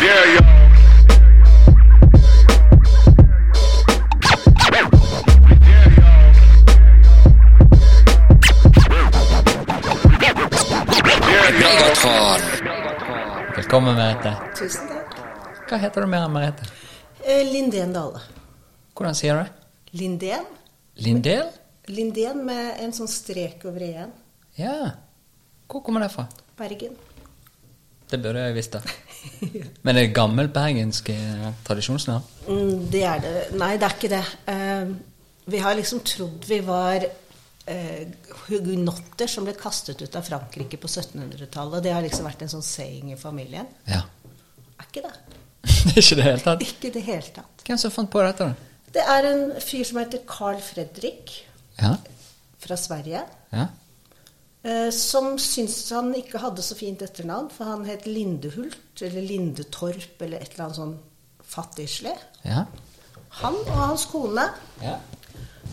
Yeah, y'all. Megatron. Velkommen, Merete. Tusen takk. Hva heter du mer enn Merete? Eh, Lindén Dale. Hvordan sier du det? Lindén? Lindel? Lindén med en sånn strek over e-en. Ja. Hvor kommer det fra? Bergen. Det burde jeg visst. da. Men det er gammel bergensk eh, tradisjonsnavn. Mm, Det er det. Nei, det er ikke det. Eh, vi har liksom trodd vi var eh, hugenotter som ble kastet ut av Frankrike på 1700-tallet. Det har liksom vært en sånn saying i familien. Ja. Er ikke det? Det er ikke det hele tatt. Ikke i det hele tatt. Hvem som fant på dette, da? Det er en fyr som heter Carl Fredrik Ja. fra Sverige. ja. Eh, som syntes han ikke hadde så fint etternavn, for han het Lindehult eller Lindetorp eller et eller annet sånn fattigslig. Ja. Han og hans kone Ja.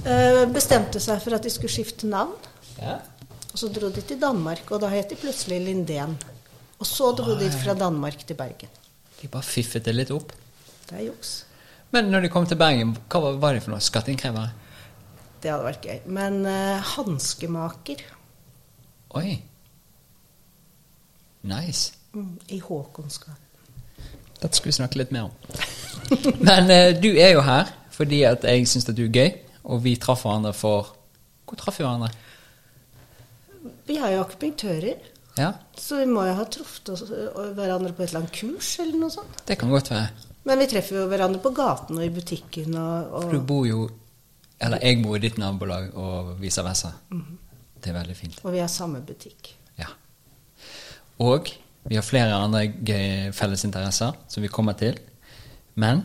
eh, bestemte seg for at de skulle skifte navn. ja. Og så dro de til Danmark, og da het de plutselig Lindén. Og så dro de fra Danmark til Bergen. De bare fiffet det litt opp. Det er juks. Men når de kom til Bergen, hva var- var de for noe? Skatteinnkrevere? Det hadde vært gøy. Men eh, hanskemaker Oi. Nice. mm, i Håkonsgata. Dette skal vi snakke litt mer om. Men eh, du er jo her fordi at jeg syns at du er gøy, og vi traff hverandre for Hvor traff vi hverandre? Vi er jo akupunktører, Ja, så vi må jo ha truffet oss, ø, hverandre på et eller annet kurs eller noe sånt. det kan godt være. Men vi treffer jo hverandre på gaten og i butikken og, For du og, bor jo Eller jeg bor i ditt nabolag, og vice versa. Det er veldig fint. og vi har samme butikk. Ja. Og vi har flere andre gøye fellesinteresser som vi kommer til. Men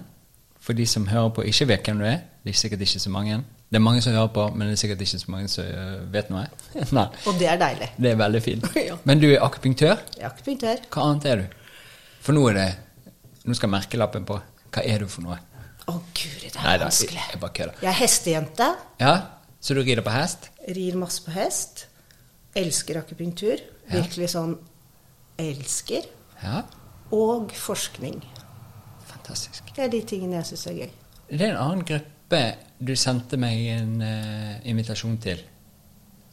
for de som hører på, ikke vet hvem du er. Det er sikkert ikke så mange. Det er mange som hører på, men det er sikkert ikke så mange som øh, vet noe. Nei. Og det er deilig. Det er veldig fint. Ja. Men du er akupunktør. Jeg er akupunktør. Hva annet er du? For nå er det Nå skal merkelappen på. Hva er du for noe? Å, guri, det er Neida, vanskelig. jeg- jeg bare kødder. Jeg er hestejente. Ja, Så du rider på hest? Rir masse på hest. Elsker akupunktur. Ja. Virkelig sånn elsker. Ja. Og forskning. Fantastisk. Det er de tingene jeg syns er gøy. Det er en annen gruppe du sendte meg en eh, invitasjon til,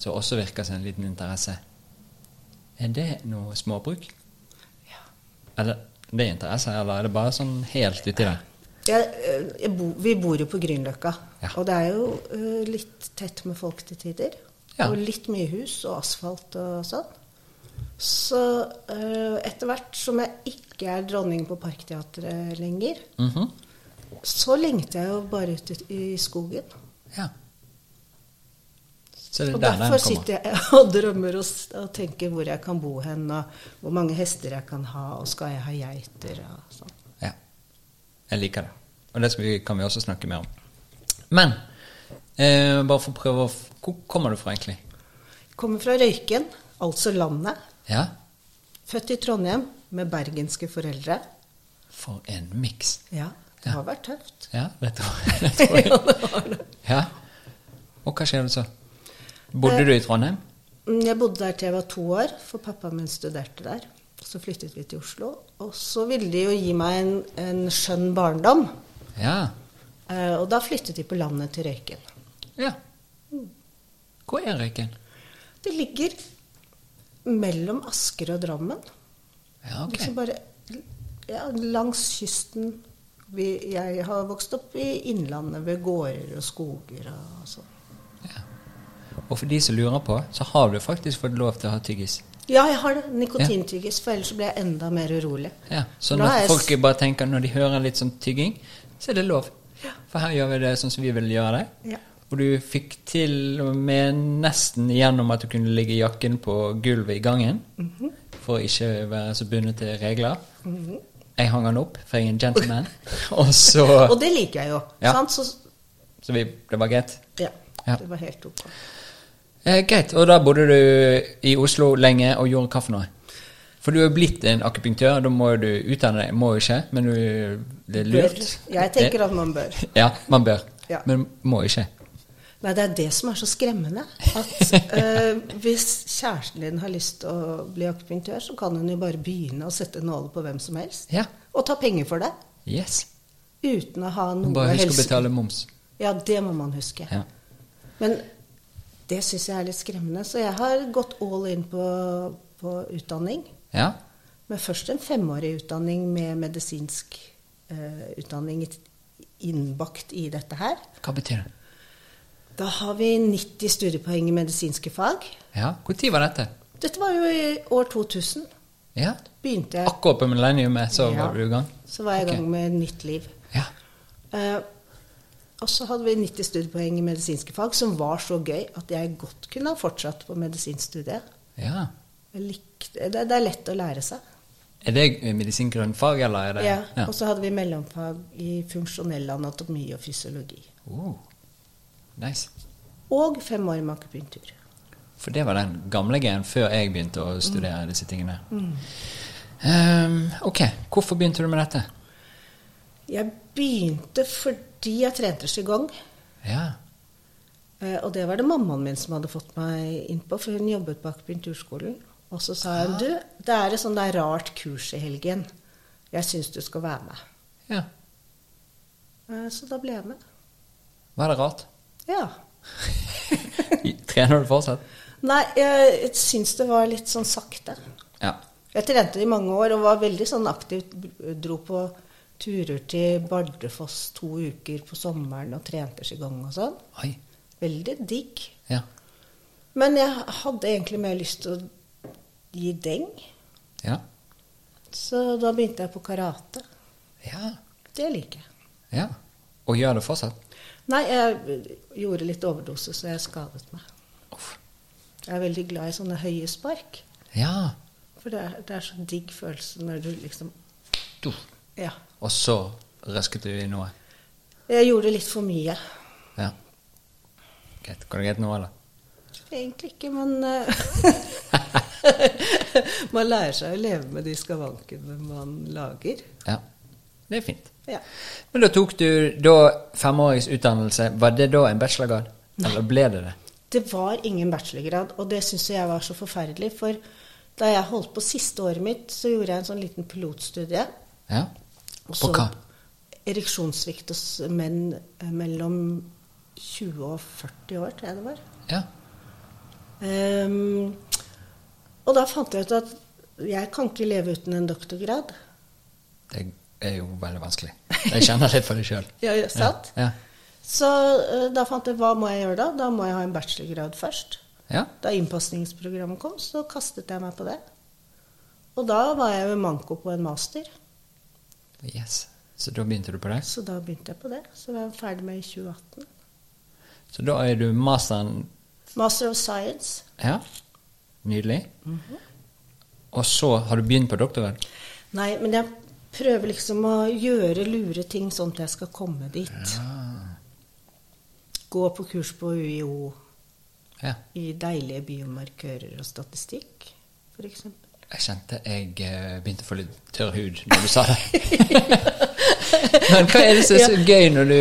som også virker som en liten interesse. Er det noe småbruk? Ja. Eller det er interesse, eller er det bare sånn helt uti der? Jeg, ø, jeg bo, vi bor jo på Grünerløkka, Ja. og det er jo ø, litt tett med folk til tider. Ja. Og litt mye hus og asfalt og sånn. Så ø, etter hvert som jeg ikke er dronning på Parkteatret lenger, Mhm. så lengter jeg jo bare ute i skogen. Ja. Så det er Og der derfor den kommer. sitter jeg og drømmer og, s- og tenker hvor jeg kan bo hen, og hvor mange hester jeg kan ha, og skal jeg ha geiter og sånn. Ja. Jeg liker det. Og det skal vi, kan vi også snakke mer om. Men eh, bare for å prøve å f- Hvor kommer du fra, egentlig? Kommer fra Røyken, altså landet. Ja? Født i Trondheim med bergenske foreldre. For en miks. Ja, det Ja. har vært tøft. Ja, det tror jeg. Det tror jeg. Ja. Og hva skjer det så? Bodde du i Trondheim? Mm, Jeg bodde der til jeg var to år, for pappaen min studerte der. Så flyttet vi til Oslo. Og så ville de jo gi meg en, en skjønn barndom. Ja. Eh, og da flyttet de på landet til Røyken. ja. Hvor er Røyken? Det ligger mellom Asker og Drammen. Ja, ok. Altså bare ja, langs kysten. Vi, jeg har vokst opp i Innlandet, ved gårder og skoger og sånn. Ja. Og for de som lurer på, så har du faktisk fått lov til å ha tyggis. Ja, jeg har det. Nikotintyggis, for ellers så blir jeg enda mer urolig. Ja, så Da er når jeg folk bare tenker når de hører litt sånn tygging, så er det lov. For her gjør vi det sånn som vi vil gjøre det. Ja. Og du fikk til og med nesten igjennom at du kunne ligge i jakken på gulvet i gangen. For ikke være så bundet til regler. Mhm. Jeg hang den opp, for jeg er en gentleman. og Og så det liker jeg jo. Ja. Sant? Så Så vi, det var greit. ja, Ja. det var helt ok. Eh, greit. Og da bodde du i Oslo lenge og gjorde hva for noe? For du er blitt en akupunktør, da må jo du utdanne deg. Må jo ikke, men du, det er lurt. Bør. Jeg tenker at man bør. Ja, man bør. Ja. Men må ikke. Nei, det er det som er så skremmende. At eh, hvis kjæresten din har lyst til å bli akupunktør, så kan hun jo bare begynne å sette nåler på hvem som helst. Ja. Og ta penger for det. Yes. Uten å ha noe Bare husk å helse- betale moms. Ja, det må man huske. Ja. Men det syns jeg er litt skremmende. Så jeg har gått all in på, på utdanning. ja. Men først en femårig utdanning med medisinsk eh, utdanning i- innbakt i dette her. Hva betyr det? Da har vi 90 studiepoeng i medisinske fag. Ja. Når var dette? Dette var jo i år 2000. Ja. Begynte jeg, Akkurat på millenniumet så Ja. var du i gang? så var jeg i Ok. gang med et nytt liv. Ja. Eh, og så hadde vi 90 studiepoeng i medisinske fag, som var så gøy at jeg godt kunne ha fortsatt på medisinstudiet. ja. Jeg likte, det, det er lett å lære seg. Er det medisin grunnfag, eller er det Ja. Og så hadde vi mellomfag i funksjonell anatomi og fysiologi. Oh. Nice. Og fem år med akupunktur. For det var den gamle G-en før jeg begynte å Mm. studere disse tingene. Ehm, ok, hvorfor begynte du med dette? Jeg begynte fordi jeg trente qigong. Ja, eh, Og det var det mammaen min som hadde fått meg inn på, for hun jobbet på akupunkturskolen. Og så sa hun du, det er et sånt der rart kurs i helgen. Jeg syns du skal være med. ja. Eh, Så da ble jeg med. Var det rart? Ja. Trener du fortsatt? Nei, jeg syns det var litt sånn sakte. Ja. Jeg trente i mange år og var veldig sånn aktiv. Dro på turer til Bardufoss to uker på sommeren og trente qigong og sånn. Oi. Veldig digg. Ja. Men jeg hadde egentlig mer lyst til å gi deng, Ja. så da begynte jeg på karate. Ja. Det liker jeg. ja. Og gjør det fortsatt? Nei, jeg gjorde litt overdose, så jeg skadet meg. Uff. Jeg er veldig glad i sånne høye spark, Ja. for det er, det er så digg følelse når du liksom Du. Ja. Og så røsket du i noe? Jeg gjorde litt for mye. Ja. Greit. Går det greit nå, eller? Egentlig ikke, men eh, Man lærer seg å leve med de skavankene man lager. Ja. Det er fint. Ja. Men da tok du da femårings utdannelse. Var det da en bachelorgrad? Eller ble det det? Det var ingen bachelorgrad, og det syns jeg var så forferdelig. For da jeg holdt på siste året mitt, så gjorde jeg en sånn liten pilotstudie. Ja. Og På så hva? Ereksjonssvikt hos menn eh, mellom 20 og 40 år, tror jeg det var. Ja. Ehm, og da fant jeg ut at jeg kan ikke leve uten en doktorgrad. Det er jo veldig vanskelig. Jeg kjenner litt for det sjøl. Ja, ja, sant? Ja. Så eh, da fant jeg hva må jeg gjøre da? Da må jeg ha en bachelorgrad først. Ja. Da innpasningsprogrammet kom, så kastet jeg meg på det. Og da var jeg ved manko på en master, ja. Yes. Så da begynte du på det? så da begynte jeg på det. Så var jeg ferdig med i 2018. Så da er du masteren Master of Science. Ja. Nydelig. Og så har du begynt på doktorgrad? Nei, men jeg prøver liksom å gjøre lure ting sånn at jeg skal komme dit. Gå på kurs på UiO Ja. i deilige biomarkører og statistikk, f.eks. Jeg kjente jeg eh, begynte å få litt tørr hud når du sa det. Men hva er det som er så gøy når du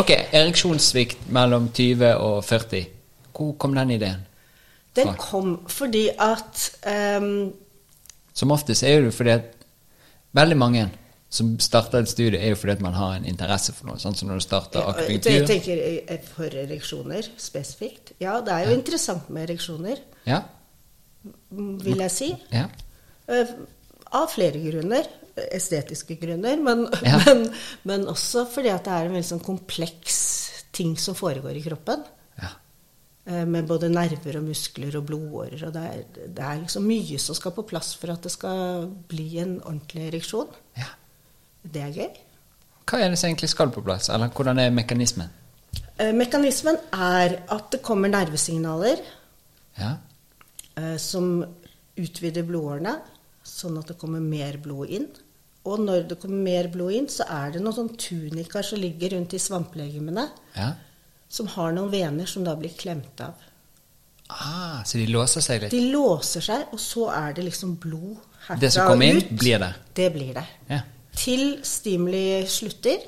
Ok, ereksjonssvikt mellom 20 og 40. Hvor kom den ideen? Den Klar. kom fordi at ehm, Som oftest er det jo fordi at veldig mange som starter et studie, er jo fordi at man har en interesse for noe. Sånn som når du starter Ja, Jeg akupunktur. tenker eh, for ereksjoner spesifikt. Ja, det er jo interessant med ereksjoner, Ja, mm, vil jeg si. ja, Eh, Av flere grunner. eh, Estetiske grunner, men, Ja. men, men også fordi at det er en veldig sånn kompleks ting som foregår i kroppen. ja. eh, Med både nerver og muskler og blodårer. Og det er, det er liksom mye som skal på plass for at det skal bli en ordentlig ereksjon. ja. Det er gøy. Hva er det som egentlig skal på plass? Eller hvordan er mekanismen? Eh, Mekanismen er at det kommer nervesignaler Ja, eh, som utvider blodårene, sånn at det kommer mer blod inn. Og når det kommer mer blod inn, så er det noen sånn tunikaer som ligger rundt i svamplegemene, ja. som har noen vener som da blir klemt av. Ah, så de låser seg litt? De låser seg, og så er det liksom blod herfra Det som kommer inn, ut. blir det. Det blir det. Ja. Til stimuli slutter,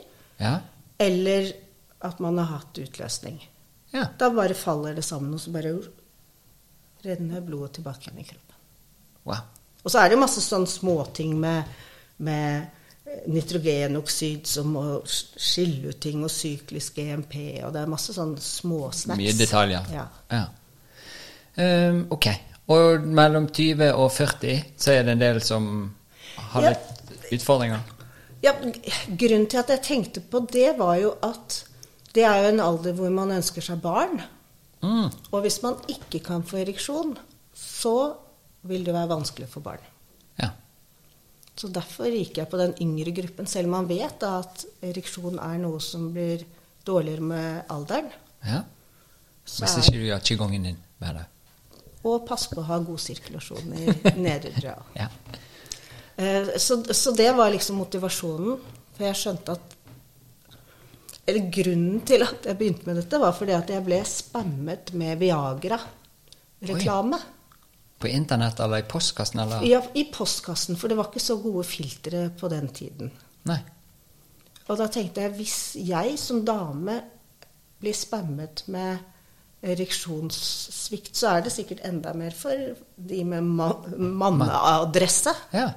Ja. eller at man har hatt utløsning. Ja. Da bare faller det sammen, og så bare renner blodet tilbake igjen i kroppen. Wow. Og så er det jo masse sånne småting med, med eh, nitrogenoksid som å sk- skille ut ting, og syklisk EMP, og det er masse sånne småsnacks. Mye detaljer. Ja. Ehm, ok. Og mellom 20 og 40 så er det en del som har Ja. litt utfordringer. Ja, g- grunnen til at jeg tenkte på det, var jo at det er jo en alder hvor man ønsker seg barn. Mm. Og hvis man ikke kan få ereksjon, så vil det være vanskelig for barn. Ja. Så derfor gikk jeg på den yngre gruppen, selv om man vet da at ereksjon er noe som blir dårligere med alderen. ja. Så Hvis er, ikke du gjør qigongen din hver dag. og pass på å ha god sirkulasjon i nedre dra. Ja. Eh, Så, så det var liksom motivasjonen. For jeg skjønte at Eller grunnen til at jeg begynte med dette, var fordi at jeg ble spammet med Viagra-reklame. På internett eller i postkassen eller Ja, I postkassen, for det var ikke så gode filtre på den tiden. Nei. Og da tenkte jeg hvis jeg som dame blir spammet med ereksjonssvikt, så er det sikkert enda mer for de med ma- manneadresse. Ja.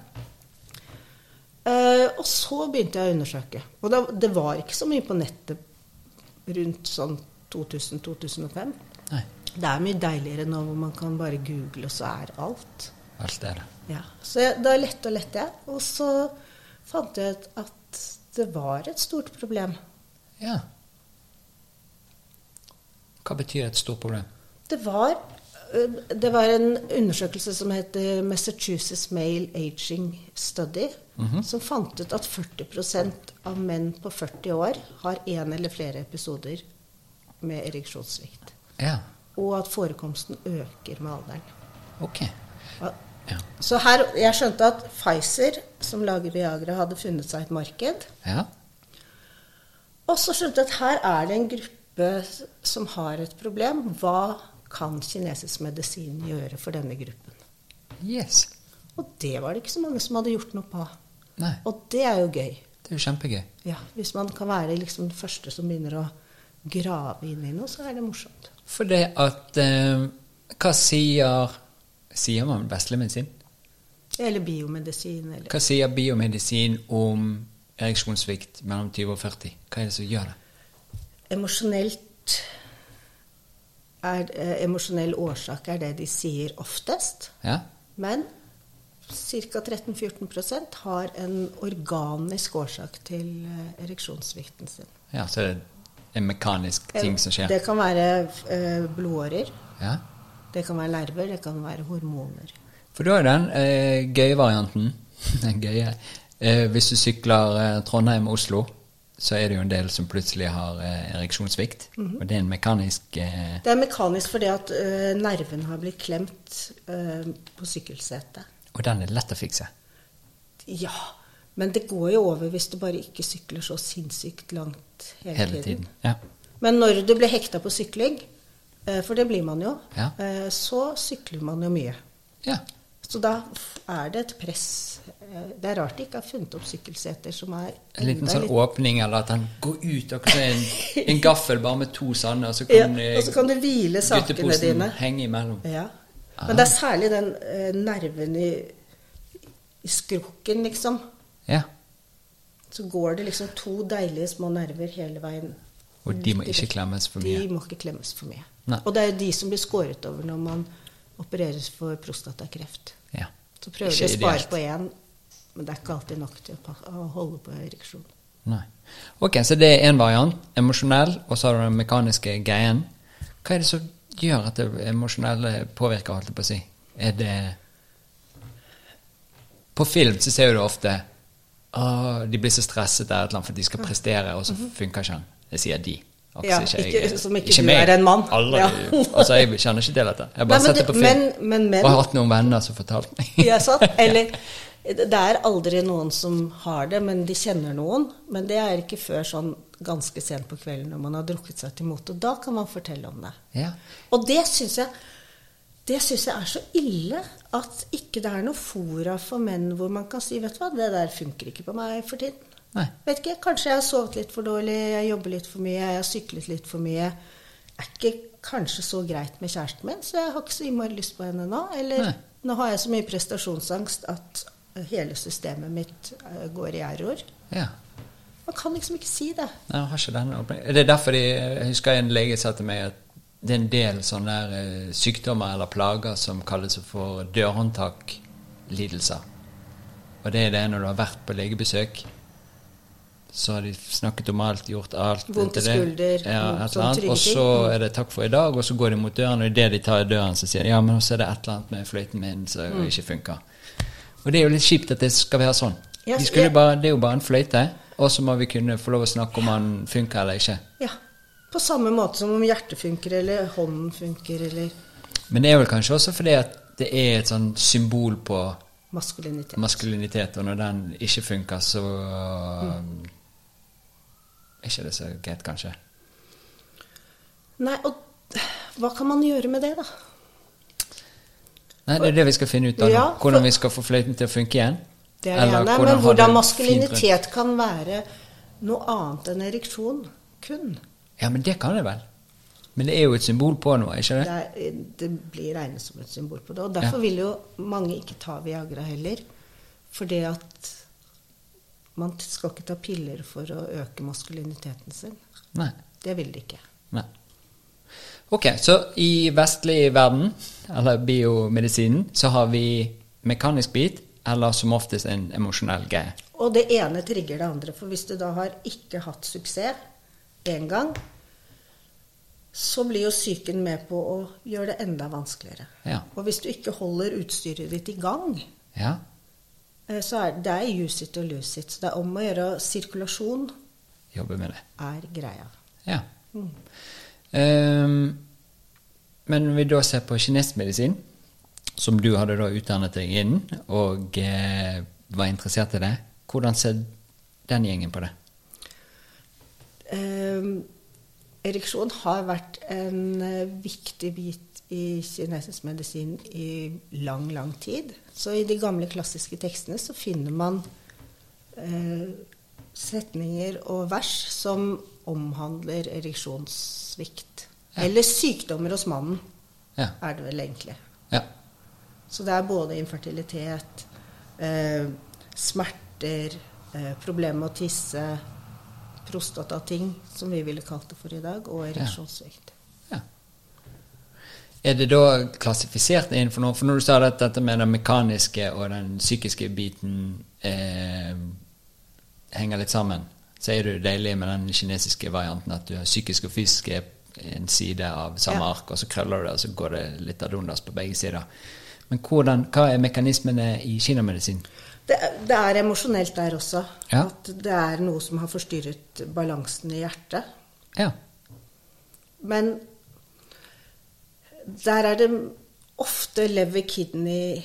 Eh, og så begynte jeg å undersøke. Og da, det var ikke så mye på nettet rundt sånn 2000-2005. Nei. Det er mye deiligere nå hvor man kan bare google, og så er alt. Alt er det. Ja, så jeg, da lette og lette jeg, og så fant jeg ut at det var et stort problem. Ja. Hva betyr et stort problem? Det var, øh, det var en undersøkelse som heter Massachusetts Male Aging Study, som fant ut at 40 av menn på 40 år har én eller flere episoder med ereksjonssvikt. Ja. Og at forekomsten øker med alderen. Ok. Og- Ja. Så her, jeg skjønte at Pfizer, som lager Viagra, hadde funnet seg et marked. Ja. Og så skjønte jeg at her er det en gruppe som har et problem. Hva kan kinesisk medisin gjøre for denne gruppen? Yes. Og det var det ikke så mange som hadde gjort noe på. Nei. Og det er jo gøy. Det er jo kjempegøy. Ja, hvis man kan være liksom den første som begynner å grave inn i noe, så er det morsomt. For det at eh, Hva sier Sier man vestlig medisin? Eller biomedisin, eller Hva sier biomedisin om ereksjonssvikt mellom 20 og 40? Hva er det som gjør det? Emosjonelt er, eh, Emosjonell årsak er det de sier oftest. Ja? Men ca. 13-14 har en organisk årsak til eh, ereksjonssvikten sin. ja så er det en mekanisk ting som skjer? Det kan være eh, blodårer, Ja. det kan være nerver, det kan være hormoner. For da er den eh, gøye varianten den gøye. Eh, hvis du sykler eh, Trondheim-Oslo, så er det jo en del som plutselig har eh, ereksjonssvikt. Og det er en mekanisk eh, Det er mekanisk fordi at eh, nerven har blitt klemt eh, på sykkelsetet. Og den er lett å fikse. Ja, men det går jo over hvis du bare ikke sykler så sinnssykt langt hele, Hele tiden. tiden. Ja. Men når du blir hekta på sykling, eh, for det blir man jo, Ja. eh, så sykler man jo mye. ja. Så da f- er det et press. Eh, Det er rart de ikke har funnet opp sykkelseter som er En liten enda sånn litt- åpning, eller at den går ut, akkurat som en, en gaffel bare med to sånne, og så ja, kan, eh, Og så kan du hvile sakene gutteposen dine. henge imellom. Ja. Ah. Men det er særlig den eh, nerven i, i skrukken, liksom. Ja. Så går det liksom to deilige små nerver hele veien. Og de må ikke klemmes for De mye. må ikke klemmes for mye. Nei. Og det er jo de som blir skåret over når man opereres for prostatakreft. Ja. Så prøver Ikke de å spare ideelt. på én, men det er ikke alltid nok til å pa- å holde på ereksjon. Nei. Ok, så det er én variant. Emosjonell, og så har du den mekaniske greien. Hva er det som gjør at det emosjonelle påvirker, holdt jeg på å si? Er det På film så ser du det ofte Åh, de blir så stresset av et eller annet, for de skal prestere, og så funker ikke han. Det sier de. Altså, Mhm. Ja, ikke- som ikke du er en mann. Aldri. Ja. altså, jeg kjenner ikke til dette. Jeg Nei, bare men sett det det- på film. men- men menn- og har hatt noen venner som fortalte meg. Ja, sant? Eller det er aldri noen som har det, men de kjenner noen. Men det er ikke før sånn ganske sent på kvelden når man har drukket seg til mote. Da kan man fortelle om det. ja. Og det syns jeg det synes jeg er så ille at ikke det er noe fora for menn hvor man kan si vet du hva, det der funker ikke på meg for tiden. Nei. Vet ikke, Kanskje jeg har sovet litt for dårlig, jeg jobber litt for mye, jeg har syklet litt for mye. er ikke kanskje så greit med kjæresten min, så jeg har ikke så innmari lyst på henne nå. Eller Nei. nå har jeg så mye prestasjonsangst at eh, hele systemet mitt eh, går i error. Ja. Man kan liksom ikke si det. Nei, jeg har ikke denne åpningen. Er det derfor de, jeg husker en lege sa til meg at det er en del sånne der eh, sykdommer eller plager som kalles for dørhåndtaklidelser. Og det er det når du har vært på legebesøk, så har de snakket om alt, gjort alt. Vondt i etter det. skulder, Ja, mm, et sånn eller annet. trygge Og ting. så er det takk for i dag, og så går de mot døren, og idet de tar i døren, så sier de ja, men så er det et eller annet med fløyten min som Mm. ikke funker. Og det er jo litt kjipt at det skal være sånn. Ja, vi skulle jeg- bare, det er jo bare en fløyte, og så må vi kunne få lov å snakke om han funker eller ikke. Ja. På samme måte som om hjertet funker, eller hånden funker, eller Men det er vel kanskje også fordi at det er et sånn symbol på maskulinitet. maskulinitet, og når den ikke funker, så eh, Er ikke det så greit, kanskje? Nei, og hva kan man gjøre med det, da? Nei, det er det vi skal finne ut av. nå. Ja, for- hvordan vi skal få fløyten til å funke igjen. Det er det Eller ene. hvordan Men ha hvordan det fint rundt. maskulinitet kan være noe annet enn ereksjon kun. Ja, men det kan det vel. Men det er jo et symbol på noe, er ikke Det, det? er, det blir regnet som et symbol på det. Og derfor vil jo mange ikke ta Viagra heller. Fordi at man skal ikke ta piller for å øke maskuliniteten sin. Nei. Det vil de ikke. Nei. Ok, så i vestlig verden, eller biomedisinen, så har vi mekanisk bit, eller som oftest en emosjonell greie. Og det ene trigger det andre. For hvis du da har ikke hatt suksess én gang, så blir jo psyken med på å gjøre det enda vanskeligere. Ja. Og hvis du ikke holder utstyret ditt i gang, Ja. eh, så er det er use it og lose it. Så det er om å gjøre sirkulasjon Jobbe med det. er greia. Ja. Ehm, men når vi da ser på kinesisk-medisin, som du hadde da utdannet deg innen, og eh, var interessert i det, hvordan ser den gjengen på det? Ehm, ereksjon har vært en eh, viktig bit i kinesisk medisin i lang, lang tid. Så i de gamle klassiske tekstene så finner man eh, setninger og vers som omhandler ereksjonssvikt. Ja. Eller sykdommer hos mannen, Ja. er det vel egentlig. ja. Så det er både infertilitet, eh, smerter, eh, problemer med å tisse, prostatating, som vi ville kalt det for i dag, og ereksjonssvikt. Ja. Er det da klassifisert innenfor noe? For når du sa dette, dette med den mekaniske og den psykiske biten eh, henger litt sammen, så er det jo deilig med den kinesiske varianten at du har psykisk og fysisk er en side av samme Ja. ark, og så krøller du det, og så går det litt ad undas på begge sider. Men hvordan, hva er mekanismene i kinamedisin? Det, er- det er emosjonelt der også. Ja. At det er noe som har forstyrret balansen i hjertet. Ja. Men der er det ofte lever kidney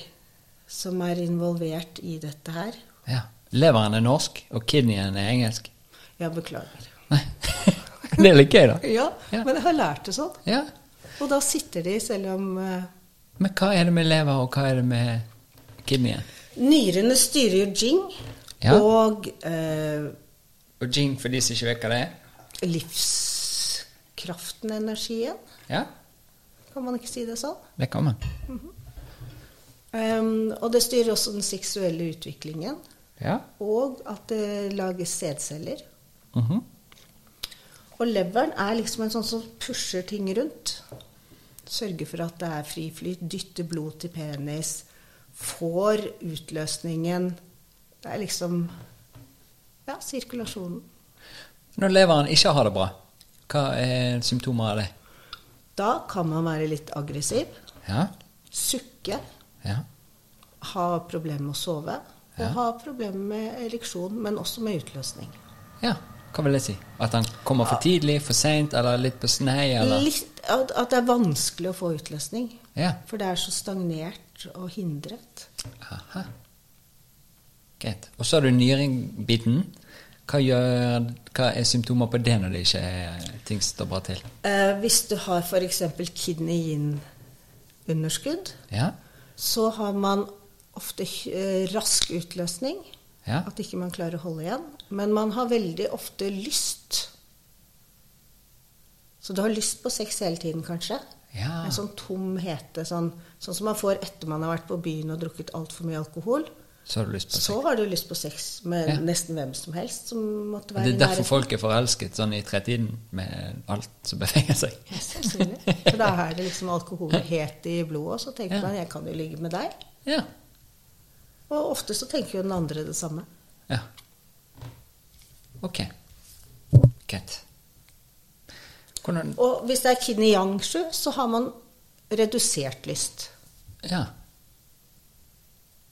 som er involvert i dette her. ja. Leveren er norsk, og kidneyen er engelsk. Ja, beklager. Nei. det er litt gøy, da. Ja, Ja. men jeg har lært det sånn. Ja. Og da sitter de, selv om eh, Men hva er det med lever, og hva er det med kidneyen? Nyrene styrer jo jing Ja. og eh, Og gin for de som ikke vet hva det er? livskraften, energien. Ja, Kan man ikke si det sånn? det kan man. Em, og det styrer også den seksuelle utviklingen. Ja. Og at det lages sædceller. Mhm. Og leveren er liksom en sånn som pusher ting rundt. Sørger for at det er fri flyt, dytter blod til penis, får utløsningen Det er liksom ja, sirkulasjonen. Når leveren ikke har det bra, hva er symptomer av det? Da kan man være litt aggressiv. Ja. sukke, ja. ha problemer med å sove, og Ja. ha problemer med ereksjon, men også med utløsning. Ja, hva vil det si? At han kommer for tidlig, for seint, eller litt på snei, eller Litt, at, at det er vanskelig å få utløsning. Ja. For det er så stagnert og hindret. Aha. Greit. Og så har du nyringbiten. Hva, gjør, hva er symptomer på det når det ikke er ting står bra til? Eh, hvis du har f.eks. kidney yin-underskudd, Ja. så har man ofte eh, rask utløsning. Ja. At ikke man klarer å holde igjen. Men man har veldig ofte lyst. Så du har lyst på sex hele tiden, kanskje? Ja. En sånn tom hete, sånn, sånn som man får etter man har vært på byen og drukket altfor mye alkohol. Så har du lyst på sex. Så har du lyst på sex med Ja. nesten hvem som helst som måtte Og være det i er derfor nærheten. folk er forelsket sånn i tretiden, med alt som beveger seg. Ja, sannsynlig. For da er det liksom alkoholhet i blodet, og så tenker Ja. man 'jeg kan jo ligge med deg'. Ja. Og ofte så tenker jo den andre det samme. ja. Ok. Greit. Hvordan Og hvis det er kin i yang-sju, så har man redusert lyst. Ja.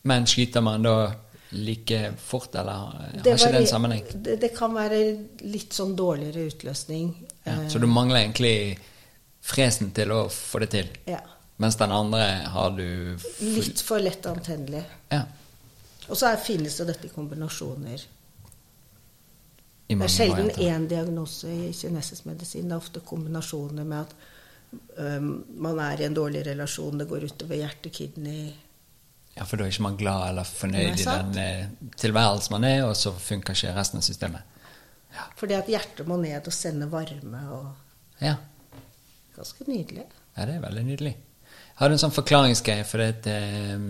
Men skyter man da like fort, eller eh, har ikke det en sammenheng? Det, det kan være litt sånn dårligere utløsning. Ja. Eh, Så du mangler egentlig fresen til å få det til, ja. mens den andre har du full- Litt for lett antennelig. Ja. Og så er, finnes jo dette i kombinasjoner. I Det mange er sjelden varianter. én diagnose i kinesisk medisin. Det er ofte kombinasjoner med at øhm, man er i en dårlig relasjon, det går utover hjerte, kidney Ja, for da er ikke man glad eller fornøyd Nei, i sant? den eh, tilværelsen man er, og så funker ikke resten av systemet. Fordi at hjertet må ned og sende varme og Ja. Ganske nydelig. Ja, det er veldig nydelig. Jeg hadde en sånn forklaringsgreie, for det at eh,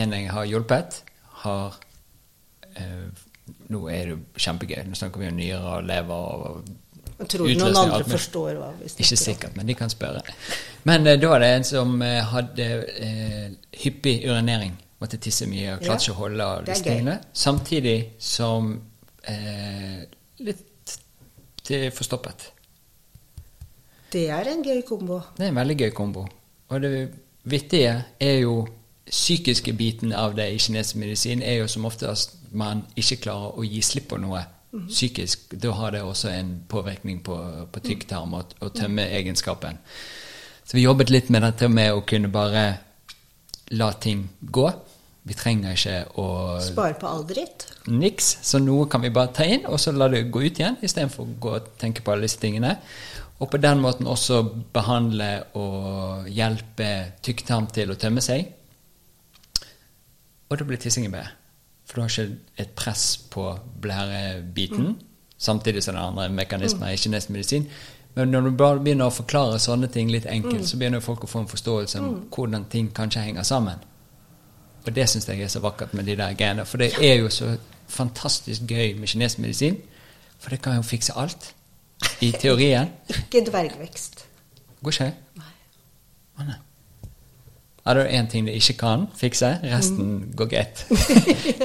en jeg har hjulpet, har eh, Nå er det jo kjempegøy. Nå snakker vi om nyrer og lever og Jeg tror noen utløsning og andre alt mulig. forstår hva vi snakker Ikke om. sikkert, men de kan spørre. Men eh, da var det en som eh, hadde eh, hyppig urinering. Måtte tisse mye og klarte Ja. ikke å holde og Det er disse gøy. tingene. Samtidig som eh, litt til forstoppet. Det er en gøy kombo. Det er en veldig gøy kombo. Og det vittige er jo psykiske biten av det i kinesisk medisin er jo som oftest man ikke klarer å gi slipp på noe psykisk. Da har det også en påvirkning på, på tykktarm og, og tømmeegenskapen. Så vi jobbet litt med dette med å kunne bare la ting gå. Vi trenger ikke å Spare på all dritt. niks, så noe kan vi bare ta inn, og så la det gå ut igjen, istedenfor å gå og tenke på alle disse tingene. Og på den måten også behandle og hjelpe tykktarm til å tømme seg. Og da blir tissingen bedre. For du har ikke et press på blærebiten, samtidig som det er andre mekanismer i kinesisk medisin. Men når du bare begynner å forklare sånne ting litt enkelt, så begynner folk å få en forståelse om hvordan ting kanskje henger sammen. Og det syns jeg er så vakkert med de der genene. For det er jo så fantastisk gøy med kinesisk medisin. For det kan jo fikse alt. I teorien. Ikke dvergvekst. Går ikke det? Å, nei. Ja, det er én ting det ikke kan fikse. Resten går greit.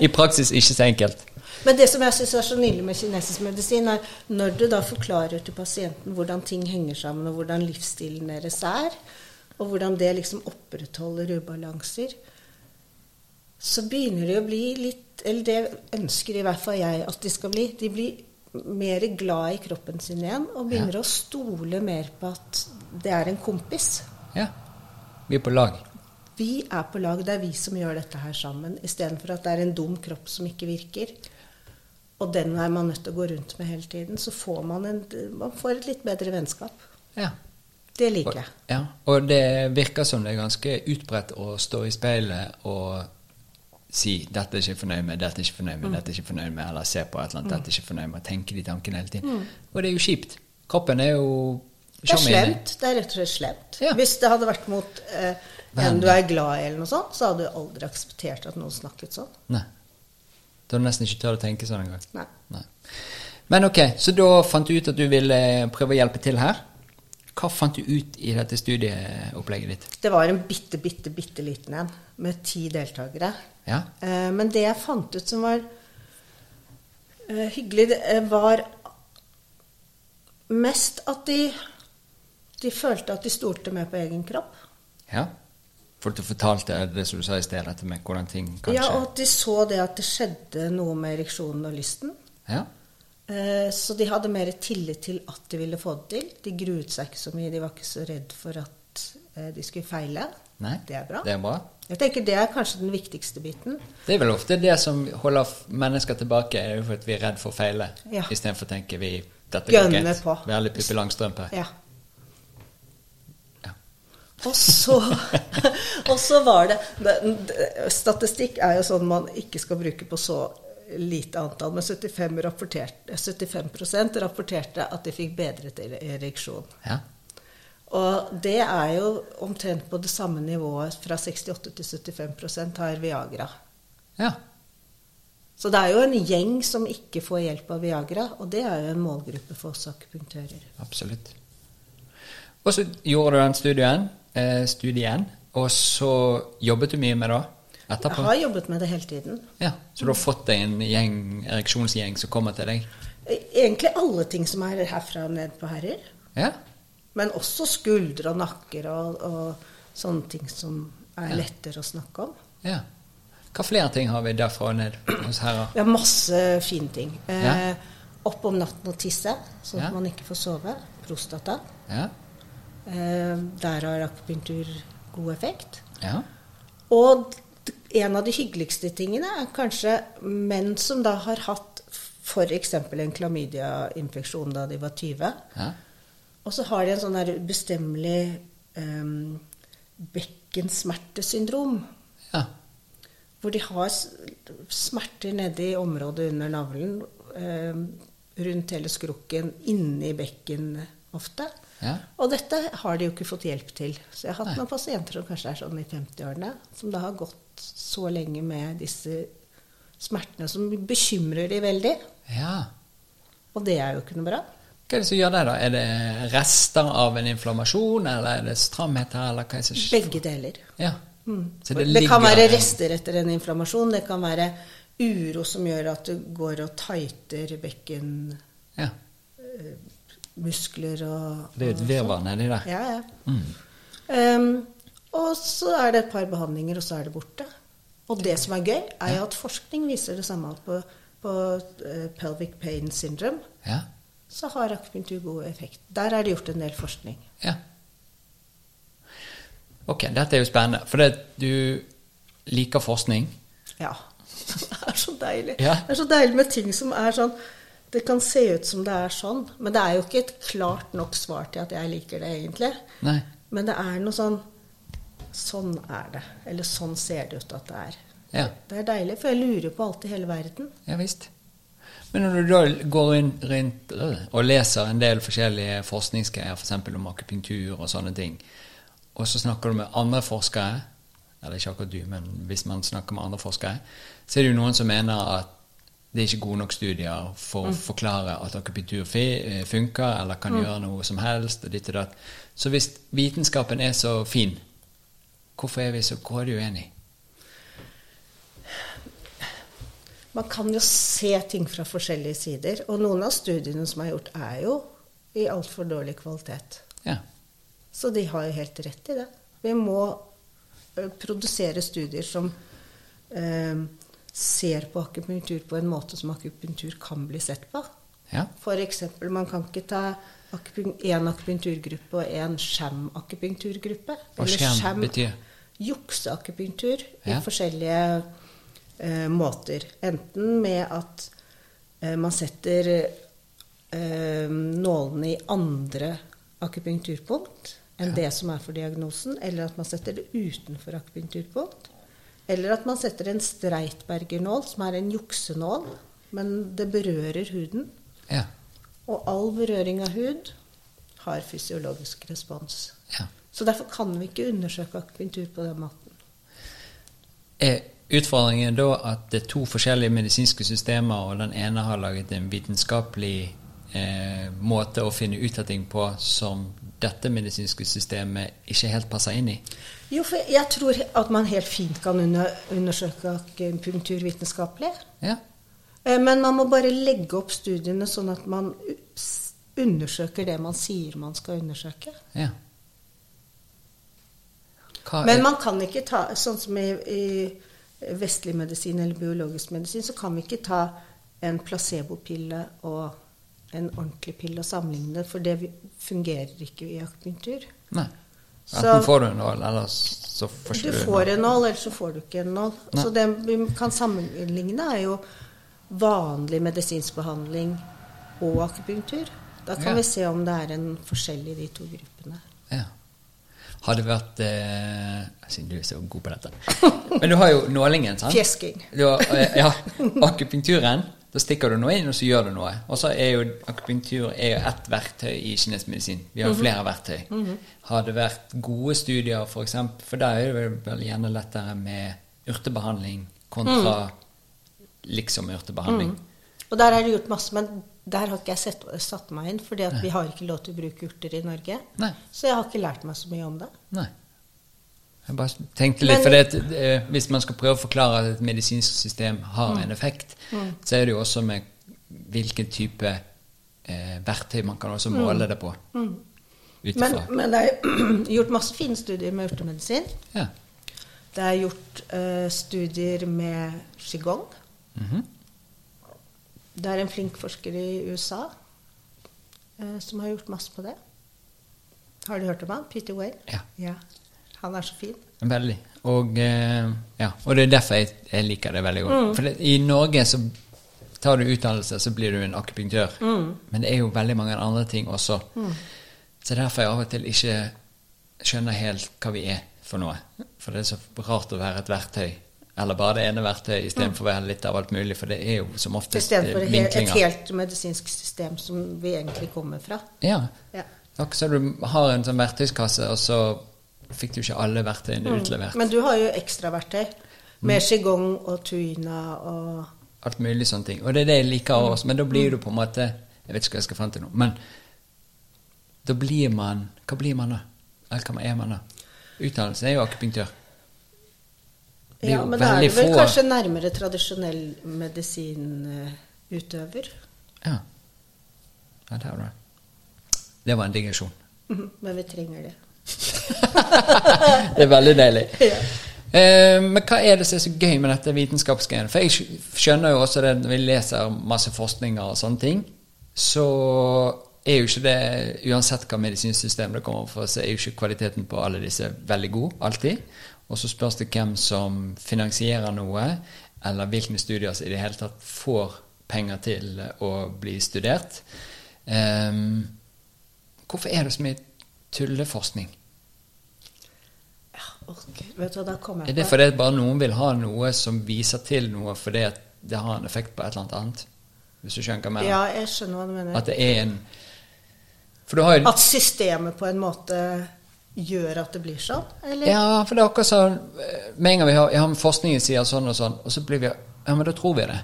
I praksis ikke så enkelt. Men det som jeg syns er så nydelig med kinesisk medisin, er når du da forklarer til pasienten hvordan ting henger sammen, og hvordan livsstilen deres er, og hvordan det liksom opprettholder ubalanser, så begynner de å bli litt Eller det ønsker i hvert fall jeg at de skal bli. De blir mer glad i kroppen sin igjen, og begynner å stole mer på at det er en kompis. Ja. Vi er på lag. Vi er på lag, det er vi som gjør dette her sammen, istedenfor at det er en dum kropp som ikke virker. Og den er man nødt til å gå rundt med hele tiden. Så får man, en, man får et litt bedre vennskap. Ja. Det liker jeg. Ja, og det virker som det er ganske utbredt å stå i speilet og si 'dette er jeg ikke fornøyd med', 'dette er jeg ikke fornøyd med', Mm. 'dette er jeg ikke fornøyd med', eller se på et eller annet 'dette er jeg ikke fornøyd med', og tenke de tankene hele tiden. Og det er jo kjipt. Kroppen er jo Mm. Det er sjarmerende. slemt. Det er rett og slett slemt. Ja. Hvis det hadde vært mot eh, en du er glad i, eller noe sånt, så hadde du aldri akseptert at noen snakket sånn. Nei. Da er du nesten ikke tør å tenke sånn engang. Nei. Nei. Men ok, så da fant du ut at du ville prøve å hjelpe til her. Hva fant du ut i dette studieopplegget ditt? Det var en bitte, bitte, bitte liten en med ti deltakere. Ja? Eh, Men det jeg fant ut som var eh, hyggelig, det eh, var mest at de, de følte at de stolte mer på egen kropp. Ja? For du fortalte det som du sa i sted, dette med hvordan ting kanskje Ja, og at de så det at det skjedde noe med ereksjonen og lysten. Ja. Eh, Så de hadde mer tillit til at de ville få det til. De gruet seg ikke så mye, de var ikke så redd for at eh, de skulle feile. Nei, Det er bra. Det er, bra. Jeg tenker det er kanskje den viktigste biten. Det er vel ofte det som holder f- mennesker tilbake, er jo for at vi er redd for å feile. Ja. Istedenfor tenker vi dette går Gønne greit. på. Være litt Pippi Langstrømpe. Ja. Ja. Og så, og så var det det- det- Statistikk er jo sånn man ikke skal bruke på så lite antall, men 75, rapporterte, 75 rapporterte at de fikk bedret ereksjon. Ja. Og det er jo omtrent på det samme nivået fra 68 til 75 har Viagra. ja. Så det er jo en gjeng som ikke får hjelp av Viagra, og det er jo en målgruppe for oss akupunktører. Absolutt. Og så gjorde du den studien, eh, studien, og så jobbet du mye med det Jeg etterpå? har jobbet med det hele tiden. Ja, så du har fått deg en gjeng, ereksjonsgjeng som kommer til deg? E-, Egentlig alle ting som er herfra og ned på herrer. Ja. Men også skuldre og nakker og, og sånne ting som er Ja. lettere å snakke om. ja. Hva flere ting har vi derfra og ned hos herrer? Vi har masse fine ting. Eh, Ja. Opp om natten og tisse, sånn at Ja. man ikke får sove. Prostata. Ja. Eh, der har akupunktur god effekt. ja. Og d- en av de hyggeligste tingene er kanskje menn som da har hatt f.eks. en klamydiainfeksjon da de var 20. ja. Og så har de en sånn der ubestemmelig eh, bekkensmertesyndrom. ja. Hvor de har s- smerter nede i området under navlen, eh, rundt hele skrukken, inni bekken ofte. Ja. Og dette har de jo ikke fått hjelp til. Så jeg har hatt Nei. noen pasienter som kanskje er sånn i 50-årene, som da har gått så lenge med disse smertene som bekymrer de veldig. ja. Og det er jo ikke noe bra. Hva er det som gjør det, da? Er det rester av en inflammasjon, eller er det stramhet her, eller hva er det som Begge deler. Ja. Så Mm. det, kan være en- rester etter en inflammasjon. Det kan være uro som gjør at du går og tighter bekken Ja. muskler og Det er Mm. jo et og virvar sånn. nedi der. Ja, ja. Ehm, og så er det et par behandlinger, og så er det borte. Og det som er gøy, er jo at forskning viser det samme på, på eh, pelvic pain syndrome. Ja. Så har akupunktur god effekt. Der er det gjort en del forskning. ja. Ok, dette er jo spennende. For det, du liker forskning. Ja. Det er så deilig. Ja. Det er så deilig med ting som er sånn Det kan se ut som det er sånn, men det er jo ikke et klart nok svar til at jeg liker det, egentlig. Nei. Men det er noe sånn Sånn er det. Eller sånn ser det ut at det er. Ja. Det er deilig, for jeg lurer på alt i hele verden. Ja visst. Men når du da går inn- rundt øh, og leser en del forskjellige forskningsgreier, f.eks. eksempel om akupunktur og sånne ting, og så snakker du med andre forskere eller ikke akkurat du, men hvis man snakker med andre forskere, så er det jo noen som mener at det er ikke gode nok studier for å forklare at akupunktur fi- eh, funker, eller kan gjøre noe som helst, og ditt og datt. Så hvis vitenskapen er så fin, hvorfor er vi så grådig uenige? Man kan jo se ting fra forskjellige sider, og noen av studiene som er gjort, er jo i altfor dårlig kvalitet. Ja. Så de har jo helt rett i det. Vi må eh, produsere studier som eh, ser på akupunktur på en måte som akupunktur kan bli sett på. Ja. F.eks. man kan ikke ta én akupunkturgruppe og én skjemakupunkturgruppe. Og skjem betyr? Jukseakupunktur i Ja. forskjellige eh, måter. Enten med at eh, man setter eh, nålene i andre akupunkturpunkt enn det som er for diagnosen, eller at man setter det utenfor akupunkturpunkt. Eller at man setter en streitbergernål, som er en juksenål, men det berører huden. Ja. Og all berøring av hud har fysiologisk respons. ja. Så derfor kan vi ikke undersøke akupunktur på den måten. Er utfordringen da at det er to forskjellige medisinske systemer, og den ene har laget en vitenskapelig eh, måte å finne ut av ting på som dette medisinske systemet ikke helt passer inn i? Jo, for jeg tror at man helt fint kan under, undersøke akupunktur vitenskapelig. Ja. Eh, Men man må bare legge opp studiene sånn at man u- s- undersøker det man sier man skal undersøke. ja. Hva Men er- man kan ikke ta, sånn som i, i vestlig medisin eller biologisk medisin, så kan vi ikke ta en placebopille og en ordentlig pille og sammenligne det, for det vi- fungerer ikke i akupunktur. Nei. Så- Enten får du en nål, eller så får Du ikke du får en nål, eller så får du ikke en nål. Nei. Så det vi kan sammenligne er jo vanlig medisinsk behandling og akupunktur. Da kan Ja. vi se om det er en forskjell i de to gruppene. Ja. Har det vært eh, Jeg synes du er så god på dette. Men du har jo nålingen, sant? Fjesking. Du har, eh, ja, akupunkturen. Da stikker du noe inn, og så gjør du noe. Og så er jo akupunktur er jo ett verktøy i kinesisk medisin. Vi har jo flere verktøy. Har det vært gode studier, for eksempel, for der er det vel- vel gjerne lettere med urtebehandling kontra liksom urtebehandling. Mhm. Og der er det gjort masse, men der har ikke jeg sett, satt meg inn, fordi at vi har ikke lov til å bruke urter i Norge. Nei. Så jeg har ikke lært meg så mye om det. Nei. Jeg bare tenkte litt, Men- for det, at, eh, hvis man skal prøve å forklare at et medisinsk system har en effekt, så er det jo også med hvilken type eh, verktøy man kan også måle det på. Mm. Ut Men, ifra. men det er gjort masse fine studier med urtemedisin. Ja. Det er gjort eh, studier med qigong. Mhm. Det er en flink forsker i USA eh, som har gjort masse på det. Har du hørt om han? Peter Wayne? Ja. Han er så fin. Veldig. Og, eh, ja. og det er derfor jeg, jeg liker det veldig godt. Mm. For det, i Norge så tar du utdannelse, så blir du en akupunktør. Mm. Men det er jo veldig mange andre ting også. Så derfor jeg av og til ikke skjønner helt hva vi er for noe. For det er så rart å være et verktøy. Eller bare det ene verktøyet Mm. istedenfor å være litt av alt mulig. For det er jo som oftest eh, Istedenfor et, et vinklinger. helt medisinsk system som vi egentlig kommer fra. Ja. Ja. Det er Akkurat som du har en sånn verktøyskasse, og så fikk du ikke alle verktøyene Mm. utlevert. Men du har jo ekstraverktøy med Mm. qigong og tuina og alt mulig sånne ting. Og det er det jeg liker også, men da blir du på en måte Jeg vet ikke hva jeg skal fram til nå, men da blir man Hva blir man da? Eller hva er man da? Utdannelsen er jo akupunktør. Det er Ja, jo men da er veldig du vel få- kanskje nærmere tradisjonell medisinutøver. Ja. ja der var det. Det var en digresjon. Men vi trenger det. det er veldig deilig. Ja. Eh, men hva er det som er så gøy med dette vitenskapsgreiene? For jeg skj- skjønner jo også det når vi leser masse forskninger og sånne ting, så er jo ikke det Uansett hva medisinssystem det kommer fra, så er jo ikke kvaliteten på alle disse veldig god, alltid. Og så spørs det hvem som finansierer noe, eller hvilke studier som i det hele tatt får penger til å bli studert. Ehm, hvorfor er det så mye tulleforskning? Ja, å, Gud, vet du hva, da kom Er jeg det på fordi at bare noen vil ha noe som viser til noe fordi at det har en effekt på et eller annet annet? Hvis du skjønner hva jeg mener? Ja, jeg skjønner hva du mener. At det er en For du har jo At systemet på en måte gjør at det blir sånn? Eller? Ja, for det er akkurat sånn eh, Med en gang vi har ja, men forskningen sier sånn og sånn, og så blir vi Ja, men da tror vi det.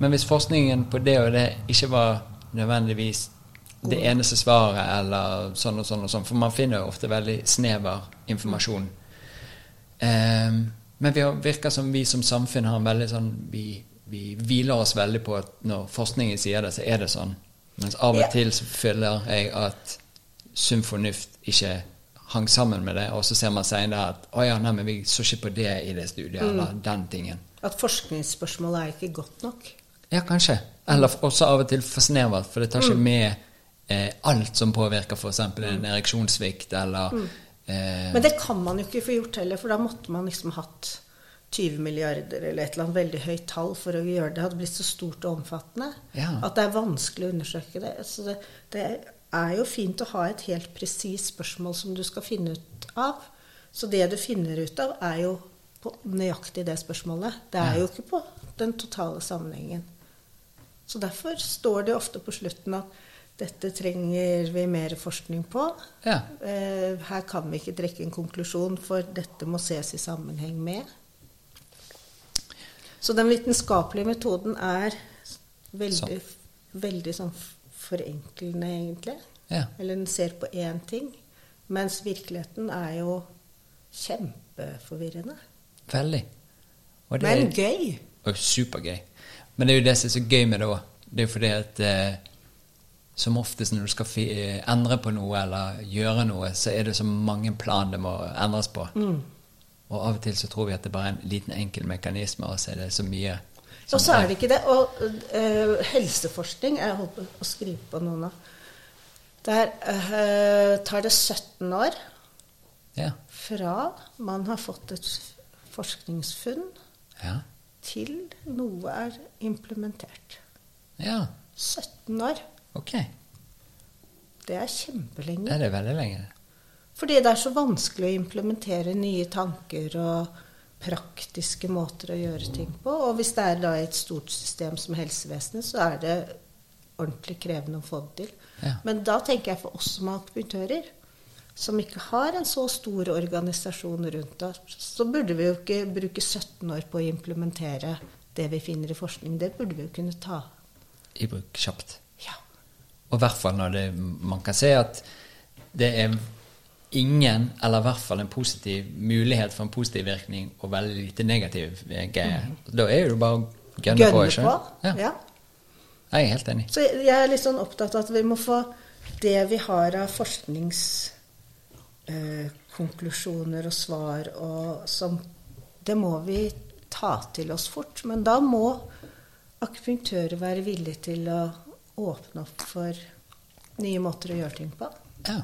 Men hvis forskningen på det og det ikke var nødvendigvis det eneste svaret, eller sånn og sånn og sånn For man finner jo ofte veldig snever informasjon. Ehm, men vi har, virker som vi som samfunn har en veldig sånn vi, vi hviler oss veldig på at når forskningen sier det, så er det sånn. Mens av og Ja. til så føler jeg at sunn fornuft ikke hang sammen med det, og så ser man senere at å ja, nei, men vi så ikke på det i det Mm. studiet, eller den tingen. At forskningsspørsmålet er ikke godt nok? Ja, kanskje. Eller også av og til for snevert, for det tar Mm. ikke med eh, alt som påvirker f.eks. en ereksjonssvikt eller eh, Mm. Men det kan man jo ikke få gjort heller, for da måtte man liksom hatt 20 milliarder eller et eller annet veldig høyt tall for å gjøre det. Det hadde blitt så stort og omfattende Ja. at det er vanskelig å undersøke det. Så det, det er jo fint å ha et helt presist spørsmål som du skal finne ut av. Så det du finner ut av, er jo på nøyaktig det spørsmålet. Det er jo ikke på den totale sammenhengen. Så derfor står det ofte på slutten at dette trenger vi mer forskning på. Ja. Eh, her kan vi ikke trekke en konklusjon, for dette må ses i sammenheng med. Så den vitenskapelige metoden er veldig, veldig sånn f- forenklende, egentlig. Ja. Eller den ser på én ting. Mens virkeligheten er jo kjempeforvirrende. Veldig. Og det- Men gøy! Og supergøy. Men det er jo det som er så gøy med det òg. Det er jo fordi at eh, som oftest når du skal fi, eh, endre på noe eller gjøre noe, så er det så mange plan det må endres på. Mm. Og av og til så tror vi at det bare er en liten enkel mekanisme, og så er det så mye som Og så er det ikke det. Og eh, helseforskning Jeg holdt på å skrive på noen av. Der eh, tar det 17 år Ja. fra man har fått et forskningsfunn, Ja. til noe er implementert. ja. 17 år. Ok. Det er kjempelenge. Det er det veldig lenge. Fordi det er så vanskelig å implementere nye tanker og praktiske måter å gjøre ting på. Og hvis det er da i et stort system som helsevesenet, så er det ordentlig krevende å få det til. Ja. Men da tenker jeg for oss som aktivitører, som ikke har en så stor organisasjon rundt oss, så burde vi jo ikke bruke 17 år på å implementere det vi finner i forskning. Det burde vi jo kunne ta. i bruk kjapt. Ja. Og i hvert fall når det, man kan se at det er ingen, eller i hvert fall en positiv mulighet for en positiv virkning, og veldig lite negativ eh, greie. Da er det jo bare å gønne på. Gønne Ikke? på. Ja. Ja. Jeg er helt enig. Så jeg jeg er litt sånn opptatt av at vi må få det vi har av forskningskonklusjoner eh, konklusjoner og svar og som Det må vi ta til oss fort. Men da må akupunktører være villige til å åpne opp for nye måter å gjøre ting på. Ja.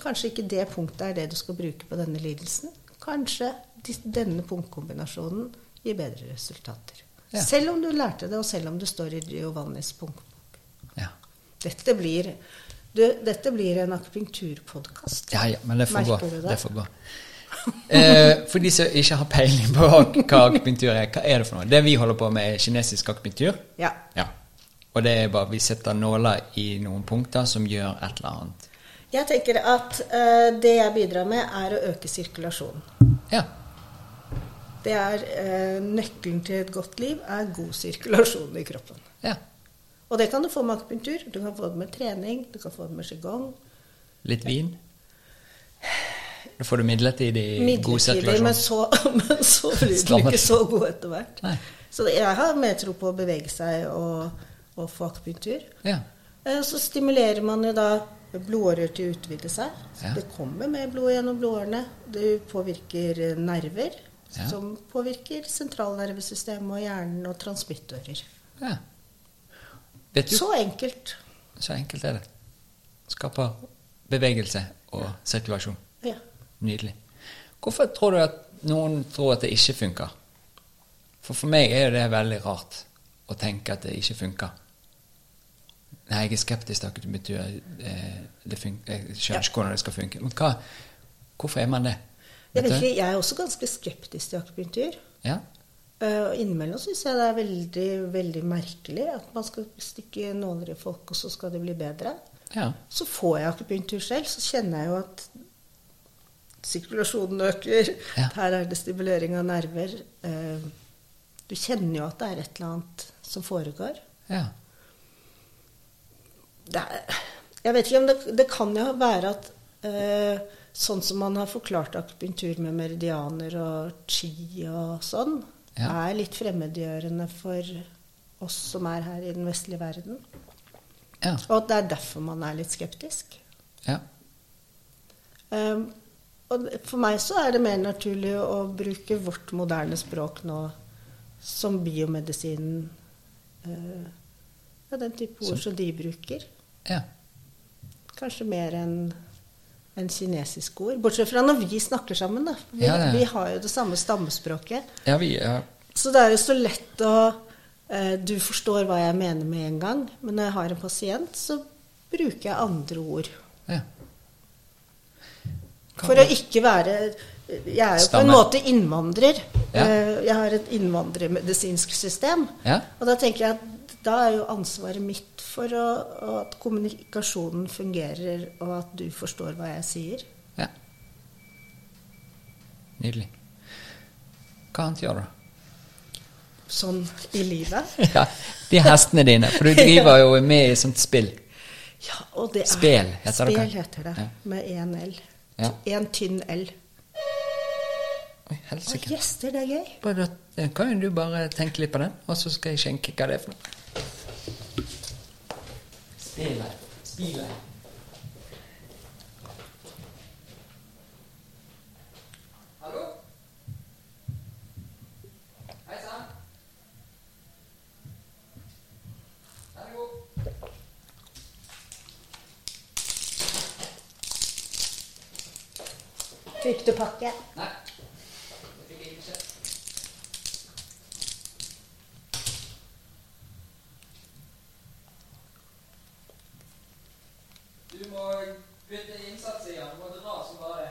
Kanskje ikke det punktet er det du skal bruke på denne lidelsen. Kanskje dis- denne punktkombinasjonen gir bedre resultater. Ja. Selv om du lærte det, og selv om du står i Giovannis punktbok. Ja. Dette blir, du, dette blir en akupunkturpodkast. ja, ja, men det får Merker gå. du det? Det får gå. Eh, for de som ikke har peiling på hva akupunktur er, hva er det for noe? Det vi holder på med, er kinesisk akupunktur. Ja. Ja. Og det er bare vi setter nåler i noen punkter som gjør et eller annet. Jeg tenker at eh, det jeg bidrar med, er å øke sirkulasjonen. Ja. Det er eh, Nøkkelen til et godt liv er god sirkulasjon i kroppen. ja. Og det kan du få med akupunktur, du kan få det med trening, du kan få det med qigong. Litt vin. Da får du midlertidig, Eh, god Midlertidig, sirkulasjon. men så, men så blir du Strammet. ikke så god etter hvert. Nei. Så jeg har mer tro på å bevege seg og, og få akupunktur. Ja. Eh, Så stimulerer man jo da blodårer til å utvide seg. Så Ja. Det kommer mer blod gjennom blodårene. Det påvirker eh, nerver, Ja. som påvirker sentralnervesystemet og hjernen og transmittører. ja. Vet du, så. Så enkelt. enkelt er det. Skaper bevegelse og sirkulasjon. Ja. Nydelig. Hvorfor tror du at noen tror at det ikke funker? For for meg er jo det veldig rart å tenke at det ikke funker. Nei, jeg er skeptisk til akupunktur. Eh, Det fun- jeg skjønner ikke hvordan det skal funke. Men hva, hvorfor er man det? Jeg, vet Vet du? ikke, jeg er også ganske skeptisk til akupunktur. Ja? Eh, Og innimellom syns jeg det er veldig, veldig merkelig at man skal stikke nåler i folk, og så skal de bli bedre. ja. Så får jeg akupunktur selv, så kjenner jeg jo at sirkulasjonen øker. Ja. Her er det stimulering av nerver. Eh, Du kjenner jo at det er et eller annet som foregår. Ja. Det er, jeg vet ikke om det, det kan jo være at eh, sånn som man har forklart akupunktur med meridianer og chi og sånn, Ja. er litt fremmedgjørende for oss som er her i den vestlige verden. Ja. Og at det er derfor man er litt skeptisk. ja. Ehm, og det- for meg så er det mer naturlig å bruke vårt moderne språk nå som biomedisinen eh, Ja, den type ord som de bruker. Ja. Kanskje mer enn enn kinesiske ord. Bortsett fra når vi snakker sammen, da. Vi, Ja, ja. vi har jo det samme stammespråket. Ja, vi ja. Så det er jo så lett å eh, Du forstår hva jeg mener med en gang, men når jeg har en pasient, så bruker jeg andre ord. ja. Hva- For å ikke være Jeg er jo på en Stamme. måte innvandrer. Ja. Eh, Jeg har et innvandrermedisinsk system. Ja. Og da tenker jeg at da er jo ansvaret mitt for å, og at kommunikasjonen fungerer, og at du forstår hva jeg sier. ja. Nydelig. Hva annet gjør du? Sånn i livet. Ja, de hestene dine. For du driver jo med i sånt spill. Ja, og det er Spel heter det, Spel kanskje? heter det. Ja. Med én L. Ja. Én tynn L. Oi, Å, helsike. gjester, det er gøy. Bare da Kan jo du bare tenke litt på den, og så skal jeg skjenke hva det er for noe. Spillet. Spillet. Hallo? Hei sann. Vær så god. Fikk du pakke? Nei. Det fikk jeg ikke. Du må bytte innsats igjen. Du må dra som bare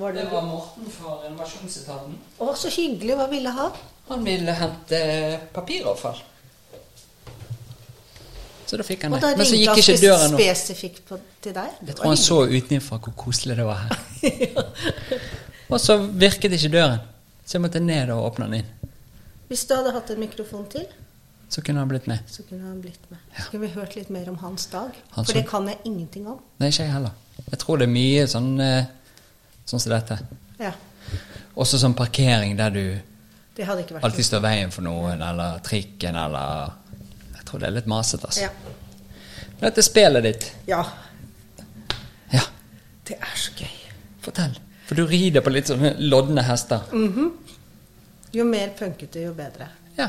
var det Å, Morten fra renovasjonsetaten. så hyggelig. Hva ville han? Han ville hente papiravfall. Så da fikk han Og det. da Men så ringte gikk han ikke døren opp. spesifikt på, til deg? Jeg Det var tror han så utenfra hvor koselig det var her. Og så virket ikke døren. Så jeg måtte ned og åpne den inn. hyggelig. Hvis du hadde hatt en mikrofon til, Så kunne han blitt med. så kunne han blitt med. Så kunne vi hørt litt mer om hans dag. Han For som- det kan jeg ingenting om. Nei, ikke jeg heller. Jeg tror det er mye sånn eh, sånn som dette. Ja, Også sånn parkering der du Det hadde ikke vært alltid står i veien for noen, eller trikken, eller Jeg tror det er litt masete, altså. Ja. Dette spillet ditt. ja. Ja, Det er så gøy. fortell. For du rider på litt sånne lodne hester. Mm. Jo mer punkete, jo bedre. Ja.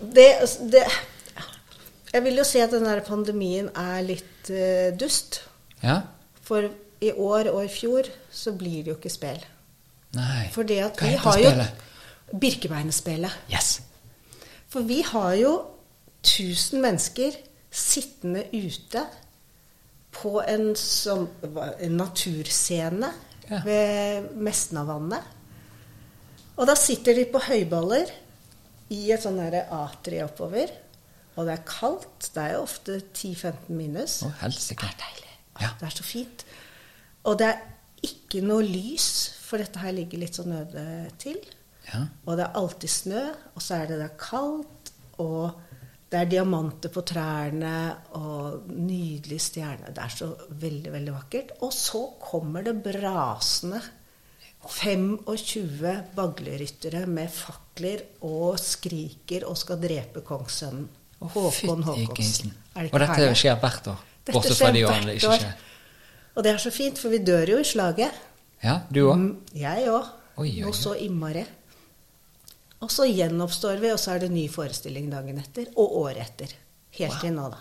Det, altså, det Jeg vil jo si at den der pandemien er litt eh, dust. ja. For i år og i fjor så blir det jo ikke spel. Nei. For det at Hva vi heter har jo spillet? Birkebeinerspelet. Yes. For vi har jo 1000 mennesker sittende ute på en sånn hva- en naturscene Ja. ved Mesnavannet. Og da sitter de på høyballer i et sånn derre atri oppover. Og det er kaldt. Det er jo ofte 10-15 minus. Å, helsike. Det er deilig. Å, Ja. Det er så fint. Og det er ikke noe lys, for dette her ligger litt sånn øde til. Ja. Og det er alltid snø, og så er det da kaldt, og det er diamanter på trærne, og nydelig stjerne. Det er så veldig, veldig vakkert. Og så kommer det brasende 25 bagleryttere med fakler og skriker og skal drepe kongssønnen. Håkon Fytti Håkonsen. grisen. Er det ikke Og dette herlig? skjer hvert år. Dette Bortsett fra skjer de hvert årene det ikke år. skjer. Og det er så fint, for vi dør jo i slaget. Ja, du òg? Mm, Jeg òg. Oi, oi, oi. Og så innmari. Og så gjenoppstår vi, og så er det ny forestilling dagen etter. Og året etter. Helt til nå, da.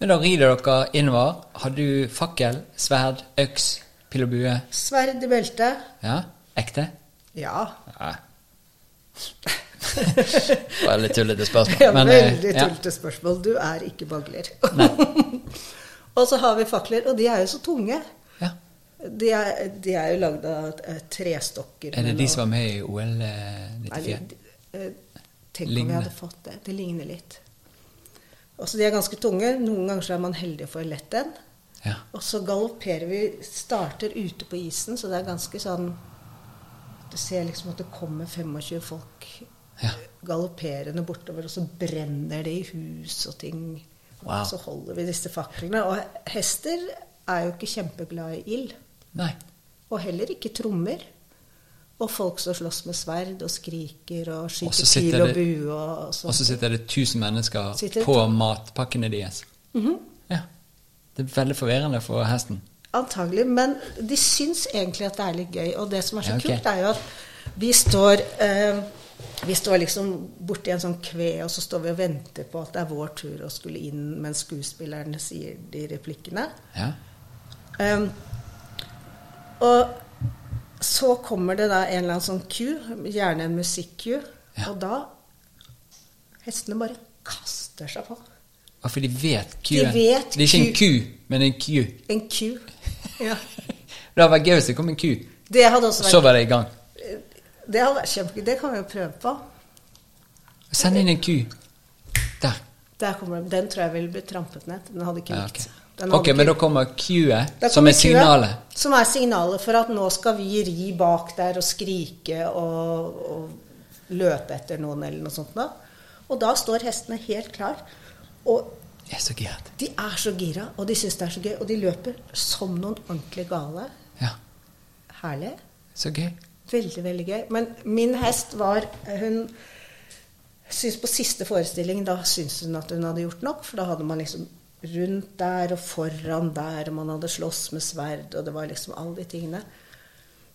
Men da rider dere innover. Har du fakkel, sverd, øks, pil og bue? Sverd i beltet. Ja? Ekte? Ja. Ja. Det var litt tullete spørsmål. Ja, men, eh, veldig ja. tullete spørsmål. Du er ikke bagler. og så har vi fakler, og de er jo så tunge. Ja. De er, de er jo lagd av eh, trestokker. Er det med de noe- som var med i OL eh, Nei, 94? de- eh, Tenk om Ligner. vi hadde fått det. Det ligner litt. Også de er ganske tunge. Noen ganger så er man heldig og får lett en. Ja. Og så galopperer vi, starter ute på isen, så det er ganske sånn Du ser liksom at det kommer 25 folk Ja. galopperende bortover, og så brenner det i hus og ting. Wow. Og så holder vi disse faklene. Og hester er jo ikke kjempeglade i ild. Nei. Og heller ikke trommer. Og folk som slåss med sverd og skriker og Og så skyter sitter pil og det- bue og sånn. Og så sitter det 1000 mennesker Sitter det Mhm. på matpakkene deres. Ja. Det er veldig forvirrende for hesten. Antagelig. Men de syns egentlig at det er litt gøy. Og det som er så Ja, ok. kult, er jo at vi står eh, vi står liksom borti en sånn kve, og så står vi og venter på at det er vår tur å skulle inn mens skuespillerne sier de replikkene. Ja. Ehm, og så kommer det da en eller annen sånn Q, gjerne en musikk-Q, Ja. og da Hestene bare kaster seg på. Og for de vet De Q-en. vet det er ikke en Q. ku, men en Q. En Q. Ja. Det hadde vært gøy hvis det kom en ku, Det hadde og også så vært var det i gang. Det hadde vært kjempegøy. Det kan vi jo prøve på. Send inn en ku. Der. Der kommer den. den tror jeg ville blitt trampet ned. Den hadde ikke Ja, likt ok, Den hadde Ok, men da ikke- kommer Q-et Da som kommer er signalet. kua, Som er signalet for at nå skal vi ri bak der og skrike og, og løpe etter noen eller noe sånt. Da. Og da står hestene helt klar. Og Jeg er så giret. de er så gira, og de syns det er så gøy. Og de løper som noen ordentlig gale. Ja, Herlig. så gøy. Veldig, veldig gøy. Men min hest var Hun syns på siste forestilling da syns hun at hun hadde gjort nok, for da hadde man liksom rundt der og foran der, og man hadde slåss med sverd, og det var liksom alle de tingene.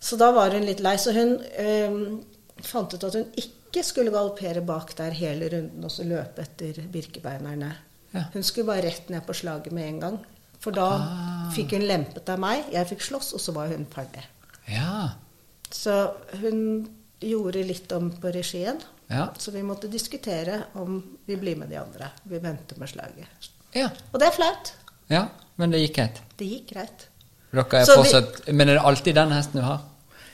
Så da var hun litt lei, så hun øhm, fant ut at hun ikke skulle galoppere bak der hele runden og så løpe etter birkebeinerne. Ja. Hun skulle bare rett ned på slaget med en gang. For da fikk hun lempet av meg, jeg fikk slåss, og så var hun ferdig. Ja. Så hun gjorde litt om på regien. Ja. Så vi måtte diskutere om vi blir med de andre. Vi venter med slaget. Ja. Og det er flaut. ja. Men det gikk greit. Det gikk greit. Dere er Så vi- fortsatt Men er det alltid den hesten du har?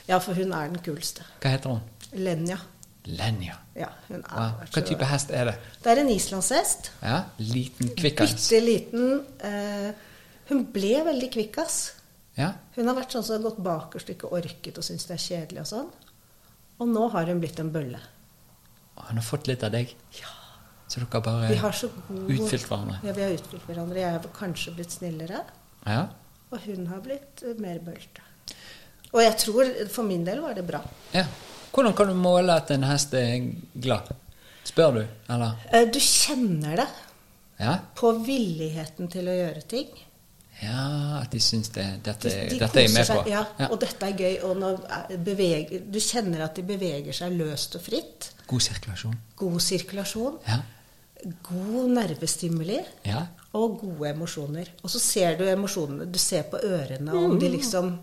Ja, for hun er den kuleste. Hva heter hun? Lenja. Lenja. Ja, hun Ah, er Wow. Hva type hest er det? Det er en islandshest. Ja, Liten, kvikkhest? Bitte liten. Eh, hun ble veldig kvikkas. Ja. Hun har vært sånn som har gått bakerst og ikke orket og syns det er kjedelig og sånn. Og nå har hun blitt en bølle. Og Han har fått litt av deg? Ja. Så dere bare Vi har så god utfylt hverandre? Ja, vi har utfylt hverandre. Jeg har kanskje blitt snillere, Ja. og hun har blitt eh, mer bølte. Og jeg tror for min del var det bra. ja. Hvordan kan du måle at en hest er glad? Spør du, eller? Eh, Du kjenner det Ja? på villigheten til å gjøre ting. Ja, at de syns det, dette, De- de dette er jeg koser med seg, på. Ja, Og dette er gøy. Og nå er- beveger, du kjenner at de beveger seg løst og fritt. God sirkulasjon. God sirkulasjon. Ja. God nervestimuli. ja. Og gode emosjoner. Og så ser du emosjonene. Du ser på ørene om de liksom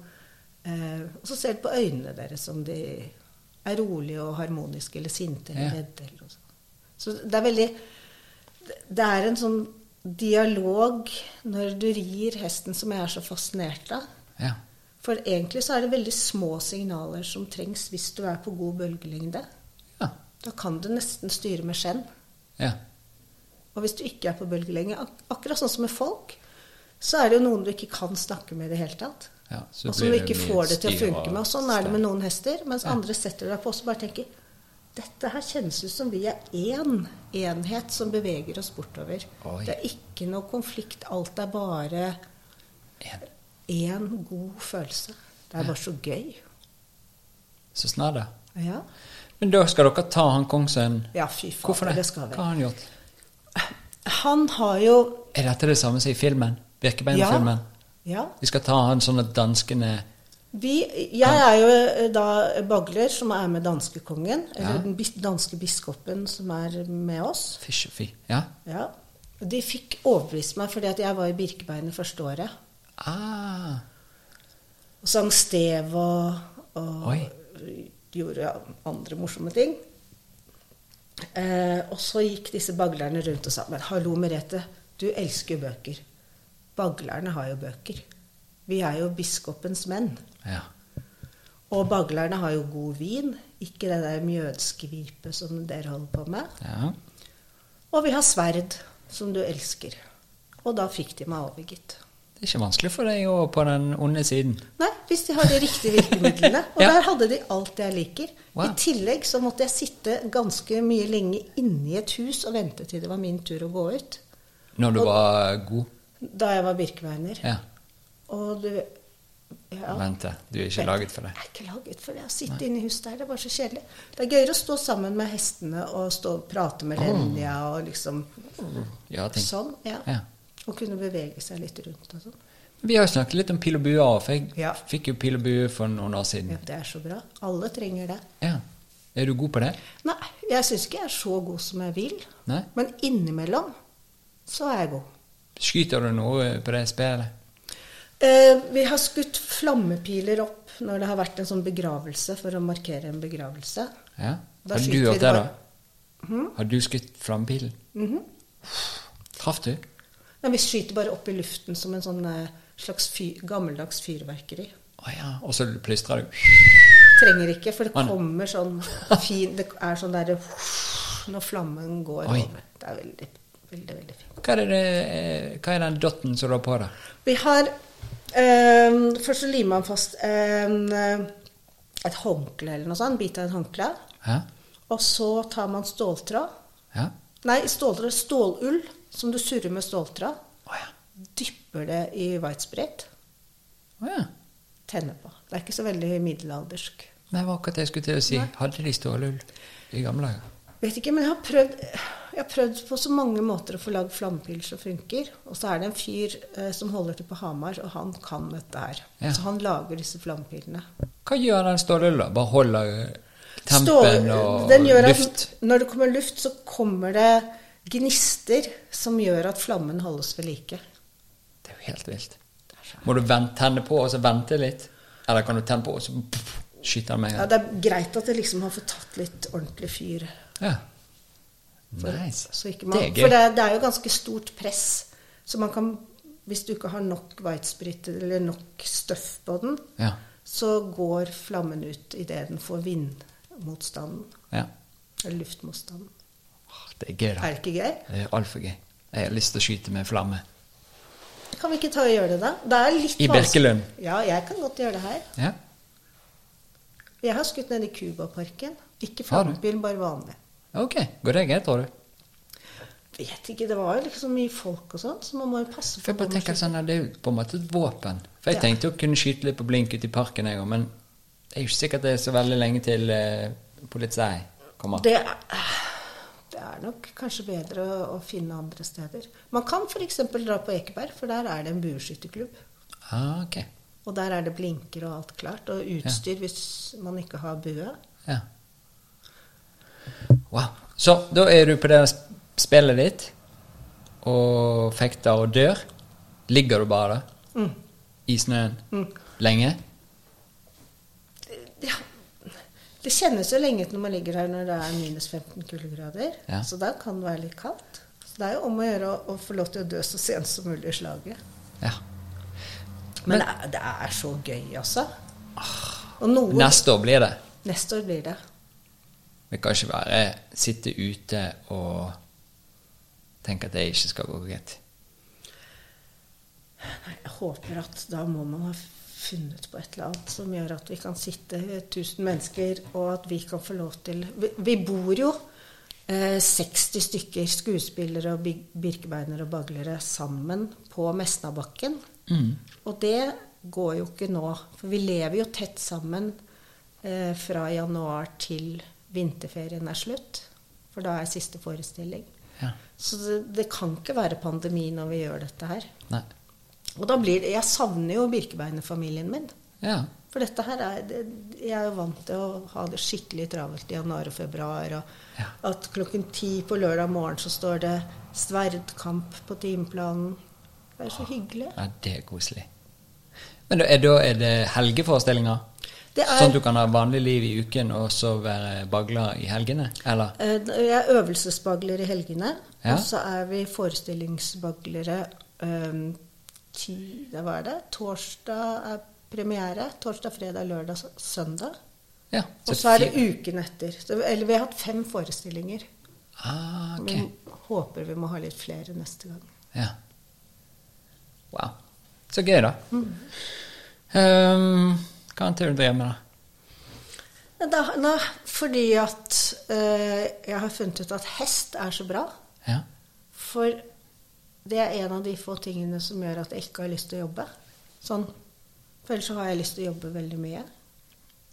eh, Og så ser du på øynene deres om de er rolige og harmoniske eller sinte eller Ja. redde. Eller noe sånt. Så det er veldig Det er en sånn dialog når du rir hesten, som jeg er så fascinert av. ja. For egentlig så er det veldig små signaler som trengs hvis du er på god bølgelengde. Ja. Da kan du nesten styre med skjenn. ja. Og hvis du ikke er på bølgelengde, ak akkurat sånn som med folk, så er det jo noen du ikke kan snakke med i det hele tatt. ja. Så Og som du blir ikke mye får det til å styr og funke med. Og sånn er det med stell. noen hester. Mens Ja. andre setter deg på og så bare tenker dette her kjennes ut som vi er én enhet som beveger oss bortover. Oi. Det er ikke noe konflikt. Alt er bare En. én god følelse. Det er bare så gøy. Så snart, da. Ja. Men da skal dere ta han Kongsøyen. Ja, fy faen, Hvorfor det? det skal vi. Hva har han gjort? Han har jo Er dette det samme som i filmen? Birkebeinerfilmen? Ja. Vi skal ta han sånn at danskene Vi, jeg er jo eh, da Bagler, som er med danskekongen. Eller Ja. den bis danske biskopen som er med oss. Fysj og fy. Ja. Ja. De fikk overbevist meg, fordi at jeg var i Birkebeinet første året. Ah. Og sang stev og, og Oi. gjorde ja, andre morsomme ting. Eh, og så gikk disse baglerne rundt og sa Men hallo, Merete, du elsker jo bøker. Baglerne har jo bøker. Vi er jo biskopens menn. Ja. Og baglerne har jo god vin, ikke det der mjødskvipet som dere holder på med. ja. Og vi har sverd, som du elsker. Og da fikk de meg over, gitt. Det er ikke vanskelig for deg å på den onde siden. Nei, hvis de har de riktige virkemidlene. Og Ja. der hadde de alt jeg liker. Wow. I tillegg så måtte jeg sitte ganske mye lenge inni et hus og vente til det var min tur å gå ut. Når du Og- var god. Da jeg var birkeveiner. Ja. Og du ja. Vente. Du er ikke laget for det. Jeg er ikke laget for det. Å sitte inne i huset der, det var så kjedelig. Det er gøyere å stå sammen med hestene og stå og prate med Lenja og liksom Ja, ting. sånn. Ja. Ja. Og kunne bevege seg litt rundt og sånn. Vi har jo snakket litt om pil og bue, også, for jeg Ja. fikk jo pil og bue for noen år siden. Ja, det er så bra. Alle trenger det. Ja. Er du god på det? Nei, jeg syns ikke jeg er så god som jeg vil. Nei? Men innimellom så er jeg god. Skyter du noe på det spillet? Eh, vi har skutt flammepiler opp når det har vært en sånn begravelse, for å markere en begravelse. Ja. Da Har du skyter vi gjort det det, bare. Mhm. da? Har du skutt flammepilen? Traff du? Men vi skyter bare opp i luften som en sånn eh, slags fyr, gammeldags fyrverkeri. Å ja. Og så plystra du? Trenger ikke, for det Å, nei. kommer sånn fin Det er sånn derre når flammen går Oi. over. Det er veldig, veldig, veldig fint. Hva er, det, eh, hva er den dotten som du har på deg? Vi har eh, Først så limer man fast en, eh, et håndkle eller noe sånt. En bit av et håndkle. Hæ? Og så tar man ståltråd. Ja? Nei, ståltråd, stålull som du surrer med ståltråd. Å ja. Dypper det i whitesprit. Å ja. Tenner på. Det er ikke så veldig middelaldersk. Nei, det var akkurat det jeg skulle til å si. Hadde de stålull i gamle dager? Vet ikke, men jeg har prøvd, jeg har prøvd på så mange måter å få lagd flammepiler som funker. Og så er det en fyr eh, som holder til på Hamar, og han kan dette her. Ja. Så han lager disse flammepilene. Hva gjør den stålullen? Bare holder eh, tempen Stå- og den gjør at luft? Når det kommer luft, så kommer det gnister som gjør at flammen holdes ved like. Det er jo helt vilt. Det er så- Må du vent- tenne på og så vente litt? Eller kan du tenne på og så pff, skyter den med en Ja, gang? det er greit at det liksom har fått tatt litt ordentlig fyr. Ja. For, Nice. så ikke man, det er gøy. For det, det er jo ganske stort press. Så man kan, hvis du ikke har nok whitesprit eller nok støff på den, Ja. så går flammen ut idet den får vindmotstanden. Ja. Eller luftmotstanden. Åh, Det er gøy, da. Er det ikke gøy? Det er altfor gøy. Jeg har lyst til å skyte med flamme. Kan vi ikke ta og gjøre det, da? Det er litt I Birkelund. vanskelig. Ja, jeg kan godt gjøre det her. Ja. Jeg har skutt ned i Cubaparken. Ikke Har du? flammebil, bare vanlig. Ok. Går det greit, tror du? Vet ikke, det var jo liksom mye folk og sånn, så man må jo passe For jeg bare hva man tenker sånn, at Det er jo på en måte et våpen. For Jeg Ja. tenkte jo å kunne skyte litt på blink ute i parken, jeg òg, men det er jo ikke sikkert det er så veldig lenge til eh, politiet kommer. Det er, det er nok kanskje bedre å, å finne andre steder. Man kan f.eks. dra på Ekeberg, for der er det en bueskytterklubb. Ah, ok. Og der er det blinker og alt klart, og utstyr hvis man ikke har bue. Ja. Wow. Så da er du på det sp- spillet ditt og fekter og dør. Ligger du bare der? Mm. I snøen? Lenge? Ja. Det kjennes jo lenge ut når man ligger her når det er minus 15 kuldegrader, Ja. så da kan det være litt kaldt. Så det er jo om å gjøre å, å få lov til å dø så sent som mulig i slaget. Ja. Men, det, er, det er så gøy, altså. Og noen Neste år blir det. Neste år blir det. Det kan ikke være sitte ute og tenke at det ikke skal gå greit. Nei, Jeg håper at da må man ha funnet på et eller annet som gjør at vi kan sitte 1000 mennesker, og at vi kan få lov til Vi, vi bor jo eh, 60 stykker skuespillere og big- birkebeinere og baglere sammen på Mesnabakken. Mm. Og det går jo ikke nå. For vi lever jo tett sammen eh, fra januar til vinterferien er slutt. For da er siste forestilling. Ja. Så det, det kan ikke være pandemi når vi gjør dette her. Nei. Og da blir det, Jeg savner jo Birkebeinerfamilien min. Ja. For dette her er, det, jeg er jo vant til å ha det skikkelig travelt i januar og februar. Og Ja. at klokken ti på lørdag morgen så står det sverdkamp på timeplanen. Det er så hyggelig. ja, det er koselig. Men da er, da er det helgeforestillinger? Det er- Sånn at du kan ha vanlig liv i uken og så være bagler i helgene? Eller? Eh, Jeg er øvelsesbagler i helgene. Ja. Og så er vi forestillingsbaglere eh, ti da var det? Torsdag er premiere. Torsdag, fredag, lørdag, s- søndag. Ja. Og så er det fire- uken etter. Så- Eller vi har hatt fem forestillinger. Ah, ok. Vi håper vi må ha litt flere neste gang. Ja. Wow. Så gøy, da. Mm. Um, hva annet er det du driver med, da? Men Da, nei, fordi at eh, jeg har funnet ut at hest er så bra. Ja. For det er en av de få tingene som gjør at jeg ikke har lyst til å jobbe. Sånn. For ellers så har jeg lyst til å jobbe veldig mye.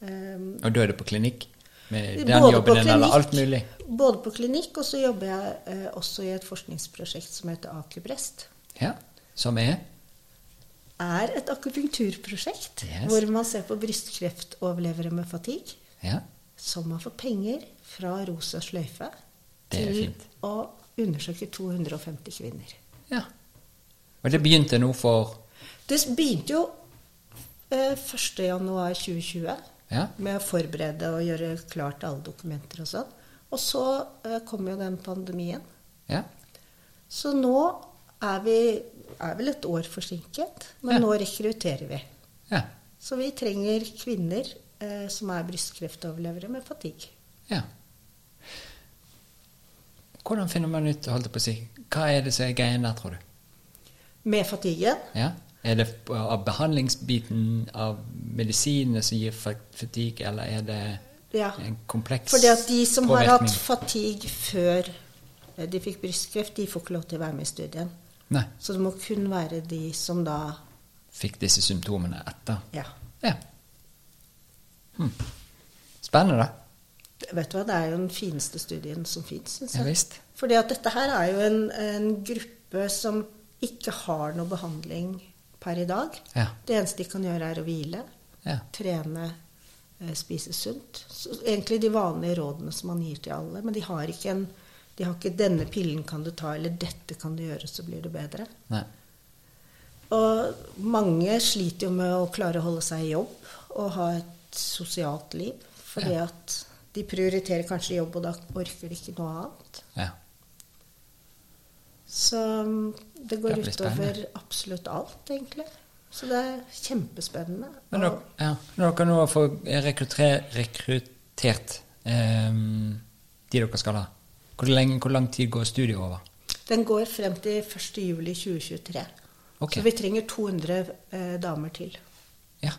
Um, Og da er du på klinikk? Med den Både på jobben din eller klinikk- alt mulig? Både på klinikk, og så jobber jeg eh, også i et forskningsprosjekt som heter Akuprest. Ja. Som er? er et akupunkturprosjekt Yes. hvor man ser på brystkreftoverlevere med fatigue Ja. som har fått penger fra Rosa sløyfe Det er til fint. å undersøke 250 kvinner. ja. Og det begynte nå for Det begynte jo eh, 1.1.2020 Ja. med å forberede og gjøre klart alle dokumenter og sånn. Og så eh, kom jo den pandemien. Ja. Så nå er vi er vel et år forsinket, men Ja. nå rekrutterer vi. Ja. Så vi trenger kvinner eh, som er brystkreftoverlevere med fatigue. ja. Hvordan finner man ut holdt jeg på å si, Hva er det som er greien der, tror du? Med fatiguen? Ja? Er det f- av behandlingsbiten av medisinene som gir fa- fatigue, eller er det Ja. en kompleks Fordi at de som har hatt påvirkning? fatigue før eh, de fikk brystkreft, de får ikke lov til å være med i studien. Nei. Så det må kun være de som da Fikk disse symptomene etter. Ja. Ja. Hm. Spennende, da. Vet du hva, det er jo den fineste studien som fins, syns Ja jeg. visst. Fordi at dette her er jo en, en gruppe som ikke har noe behandling per i dag. Ja. Det eneste de kan gjøre, er å hvile. Ja. trene, eh, spise sunt. Så egentlig de vanlige rådene som man gir til alle, men de har ikke en de har ikke 'denne pillen kan du ta', eller 'dette kan du gjøre, så blir du bedre'. Nei. Og mange sliter jo med å klare å holde seg i jobb og ha et sosialt liv. Fordi Ja. at de prioriterer kanskje jobb, og da orker de ikke noe annet. Ja. Så mm, det går mm, Det blir spennende. utover absolutt alt, egentlig. Så det er kjempespennende. Men dere, ja, når dere nå får rekruttere- rekruttert ehm, de dere skal ha, hvor, lenge, hvor lang tid går studiet over? Den går frem til 1. juli 2023. Ok. Så vi trenger 200 eh, damer til. Ja,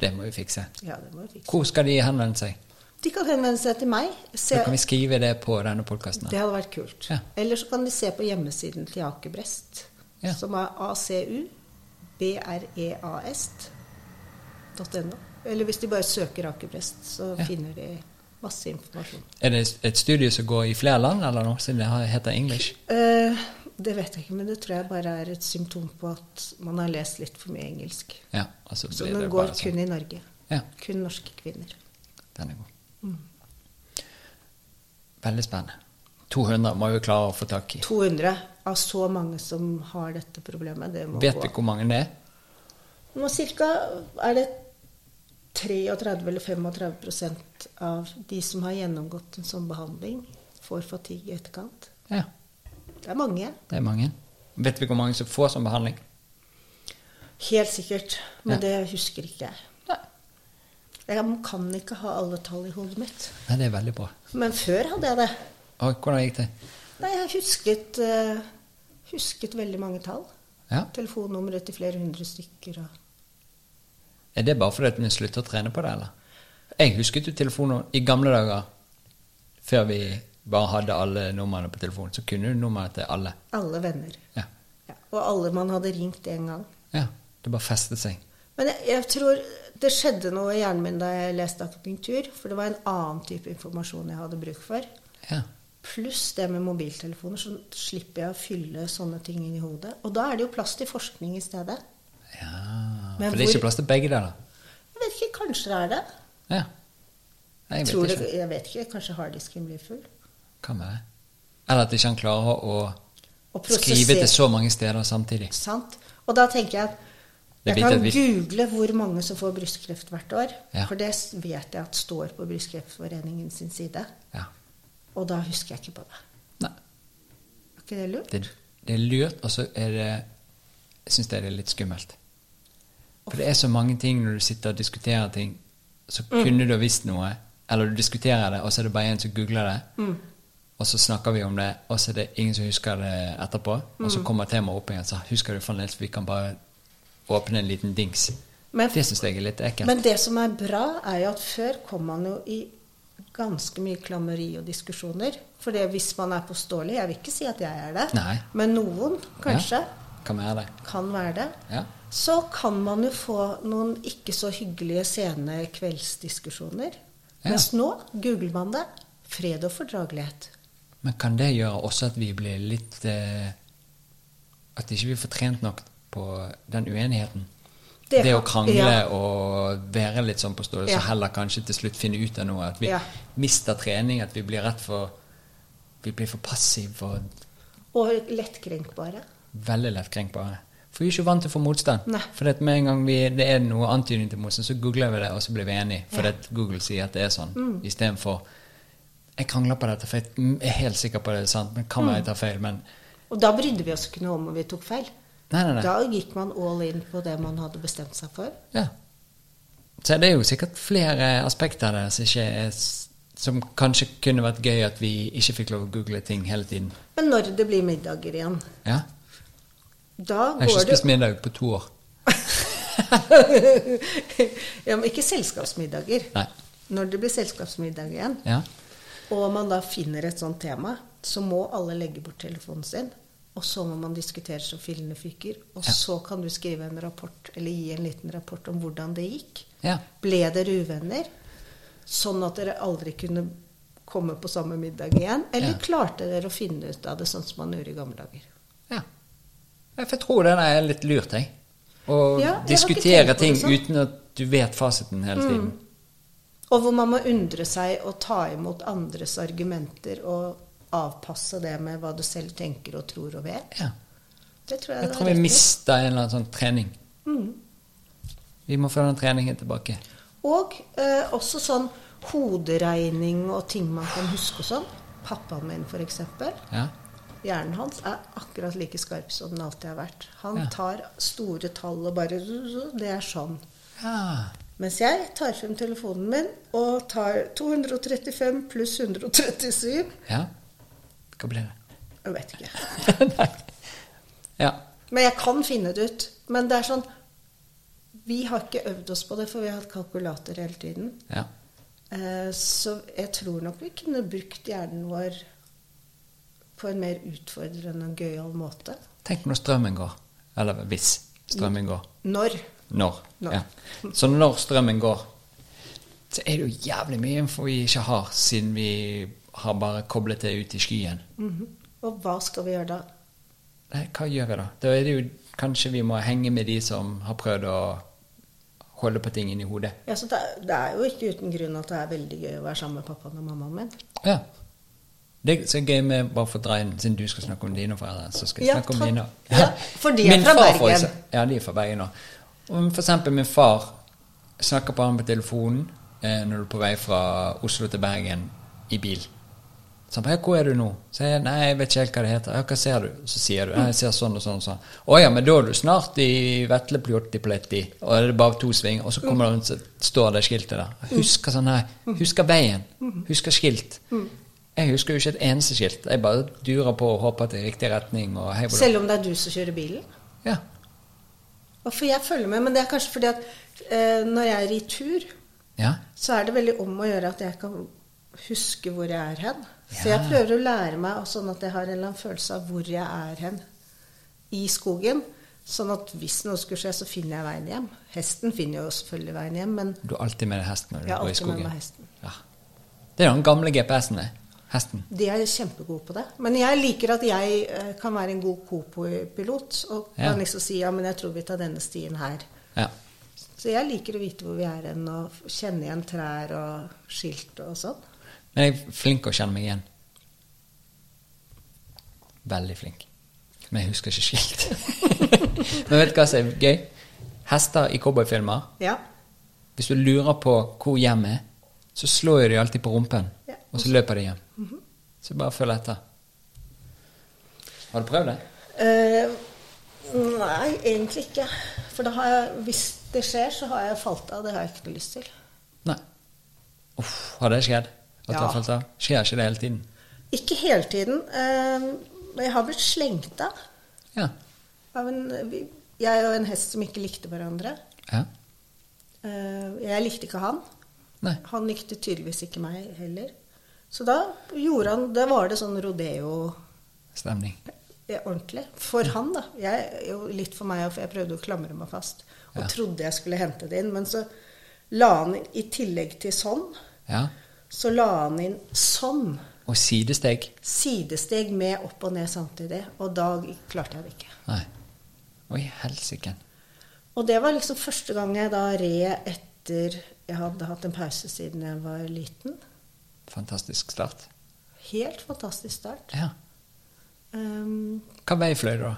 det må vi fikse. Ja, det må vi fikse. Hvor skal de henvende seg? De kan henvende seg til meg. Se, Da kan vi skrive det på denne podkasten. det hadde vært kult. Ja. Eller så kan de se på hjemmesiden til Aker Brest, Ja. som er E acubereast.no. Eller hvis de bare søker Aker Brest, så Ja. finner de masse informasjon. Er det et studie som går i flere land, eller noe, siden det har- heter English? Eh, det vet jeg ikke, men det tror jeg bare er et symptom på at man har lest litt for mye engelsk. Ja, altså Så blir den det går bare sånn. kun i Mm. Norge. Ja, Kun norske kvinner. den er god. Veldig spennende. 200 må vi klare å få tak i. 200 av så mange som har dette problemet. Det må Vet gå. du hvor mange det er? Nå cirka er det 33 eller 35 prosent av de som har gjennomgått en sånn behandling, får fatigue i etterkant. Ja, Det er mange. det er mange. Vet vi hvor mange som får sånn behandling? Helt sikkert. Men Ja. det husker ikke jeg. Jeg kan ikke ha alle tall i hodet mitt. Nei, det er veldig bra. Men før hadde jeg det. Og hvordan gikk det? Nei, jeg husket, eh, husket veldig mange tall. Ja. Telefonnumre til flere hundre stykker. og... Er det bare fordi at vi slutter å trene på det, eller? Jeg husket jo telefonen i gamle dager, før vi bare hadde alle numrene på telefonen, så kunne du nummeret til alle. Alle venner. Ja. Ja. Og alle man hadde ringt en gang. ja. Det bare festet seg. Men jeg, jeg tror det skjedde noe i hjernen min da jeg leste akupunktur, for det var en annen type informasjon jeg hadde bruk for. Ja. Pluss det med mobiltelefoner, så slipper jeg å fylle sånne ting inn i hodet. Og da er det jo plass til forskning i stedet. ja. For det Men er hvor- ikke plass til begge deler. Jeg vet ikke, kanskje det er det. Ja. Nei, jeg Tror vet det, ikke. jeg vet ikke, kanskje harddisken blir full. Hva med det? Eller at ikke han klarer å Og skrive prosessere- til så mange steder samtidig. Sant? Og da tenker jeg at Det jeg er viktig kan at vi- google hvor mange som får brystkreft hvert år. Ja. For det s- vet jeg at står på Brystkreftforeningen sin side. Ja. Og da husker jeg ikke på det. Nei. Er ikke det lurt? Det, det er lurt, og så er det Jeg syns det er litt skummelt. For det er så mange ting når du sitter og diskuterer ting, så Mm. kunne du ha visst noe, eller du diskuterer det, og så er det bare en som googler det, Mm. og så snakker vi om det, og så er det ingen som husker det etterpå, og Mm. så kommer temaet opp igjen, så husker du fremdeles, vi kan bare åpne en liten dings. Men- det syns jeg er litt ekkelt. Men det som er bra, er jo at før kom man jo i ganske mye klammeri og diskusjoner. For det hvis man er påståelig Jeg vil ikke si at jeg er det, Nei. men noen kanskje Ja, kan være det. kan være det. Ja. Så kan man jo få noen ikke så hyggelige sene kveldsdiskusjoner. Ja. Mens nå googler man det. Fred og fordragelighet. Men kan det gjøre også at vi blir litt eh, At ikke vi får trent nok på den uenigheten? Det, Det å kan- krangle ja. og være litt sånn påståelig, Ja. så heller kanskje til slutt finne ut av noe. At vi Ja. mister trening, at vi blir rett for Vi blir for passiv og Og lettkrenkbare. veldig lettkrenkbare. For vi er ikke vant til å få motstand. Nei. For at med en gang vi, det er noe antydning til motstand, så googler vi det, og så blir vi enige. For Ja. Mm. at Google sier at det er sånn. Istedenfor Jeg krangler på dette, for jeg er helt sikker på at det er sant. Men Mm. kan være jeg tar feil. men Og da brydde vi oss ikke noe om om vi tok feil. Nei, nei, nei. Da gikk man all in på det man hadde bestemt seg for. Ja. Så det er jo sikkert flere aspekter der som, ikke er, s- som kanskje kunne vært gøy at vi ikke fikk lov å google ting hele tiden. Men når det blir middager igjen, Ja? da Jeg har ikke går det spist middag på to år. ja, men Ikke selskapsmiddager. Nei. Når det blir selskapsmiddag igjen, Ja? og man da finner et sånt tema, så må alle legge bort telefonen sin. Og så må man diskutere så fillene fyker. Og Ja. så kan du skrive en rapport, eller gi en liten rapport om hvordan det gikk. Ja. Ble dere uvenner? Sånn at dere aldri kunne komme på samme middag igjen? Eller Ja. klarte dere å finne ut av det sånn som man gjorde i gamle dager? ja. Ja, for Jeg tror det der er litt lurt, jeg. Å Ja, jeg har ikke diskutere tenkt på ting det sånn. Mm. uten at du vet fasiten hele tiden. Og hvor man må undre seg og ta imot andres argumenter og avpasse det med hva du selv tenker og tror og vet. Ja. Det tror jeg, Jeg det tror er Mm. vi riktig. mister en eller annen sånn trening. Vi må få den treningen tilbake. Og eh, også sånn hoderegning og ting man kan huske og sånn. Pappaen min, for eksempel. Ja? Hjernen hans er akkurat like skarp som den alltid har vært. Han tar store tall og bare Det er sånn. Ja. Mens jeg tar frem telefonen min og tar 235 pluss 137 ja. Hva blir det? Jeg vet ikke. Nei. Ja. Men jeg kan finne det ut. Men det er sånn Vi har ikke øvd oss på det, for vi har hatt kalkulator hele tiden. ja. Eh, Så jeg tror nok vi kunne brukt hjernen vår på en mer utfordrende og gøyal måte. Tenk når strømmen går. Eller hvis strømmen går. Når? Når. Når. Ja. Så når strømmen går, så er det jo jævlig mye info vi ikke har, siden vi har bare koblet det ut i skyen. Mhm. Og hva skal vi gjøre da? Nei, hva gjør vi da? Da er det jo kanskje vi må henge med de som har prøvd å holde på ting inni hodet. Ja, så det, er- det er jo ikke uten grunn at det er veldig gøy å være sammen med pappaen og mammaen min. Ja. Det Øh. er så gøy med bare for å dra inn, siden du skal snakke om dine foreldre, så skal jeg Ja, snakke om takk. mine. Ja, for de er Min fra far, Bergen. for ekse- ja, de er fra Bergen òg. For eksempel min far jeg snakker på han på telefonen eh, når du er på vei fra Oslo til Bergen i bil. Så han bare 'Hvor er du nå?' Så jeg 'Nei, jeg vet ikke helt hva det heter'. «Ja, 'Hva ser du?' Så sier du 'Jeg ser sånn og sånn og sånn'. 'Å ja, men da er du snart i Vetlepjottipletti', og det er bare to sving, og så kommer det, så står det skiltet der. Jeg husker sånn her. Husker veien. Husker skilt. Jeg husker jo ikke et eneste skilt. Jeg bare durer på og håper at det er riktig retning. og hei, hvor- Selv om det er du som kjører bilen. Ja. Og for jeg følger med, men det er kanskje fordi at eh, når jeg er i tur, ja. så er det veldig om å gjøre at jeg kan huske hvor jeg er hen. Så Ja. jeg prøver å lære meg og sånn at jeg har en eller annen følelse av hvor jeg er hen i skogen. Sånn at hvis noe skulle skje, så finner jeg veien hjem. Hesten finner jo selvfølgelig veien hjem, men Du har alltid med deg hesten når du Jeg har går i alltid med skogen. meg hesten. Ja. Det er jo den gamle GPS-en, det. Hesten. de er kjempegode på det. Men jeg liker at jeg eh, kan være en god Copo-pilot og Ja. kan liksom si ja, men jeg tror vi tar denne stien her. Ja. Så jeg liker å vite hvor vi er hen, og kjenne igjen trær og skilt og sånn. Men jeg er flink å kjenne meg igjen. Veldig flink. Men jeg husker ikke skilt. Men vet du hva som er gøy? Hester i cowboyfilmer. Ja. Hvis du lurer på hvor hjem er, så slår jo de alltid på rumpen. Ja. Og så løper de hjem. Så bare følg etter. Har du prøvd det? Eh, nei, egentlig ikke. For da har jeg, hvis det skjer, så har jeg falt av. Det har jeg ikke noe lyst til. Nei. Uff, har det skjedd? At du Ja. har falt av? Skjer ikke det hele tiden? Ikke hele tiden. eh, men jeg har blitt slengt av. Ja. av en, vi- jeg og en hest som ikke likte hverandre. ja. Eh, jeg likte ikke han. Nei. Han likte tydeligvis ikke meg heller. Så da gjorde han Da var det sånn rodeo Stemning. eh, ordentlig. For han, da. Jeg, jo, litt for meg òg, for jeg prøvde å klamre meg fast. Og Ja. trodde jeg skulle hente det inn. Men så la han inn, i tillegg til sånn Ja. Så la han inn sånn Og sidesteg. sidesteg med opp og ned samtidig, og da klarte jeg det ikke. Nei. Oi, helsike. Og det var liksom første gang jeg da red etter jeg hadde hatt en pause siden jeg var liten. Fantastisk start. Helt fantastisk start. Ja. Ehm, Hva vei fløy du, da?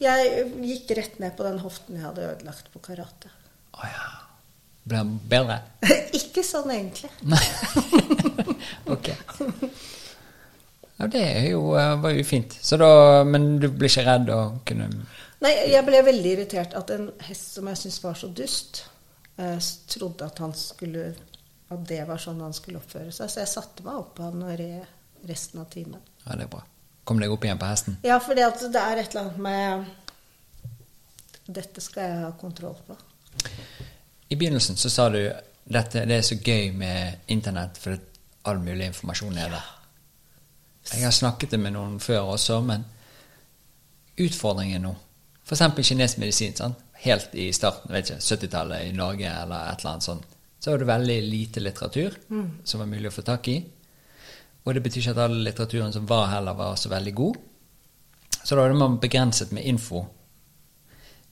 jeg gikk rett ned på den hoften jeg hadde ødelagt på karate. Å ja. Ble den bedre? ikke sånn egentlig. Nei. ok. Ja, det er jo, eh, var jo fint. Så da, men du blir ikke redd og kunne Nei, jeg ble veldig irritert at en hest som jeg syntes var så dust, eh, s- trodde at han skulle At det var sånn han skulle oppføre seg. Så jeg satte meg opp på han og red resten av timen. Ja, det er bra. Kom deg opp igjen på hesten. Ja, for det er et eller annet med Dette skal jeg ha kontroll på. I begynnelsen så sa du dette, det er så gøy med internett, for at all mulig informasjon er der. Jeg har snakket det med noen før også, men utfordringen nå F.eks. kinesisk medisin. Sant? Helt i starten, vet ikke, 70-tallet i Norge eller et eller annet sånt, så var det veldig lite litteratur som var mulig å få tak i. Og det betyr ikke at all litteraturen som var heller, var så veldig god. Så da var det man begrenset med info.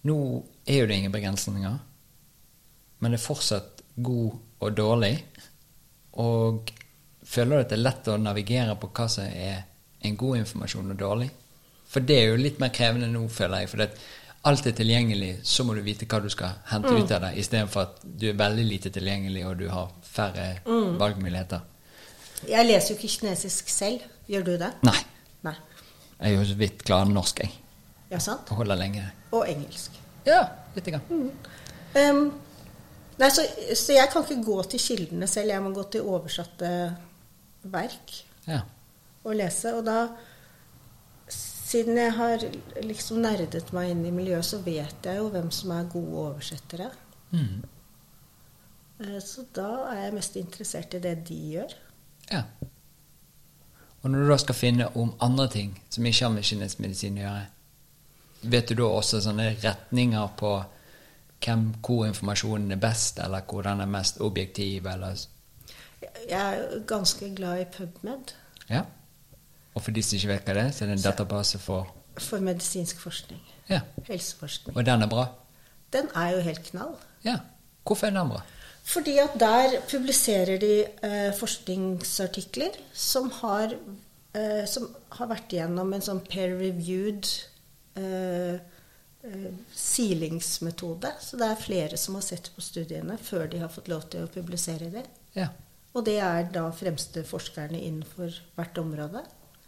Nå er jo det ingen begrensninger, men det er fortsatt god og dårlig. Og føler du at det er lett å navigere på hva som er en god informasjon og dårlig? For det er jo litt mer krevende nå, føler jeg. For det at alt er tilgjengelig, så må du vite hva du skal hente ut av det, istedenfor at du er veldig lite tilgjengelig og du har færre valgmuligheter. Jeg leser jo ikke kinesisk selv. Gjør du det? Nei. Nei. Jeg er jo så vidt klar norsk, jeg. Ja, sant? Kan holde lenge. Og engelsk. Ja, litt. Grann. Ehm, nei, så, så jeg kan ikke gå til kildene selv. Jeg må gå til oversatte verk Ja. og lese. Og da Siden jeg har liksom nerdet meg inn i miljøet, så vet jeg jo hvem som er gode oversettere. Mm. Eh, Så da er jeg mest interessert i det de gjør. ja. Og når du da skal finne om andre ting som ikke har med kinesisk medisin å gjøre, vet du da også sånne retninger på hvem, hvor informasjonen er best, eller hvor den er mest objektiv, eller Jeg er jo ganske glad i PubMed Ja. Og for de som ikke vet hva det er, så er det en database for for medisinsk forskning. Ja. Helseforskning. Og den er bra? Den er jo helt knall. Ja. Hvorfor er den bra? Fordi at der publiserer de eh, forskningsartikler som har, eh, som har vært igjennom en sånn peer-reviewed eh, eh, silingsmetode. Så det er flere som har sett på studiene før de har fått lov til å publisere det. Ja. Og det er da fremste forskerne innenfor hvert område.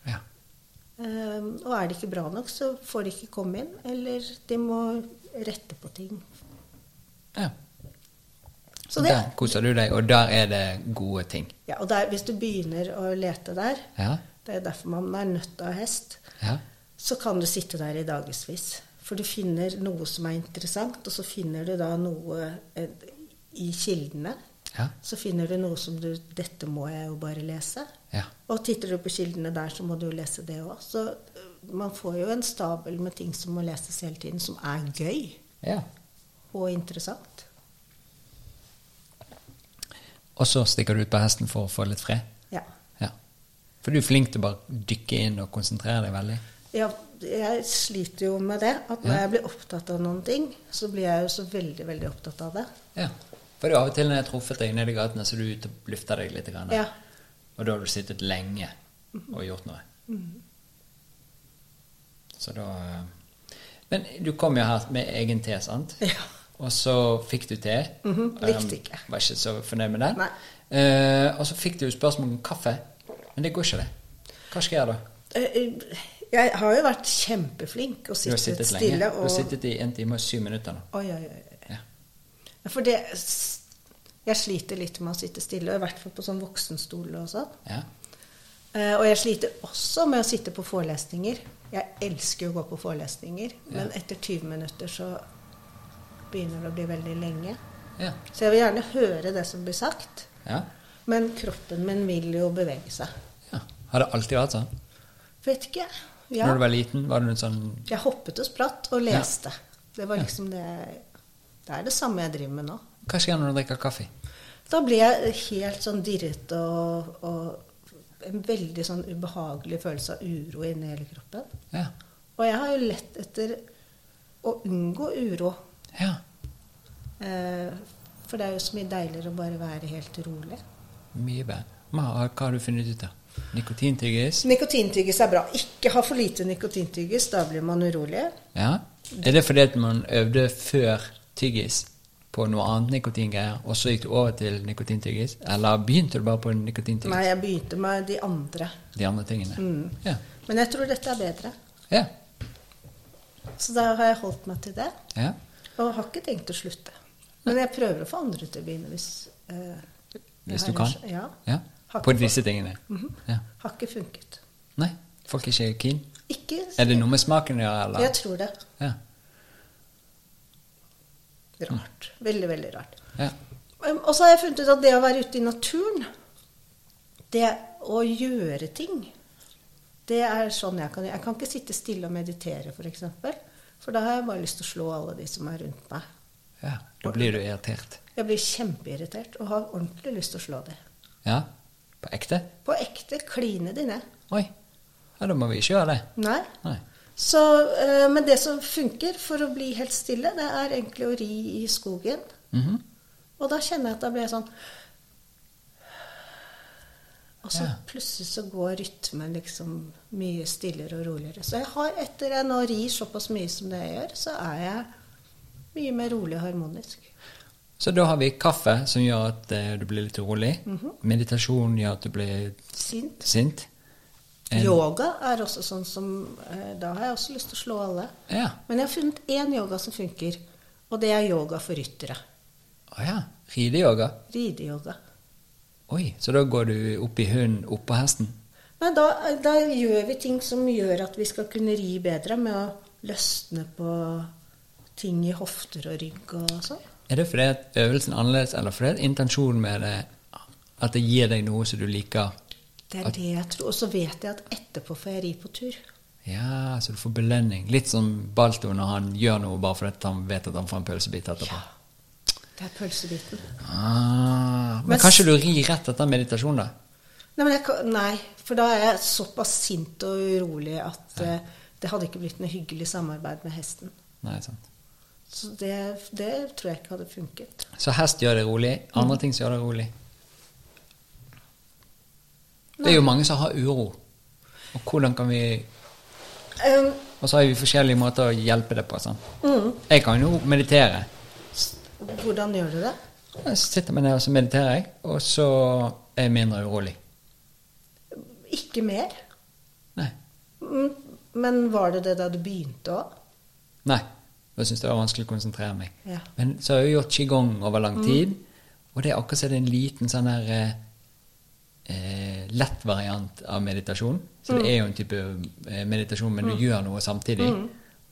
ja. Eh, og er det ikke bra nok, så får de ikke komme inn, eller de må rette på ting. ja. Så det- der koser du deg, og der er det gode ting. Ja, og der, hvis du begynner å lete der, Ja. det er derfor man er nødt til å ha hest, Ja. så kan du sitte der i dagevis. For du finner noe som er interessant, og så finner du da noe eh, i kildene. Ja. Så finner du noe som du 'Dette må jeg jo bare lese'. Ja. Og titter du på kildene der, så må du jo lese det òg. Så eh, man får jo en stabel med ting som må leses hele tiden, som er gøy ja. og interessant. Og så stikker du ut på hesten for å få litt fred? Ja. Ja. For du er flink til å bare dykke inn og konsentrere deg veldig. ja. Jeg sliter jo med det. At når Ja. jeg blir opptatt av noen ting, så blir jeg jo så veldig, veldig opptatt av det. Ja. For det er av og til når jeg har truffet deg nede i gatene, så er du ute og lufter deg litt. Grann, Ja. Og da har du sittet lenge og gjort noe. Mm. Så da eh, Men du kom jo her med egen te, sant? Ja. Og så fikk du te. Mhm, likte Um, ikke. Var ikke så fornøyd med den. Nei. Eh, og så fikk du jo spørsmål om kaffe. Men det går ikke, det. Hva skal jeg gjøre da? Eh, Jeg har jo vært kjempeflink og Du har sittet, sittet lenge. stille Du har og sittet i en time og syv minutter nå. Oi, oi, oi. Ja. For det Jeg sliter litt med å sitte stille, og i hvert fall på sånn voksenstol og sånn. ja. Eh, Og jeg sliter også med å sitte på forelesninger. Jeg elsker jo å gå på forelesninger, men etter 20 minutter så begynner det å bli veldig lenge. Ja. Så jeg vil gjerne høre det som blir sagt, ja. men kroppen min vil jo bevege seg. ja. Har det alltid vært sånn? Vet ikke. Når Ja. du var liten, var du en sånn Jeg hoppet og spratt og leste. Det var liksom det Det er det samme jeg driver med nå. Hva skjer når du drikker kaffe? Da blir jeg helt sånn dirret og, og en veldig sånn ubehagelig følelse av uro inni hele kroppen. Ja. Og jeg har jo lett etter å unngå uro. ja. Eh, for det er jo så mye deiligere å bare være helt rolig. Mye bedre. Ma, hva har du funnet ut av? Nikotintyggis? Nikotintyggis er bra. Ikke ha for lite nikotintyggis, da blir man urolig. Ja. Er det fordi at man øvde før tyggis på noe annet nikotingreier, og så gikk du over til nikotintyggis? Eller begynte du bare på nikotintyggis? Nei, Mm. jeg begynte med de andre. De andre tingene? Ja. Men jeg tror dette er bedre. ja. Så da har jeg holdt meg til det. Ja. Og har ikke tenkt å slutte. Men jeg prøver å få andre til å begynne hvis eh, jeg Hvis har du kan? en- Ja. ja. Har ikke På fått- disse tingene? Ja. Har ikke funket. Nei, folk er ikke keen. Ikke Er det noe med smaken å gjøre, eller? Jeg tror det. Ja. Rart. Veldig, veldig rart. Ja. Um, Og så har jeg funnet ut at det å være ute i naturen, det å gjøre ting, det er sånn jeg kan gjøre. Jeg kan ikke sitte stille og meditere, f.eks. For, eksempel, for da har jeg bare lyst til å slå alle de som er rundt meg. ja. Da blir du irritert. Jeg blir kjempeirritert og har ordentlig lyst til å slå de. Ja. På ekte? På ekte kline de ned. Oi. Ja, da må vi ikke gjøre det. Nei. Nei. Så, eh, men det som funker for å bli helt stille, det er egentlig å ri i skogen. Mhm. Og da kjenner jeg at da blir jeg sånn Og så Ja. plutselig så går rytmen liksom mye stillere og roligere. Så jeg har, etter jeg nå rir såpass mye som det jeg gjør, så er jeg mye mer rolig og harmonisk. Så da har vi kaffe, som gjør at eh, du blir litt urolig. Meditasjon gjør at du blir Sint. sint. En- Yoga er også sånn som eh, Da har jeg også lyst til å slå alle. Ja. Men jeg har funnet én yoga som funker, og det er yoga for ryttere. Å ja. Rideyoga. Rideyoga. Oi, så da går du opp i hunden, opp på hesten? Nei, da, da gjør vi ting som gjør at vi skal kunne ri bedre, med å løsne på ting i hofter og rygg og sånn. Er det fordi at øvelsen er annerledes, eller fordi at intensjonen med det at det gir deg noe som du liker? Det er det jeg tror. Og så vet jeg at etterpå får jeg ri på tur. Ja, så du får belønning. Litt som Balto når han gjør noe bare fordi at han vet at han får en pølsebit etterpå. Det er pølsebiten. Ah, men, Men s- kanskje du rir rett etter meditasjon, da? Nei, men jeg, kan- nei, for da er jeg såpass sint og urolig at eh, det hadde ikke blitt noe hyggelig samarbeid med hesten. Nei, sant. Så det, det tror jeg ikke hadde funket. Så hest gjør det rolig. Andre ting som gjør det rolig. Det er jo mange som har uro. Og hvordan kan vi Um, Og så har vi forskjellige måter å hjelpe det på. sant? mm, Jeg kan jo meditere. hvordan gjør du det? Jeg sitter meg ned og så mediterer jeg, og så er jeg mindre urolig. Ikke mer. Nei. Mm, men var det det da du begynte òg? Nei. Da syns jeg det var vanskelig å konsentrere meg. Ja. Mm. Men så har jeg jo gjort qigong over lang tid, og det er akkurat som det er en liten sånn der eh, eh, lett variant av meditasjon. Så Mm. det er jo en type eh, meditasjon, men du gjør noe samtidig. Mm.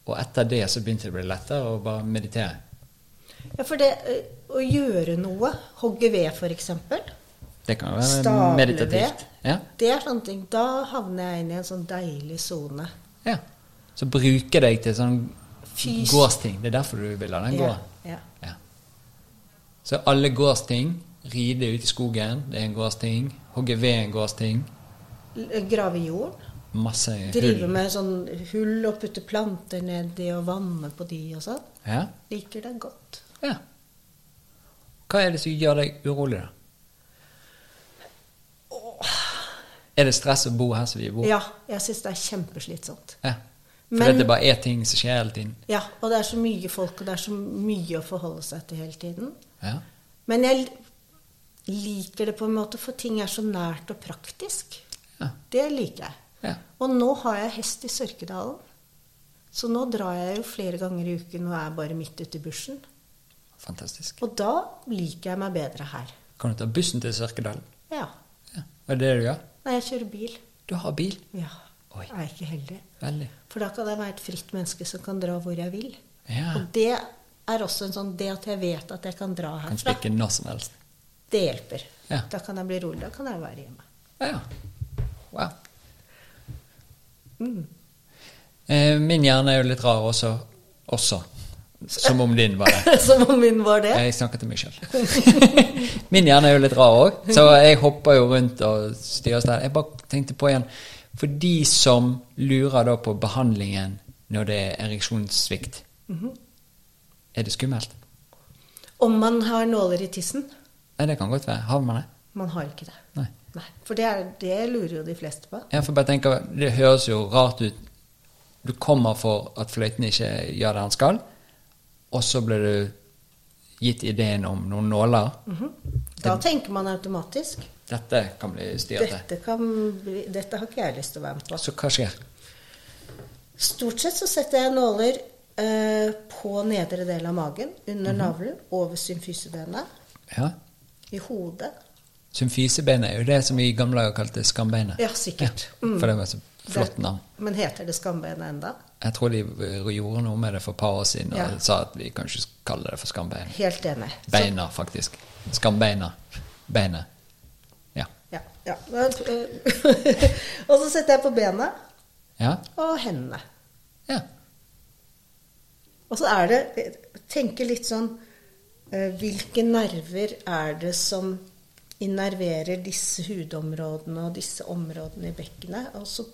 Og etter det så begynte det å bli lettere å bare meditere. Ja, for det eh, å gjøre noe, hogge ved f.eks., Det kan jo være stable ved, meditativt. Ja. det er sånne ting. Da havner jeg inn i en sånn deilig sone. ja. Så bruke deg til sånn Fys- gårdsting. Det er derfor du vil la den gå. Ja, ja. Ja. Så alle gårdsting. Ride ute i skogen, det er en gårdsting. Hogge ved en gårdsting. L- eh, Grave i jorden. Masse Drive hull. med sånn hull og putte planter nedi og vanne på de og sånn. Ja? Liker det godt. ja. Hva er det som gjør deg urolig, da? Er det stress å bo her som vi bor? Ja, jeg syns det er kjempeslitsomt. Ja. For Men- det bare er ting som skjer hele tiden? Ja, og det er så mye folk, og det er så mye å forholde seg til hele tiden. Ja. Men jeg l- liker det på en måte, for ting er så nært og praktisk. ja. Det liker jeg. ja. Og nå har jeg hest i Sørkedalen. Så nå drar jeg jo flere ganger i uken og er bare midt ute i bushen. Fantastisk. Og da liker jeg meg bedre her. Kan du ta bussen til Sørkedalen? Ja. Ja. Og det er det du gjør? Nei, jeg kjører bil. Du har bil. Ja. Oi. Er jeg ikke heldig? Veldig. For da kan jeg være et fritt menneske som kan dra hvor jeg vil. Ja. Og det er også en sånn Det at jeg vet at jeg kan dra Kan herfra, stikke når som helst. det hjelper. Ja. Da kan jeg bli rolig. Da kan jeg være hjemme. Ja. Wow. Eh, Min hjerne er jo litt rar også. også. Som om din var det. Som om min var det. Jeg snakker til meg sjøl. Min hjerne er jo litt rar òg, så jeg hopper jo rundt og styrer og steller. Jeg bare tenkte på igjen For de som lurer da på behandlingen når det er ereksjonssvikt, er det skummelt? Om man har nåler i tissen. Nei, det kan godt være. Har man det? Man har ikke det. Nei. Nei. For det, er, det lurer jo de fleste på. Jeg får bare tenke, Det høres jo rart ut. Du kommer for at fløyten ikke gjør det han skal, og så blir du gitt ideen om noen nåler. Da tenker man automatisk Dette kan bli styrete. dette, kan bli, dette har ikke jeg lyst til å være med på. Så hva skjer? Stort sett så setter jeg nåler eh, på nedre del av magen, under Mhm. navlen, over symfysebenet, Ja. i hodet. Symfysebenet er jo det som vi i gamle dager kalte skambeinet. Ja, sikkert. Ja, Mm. For det var så flott Det- navn. Men heter det skambeina enda? Jeg tror de eh, gjorde noe med det for et par år siden og Ja. sa at vi kanskje skulle kalle det for skambein. Helt enig. Så- Beina, faktisk. Skambeina. Beinet. Ja. Ja, ja. eh, og så setter jeg på bena Ja. og hendene. ja. Og så er det Tenke litt sånn eh, Hvilke nerver er det som innerverer disse hudområdene og disse områdene i bekkenet? Og så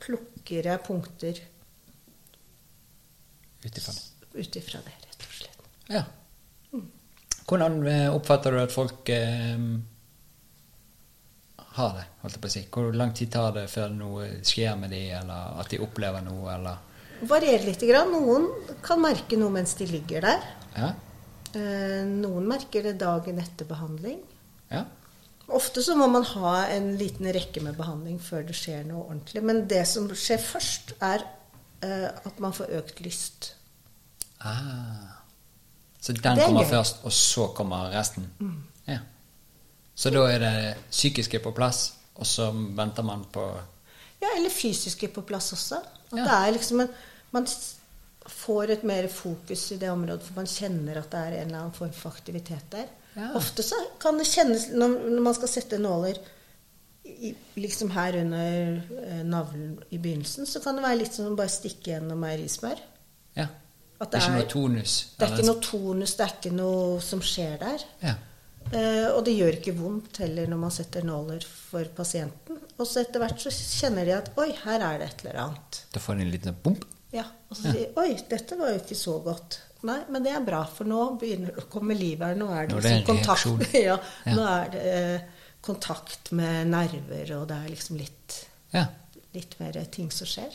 plukker jeg punkter Ut ifra det. ut ifra det, rett og slett. Ja. Hvordan eh, oppfatter du at folk eh, har det, holdt jeg på å si? Hvor lang tid tar det før noe skjer med dem, eller at de opplever noe, eller Varierer lite grann. Noen kan merke noe mens de ligger der. Ja? Eh, Noen merker det dagen etter behandling. ja? Ofte så må man ha en liten rekke med behandling før det skjer noe ordentlig. Men det som skjer først, er eh, at man får økt lyst. Ah. Så den Det er kommer gøy. Mm. først, og så kommer resten? Ja. Så da er det psykiske på plass, og så venter man på Ja, eller fysiske på plass også. At Ja. det er liksom en, Man s- får et mer fokus i det området, for man kjenner at det er en eller annen form for aktivitet der. Ja. Ofte så kan det kjennes Når, når man skal sette nåler i, liksom her under eh, navlen i begynnelsen, så kan det være litt som å bare stikke gjennom meierismør. Ja. At det er ikke det er- noe tonus? Det er ikke eller- noe tonus, det er ikke noe som skjer der. ja. Eh, og det gjør ikke vondt heller når man setter nåler for pasienten. Og så etter hvert så kjenner de at oi, her er det et eller annet. Da får du en liten bump. Ja, Og så sier de oi, dette var jo ikke så godt. Nei, men det er bra, for nå begynner det å komme liv her. Nå er det, Nå er det en liksom kontakt, reaksjon. ja, Ja. Nå er det eh, kontakt med nerver, og det er liksom litt, Ja. litt mer ting som skjer.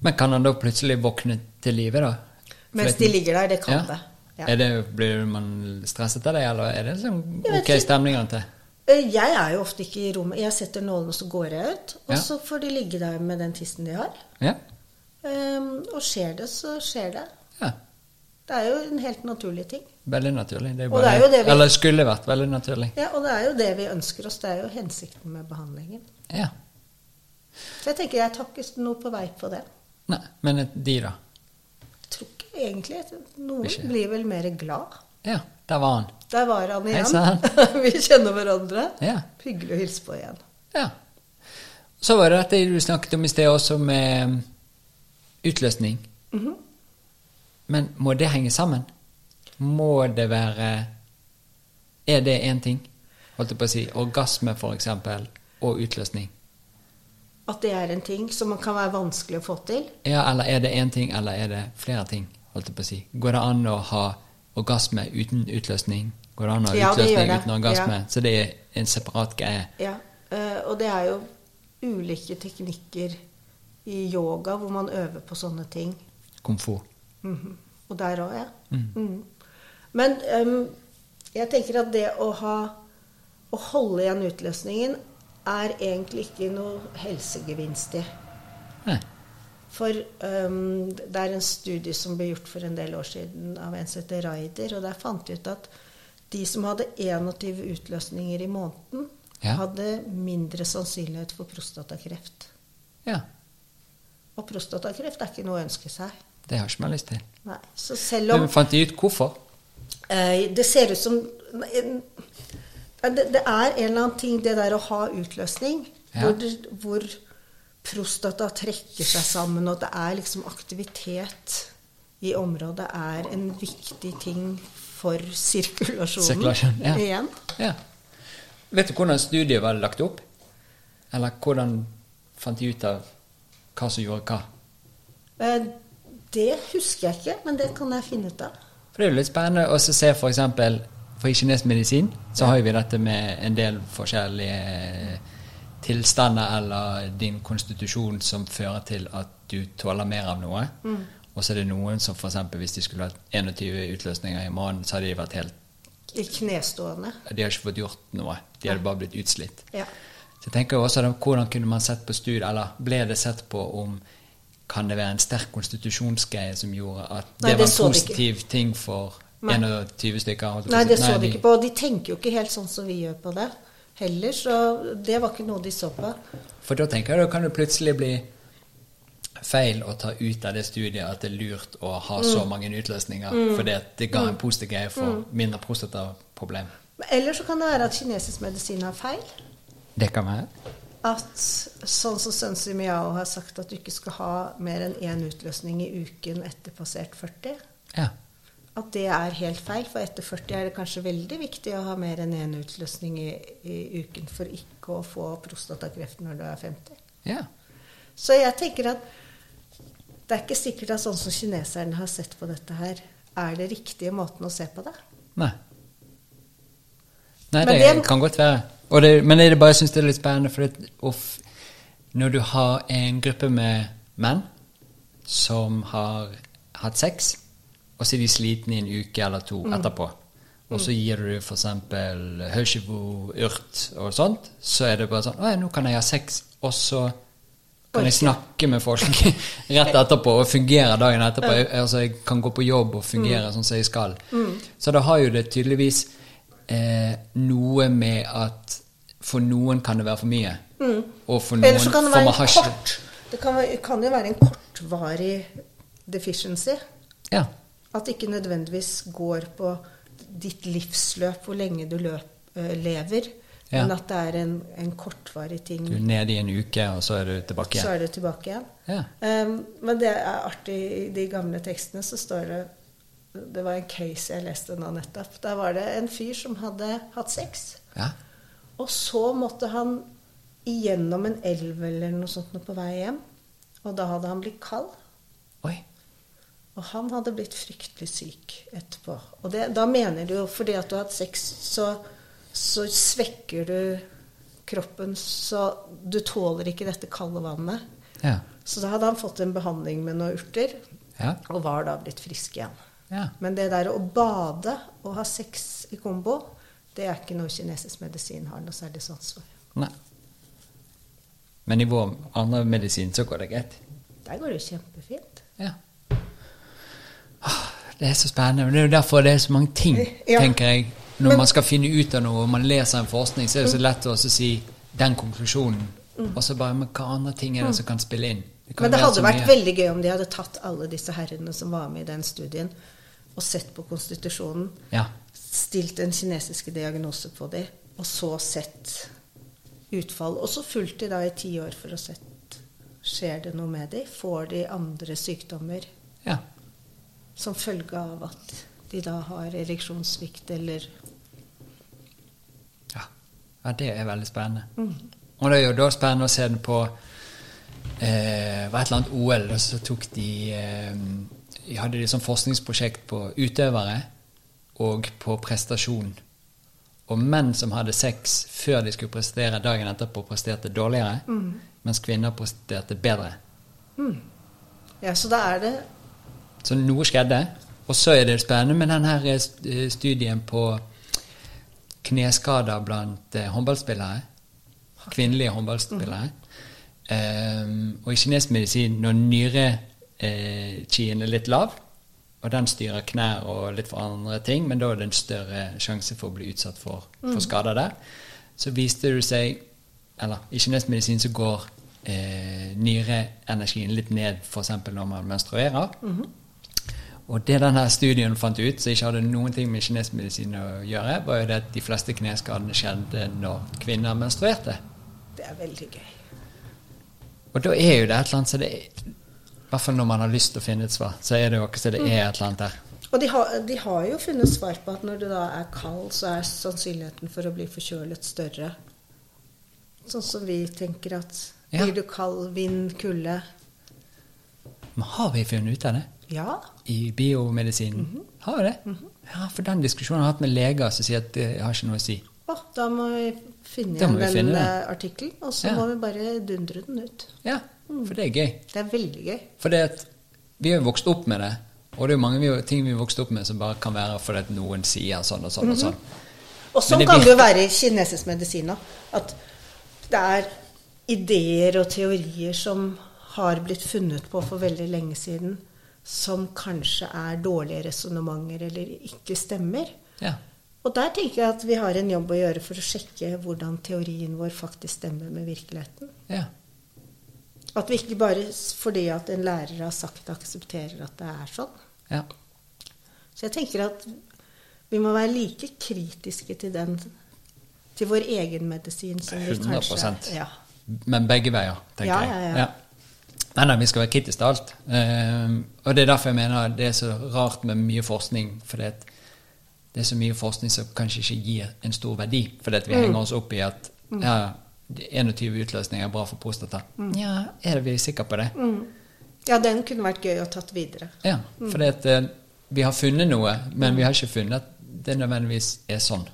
Men kan han da plutselig våkne til live, da? Mens Fordi- de ligger der, det kan det. Ja. Er det. Blir man stresset av det, eller er det sånn Jeg vet ok ikke. stemning an til? Eh, Jeg er jo ofte ikke i rommet. Jeg setter nålen, og så går jeg ut. Og Ja. så får de ligge der med den tissen de har. Ja. Ehm, og skjer det, så skjer det. ja. Det er jo en helt naturlig ting. Veldig naturlig. Det er Og det er jo det vi- Eller skulle vært veldig naturlig. Ja, og det er jo det vi ønsker oss. Det er jo hensikten med behandlingen. Ja. Så jeg tenker jeg tar ikke noe på vei på det. Nei, men et- de, da? Jeg tror ikke egentlig at Noen Ikke. blir vel mer glad. Ja, der var han. Der var han Hei igjen. sann. vi kjenner hverandre. Ja. Hyggelig å hilse på igjen. ja. Så var det dette du snakket om i sted også, med um, utløsning. Mhm. Men må det henge sammen? Må det være Er det én ting? Holdt jeg på å si. Orgasme, for eksempel, og utløsning. At det er en ting som man kan være vanskelig å få til. Ja, eller er det én ting, eller er det flere ting? Holdt jeg på å si. Går det an å ha orgasme uten utløsning? Går det an å ha Ja, det gjør utløsning det. uten orgasme? Så det er en separat greie. Ja, eh, og det er jo ulike teknikker i yoga hvor man øver på sånne ting. Komfort. Mhm. Og der òg, ja. Mm. Mhm. Men øhm, jeg tenker at det å ha å holde igjen utløsningen er egentlig ikke noe helsegevinst i. Nei. For øhm, det er en studie som ble gjort for en del år siden av en som heter Raider, og der fant vi ut at de som hadde 21 utløsninger i måneden, Ja. hadde mindre sannsynlighet for prostatakreft. Ja. Og prostatakreft er ikke noe å ønske seg. Det har ikke man lyst til. Nei. Så selv om Men fant de ut hvorfor? Eh, Det ser ut som en- det, det er en eller annen ting, det der å ha utløsning, Ja. hvor, det- hvor prostata trekker seg sammen, og at det er liksom aktivitet i området, er en viktig ting for sirkulasjonen. Sirkulasjon, ja. Igjen. Ja. Vet du hvordan studiet var lagt opp? Eller hvordan fant de ut av hva som gjorde hva? Eh, Det husker jeg ikke, men det kan jeg finne ut av. For det er jo litt spennende å så se for eksempel for i kinesisk medisin så har jo vi dette med en del forskjellige tilstander eller din konstitusjon som fører til at du tåler mer av noe. Og så er det noen som for eksempel hvis de skulle hatt 21 utløsninger i måneden, så hadde de vært helt I knestående. De hadde ikke fått gjort noe. De hadde bare blitt utslitt. Ja. Så jeg tenker jo også da, Hvordan kunne man sett på studiet, eller ble det sett på om kan det være en sterk konstitusjonsgreie som gjorde at Nei, det det var så en de ikke. positiv ting for Nei. 21 stykker? holdt jeg på å Nei, si. det så de de- ikke på. Og de tenker jo ikke helt sånn som vi gjør på det heller, så det var ikke noe de så på. For da tenker jeg da kan det plutselig bli feil å ta ut av det studiet at det er lurt å ha så Mm. mange utløsninger, fordi at det ga en positiv greie for mindre prostataproblem. Men Eller så kan det være at kinesisk medisin har feil. Det kan være. At sånn som Sønsi Miao har sagt at du ikke skal ha mer enn én utløsning i uken etter passert 40. Ja. At det er helt feil, for etter 40 er det kanskje veldig viktig å ha mer enn én utløsning i, i uken for ikke å få prostatakreft når du er 50. ja. Så jeg tenker at det er ikke sikkert at sånn som kineserne har sett på dette her, er det riktige måten å se på det. Nei. Nei, Men det, det- kan godt være. Og det, men det er bare, jeg syns det er litt spennende, for det, uff, når du har en gruppe med menn som har hatt sex, og så er de slitne i en uke eller to etterpå, og så gir du f.eks. høysjebo, urt og sånt, så er det bare sånn Å ja, nå kan jeg ha sex, og så kan jeg snakke med folk rett etterpå og fungere dagen etterpå. Jeg, altså, jeg kan gå på jobb og Mm. fungere sånn som jeg skal. Så da har jo det tydeligvis eh, noe med at for noen kan det være for mye. Og for noen Mm. Eller så kan det for være man har en ikke- kort Det kan, være- kan jo være en kortvarig deficiency. Ja. At det ikke nødvendigvis går på ditt livsløp, hvor lenge du løp, eh, lever, Ja. men at det er en, en kortvarig ting. Du er nede i en uke, og så er du tilbake Så igjen. er du tilbake igjen. Ja. Um, men det er artig. I de gamle tekstene så står det Det var en case jeg leste nå nettopp. Der var det en fyr som hadde hatt sex. Ja. Og så måtte han igjennom en elv eller noe sånt nå på vei hjem. Og da hadde han blitt kald. Oi. Og han hadde blitt fryktelig syk etterpå. Og det, da mener du jo fordi at du har hatt sex, så, så svekker du kroppen, så du tåler ikke dette kalde vannet. Ja. Så da hadde han fått en behandling med noen urter, Ja. og var da blitt frisk igjen. Ja. Men det der å bade og ha sex i kombo, det er ikke noe kinesisk medisin har noe særlig sans for. Nei. Men i vår andre medisin så går det greit. Der går det jo kjempefint. Ja. Åh, Det er så spennende. men Det er jo derfor det er så mange ting, Ja. tenker jeg. Når Men- man skal finne ut av noe, og man leser en forskning, så er det så lett å også si den konklusjonen. Og så bare Men hva andre ting er det som kan spille inn? kan Mm. Men det være så hadde mye. vært veldig gøy om de hadde tatt alle disse herrene som var med i den studien, og sett på konstitusjonen, Ja. stilt den kinesiske diagnose på dem, og så sett utfall. Og så fulgt de da i ti år for å sett skjer det noe med dem. Får de andre sykdommer ja. som følge av at de da har ereksjonssvikt eller Ja. ja, det er veldig spennende. Og det er jo da spennende å se den på eh, var et eller annet OL, og så tok de eh, de hadde de sånn forskningsprosjekt på utøvere og på prestasjon. Og menn som hadde sex før de skulle prestere dagen etterpå, presterte dårligere, mens kvinner presterte bedre. Ja, så da er det Så noe skjedde. Og så er det spennende med den her eh, studien på kneskader blant eh, håndballspillere. Kvinnelige håndballspillere. Ehm, og i kinesisk medisin, når nyrekien er litt lav, og den styrer knær og litt for andre ting, men da er det en større sjanse for å bli utsatt for, for skader der, så viste det seg Eller i kinesisk medisin så går eh, nyreenergien litt ned f.eks. når man menstruerer. Og det denne studien fant ut, som ikke hadde noen ting med kinesisk medisin å gjøre, var jo det at de fleste kneskadene skjedde når kvinner menstruerte. Det er veldig gøy. Og da er jo det et eller annet så det er, I hvert fall når man har lyst til å finne et svar, så er det jo ikke så det er et eller annet der. Og de har, de har jo funnet svar på at når du da er kald, så er sannsynligheten for å bli forkjølet større. Sånn som vi tenker at Ja. blir du kald, vind, kulde Men har vi funnet ut av det? Ja. I biomedisinen? Har vi det? Ja, for den diskusjonen har jeg hatt med leger som sier at det har ikke noe å si. Å, da må vi finne Da må igjen vi den finne det. eh, artikkelen, og så Ja. må vi bare dundre den ut. Ja, for det er gøy. Det er veldig gøy. For det at vi har jo vokst opp med det, og det er jo mange vi- ting vi har vokst opp med som bare kan være fordi at noen sier sånn og sånn og sånn. Og sånn det kan det jo virker- være i kinesisk medisin òg. At det er ideer og teorier som har blitt funnet på for veldig lenge siden, som kanskje er dårlige resonnementer eller ikke stemmer. Ja. Og der tenker jeg at vi har en jobb å gjøre for å sjekke hvordan teorien vår faktisk stemmer med virkeligheten. ja. At vi ikke bare s- fordi at en lærer har sagt aksepterer at det er sånn. ja. Så jeg tenker at vi må være like kritiske til den til vår egen medisin som vi kanskje 100%. ja. Men begge veier, tenker Ja, jeg. ja, ja. Nei, nei, vi skal være kritiske til alt. Ehm, og det er derfor jeg mener det er så rart med mye forskning. For det, det er så mye forskning som kanskje ikke gir en stor verdi. For vi Mm. henger oss opp i at ja, 21 utløsninger er bra for prostata. Mm. Ja, er det vi sikre på det? ja, den kunne vært gøy å tatt videre. Ja, Mm. for det at, eh, vi har funnet noe, men vi har ikke funnet at det nødvendigvis er sånn.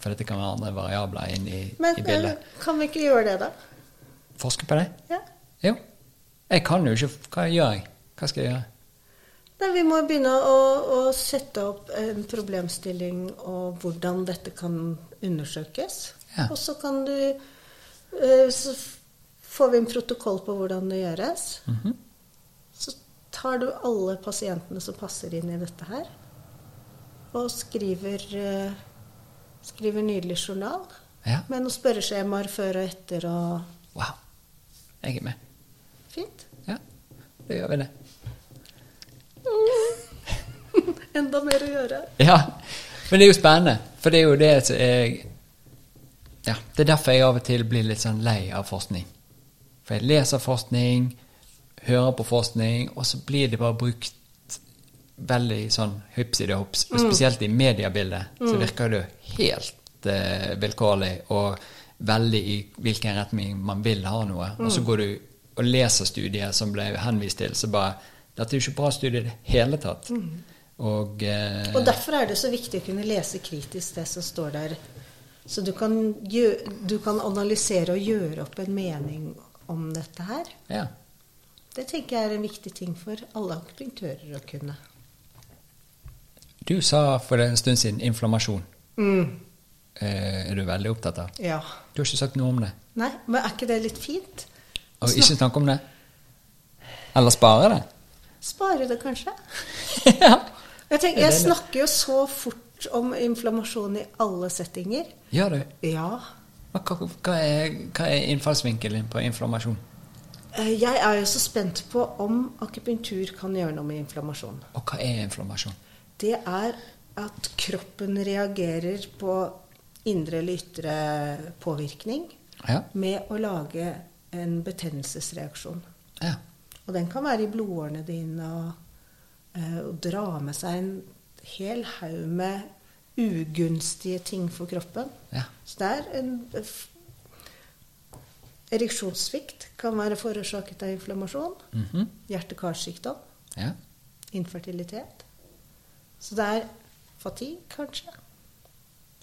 For det kan være andre variabler inn i, Mm. Men i eh, bildet. kan vi ikke gjøre det, da? Forske på det? Ja. Jo. Jeg kan jo ikke Hva gjør jeg? Hva skal jeg gjøre? Nei, Vi må begynne å, å sette opp en problemstilling og hvordan dette kan undersøkes. Ja. Og så kan du eh, Så f- får vi en protokoll på hvordan det gjøres. Mhm. Så tar du alle pasientene som passer inn i dette her, og skriver, eh, skriver nydelig journal Ja. med noen spørreskjemaer før og etter og Wow. Jeg er med. Fint. Ja, da gjør vi det. Enda mer å gjøre. Ja, men det er jo spennende. For det er jo det som jeg Ja, det er derfor jeg av og til blir litt sånn lei av forskning. For jeg leser forskning, hører på forskning, og så blir det bare brukt veldig sånn hypsidehops. Og Mm. spesielt i mediebildet så virker det jo helt eh, vilkårlig og veldig i hvilken retning man vil ha noe. Og Mm. så går du og leser studier som ble henvist til, så bare Dette er jo ikke bra studie i det hele tatt. Og, eh, Mm. Og derfor er det så viktig å kunne lese kritisk det som står der. Så du kan, gjø- du kan analysere og gjøre opp en mening om dette her. Ja. Det tenker jeg er en viktig ting for alle akupunktører å kunne. Du sa for en stund siden inflammasjon. Mm. Eh, er du veldig opptatt av? Ja. Du har ikke sagt noe om det. Nei, men er ikke det litt fint? Og ikke snakke om det? Eller spare det? Spare det kanskje? ja. Jeg, tenker, Er jeg det lurt? snakker jo så fort om inflammasjon i alle settinger. Gjør du? Ja. Men Hva, hva, er, hva er innfallsvinkelen din på inflammasjon? Eh, Jeg er jo så spent på om akupunktur kan gjøre noe med inflammasjon. Og hva er inflammasjon? Det er at kroppen reagerer på indre eller ytre påvirkning Ja. med å lage en betennelsesreaksjon. ja. Og den kan være i blodårene dine og, eh, og dra med seg en hel haug med ugunstige ting for kroppen. Ja. Så det er en f- Ereksjonssvikt kan være forårsaket av inflammasjon. Mhm. Hjerte-karsykdom. ja. Infertilitet. Så det er fatigue, kanskje.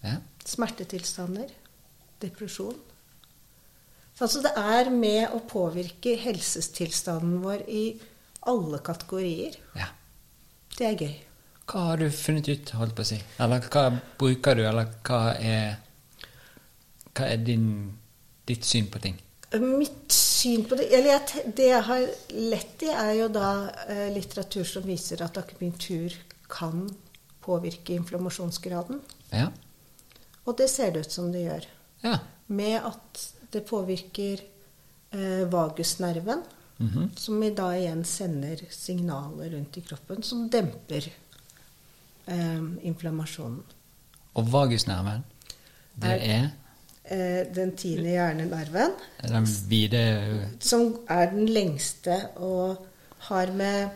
ja. Smertetilstander. Depresjon. Så altså det er med å påvirke helsetilstanden vår i alle kategorier. ja. Det er gøy. Hva har du funnet ut, holdt på å si? Eller hva bruker du, eller hva er, hva er din, ditt syn på ting? Mitt syn på det Eller jeg, te- det jeg har lett i, er jo da eh, litteratur som viser at akupunktur kan påvirke inflammasjonsgraden. Ja. Og det ser det ut som det gjør. Ja. Med at det påvirker eh, vagusnerven, Mhm. som i dag igjen sender signaler rundt i kroppen som demper eh, inflammasjonen. Og vagusnerven, det er Eh, den tiende hjernenerven, den vide som er den lengste og har med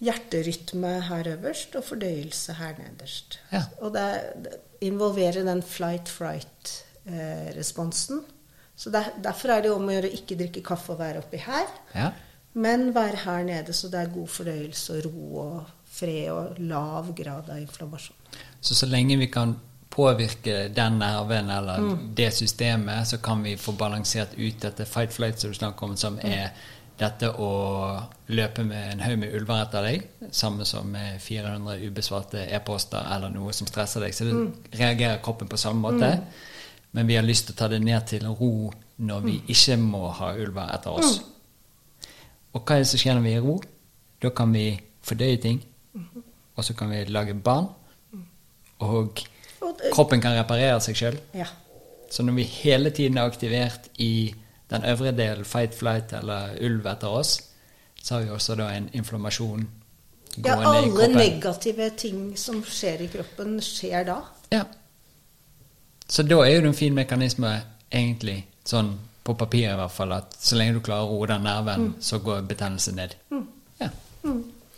hjerterytme her øverst og fordøyelse her nederst. Ja. Og det, er- det involverer den flight-fright-responsen. Så der, derfor er det jo om å gjøre å ikke drikke kaffe og være oppi her, Ja. men være her nede, så det er god fordøyelse og ro og fred og lav grad av inflammasjon. Så så lenge vi kan påvirke den nerven eller det systemet, så kan vi få balansert ut dette fight flight som du snakker om, som er dette å løpe med en haug med ulver etter deg, samme som med 400 ubesvarte e-poster eller noe som stresser deg. Så det reagerer kroppen på samme måte. Men vi har lyst til å ta det ned til ro når vi ikke må ha ulver etter oss. Og hva er det som skjer når vi er i ro? Da kan vi fordøye ting, og så kan vi lage barn, og Og det- kroppen kan reparere seg sjøl. Ja. Så når vi hele tiden er aktivert i den øvre delen, fight, flight eller ulv etter oss, så har vi også da en inflammasjon ja, gående i alle kroppen. negative ting som skjer i kroppen, skjer da. Ja. Så da er jo det en fin mekanisme, egentlig, sånn på papiret i hvert fall, at så lenge du klarer å roe den nerven, så går betennelsen ned. Ja.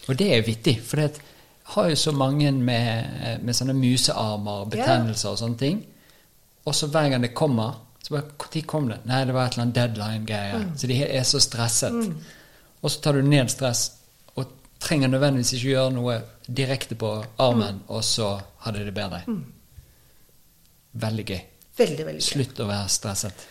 Og det er vittig, for det at- har jo så mange med, med sånne musearmer, betennelser og sånne ting. Og så hver gang det kommer, så bare Når kom det? Nei, det var et eller annet deadline-greie. Så de er så stresset. Og så tar du ned stress, og trenger nødvendigvis ikke gjøre noe direkte på armen, og så har de det bedre. Veldig gøy. Veldig, veldig gøy. Slutt å være stresset.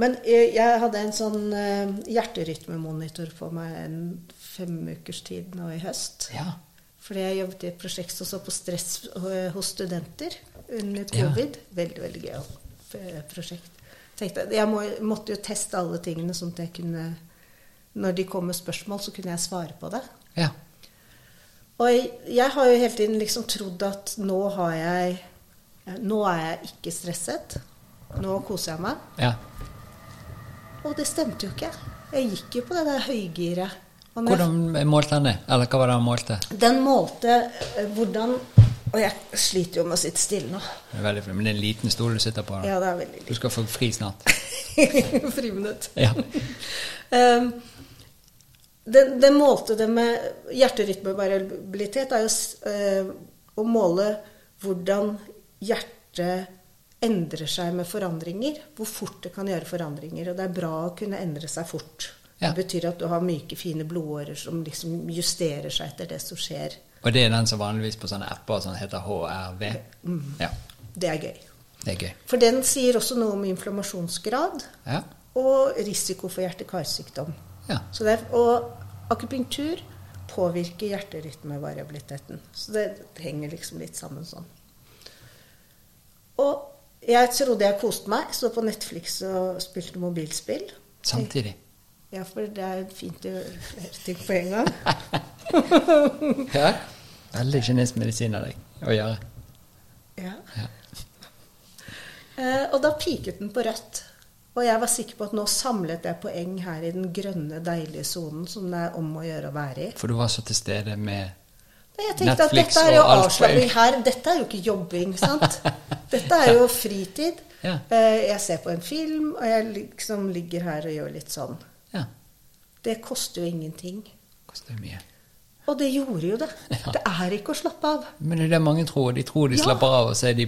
Men eh, jeg hadde en sånn eh, hjerterytmemonitor på meg en fem ukers tid nå i høst. Ja. Fordi jeg jobbet i et prosjekt som så på stress eh, hos studenter under Ja. covid. Veldig, veldig gøy eh, prosjekt. Tenkte, jeg- jeg må, måtte jo teste alle tingene sånn at jeg kunne Når de kom med spørsmål, så kunne jeg svare på det. Ja. Og jeg, jeg har jo hele tiden liksom trodd at nå har jeg eh, Nå er jeg ikke stresset. Nå koser jeg meg. ja. Og det stemte jo ikke. Jeg gikk jo på det der høygiret. Og når jeg- Hvordan målte han det? Eller hva var det han målte? Den målte eh, hvordan Og jeg sliter jo med å sitte stille nå. Det er veldig fint, Men det er en liten stol du sitter på. da. Ja, det er veldig Du skal få fri snart. lite. Friminutt. Ja. Um, den, den målte det med hjerterytmevariabilitet er jo s- eh, å måle hvordan hjertet endrer seg med forandringer. Hvor fort det kan gjøre forandringer. Og det er bra å kunne endre seg fort. Ja. Det betyr at du har myke, fine blodårer som liksom justerer seg etter det som skjer. Og det er den som vanligvis på sånne apper og sånn heter HRV. Mm. Ja. Det er gøy. Det er gøy. For den sier også noe om inflammasjonsgrad Ja. og risiko for hjerte-karsykdom. Ja. Så det, er- og akupunktur påvirker hjerterytmevariabiliteten. Så det henger liksom litt sammen sånn. Og jeg trodde jeg koste meg. Sto på Netflix og spilte mobilspill. Samtidig. Ja, for det er fint å gjøre flere ting på en gang. Ja. Veldig kinesisk medisin av deg å gjøre. Ja. Ja. Eh, og da piket den på rødt. Og jeg var sikker på at nå samlet jeg poeng her i den grønne, deilige sonen som det er om å gjøre å være i. For du var så til stede med Nei, Jeg tenkte Netflix at dette er jo og alt avslapping på her. Dette er jo ikke jobbing, sant? Dette er jo fritid. Ja. Eh, Jeg ser på en film, og jeg liksom ligger her og gjør litt sånn. Ja. Det koster jo ingenting. Koster mye. Og det gjorde jo det. Ja. Det er ikke å slappe av. Men det er det mange tror. De tror de Ja. slapper av, og så er de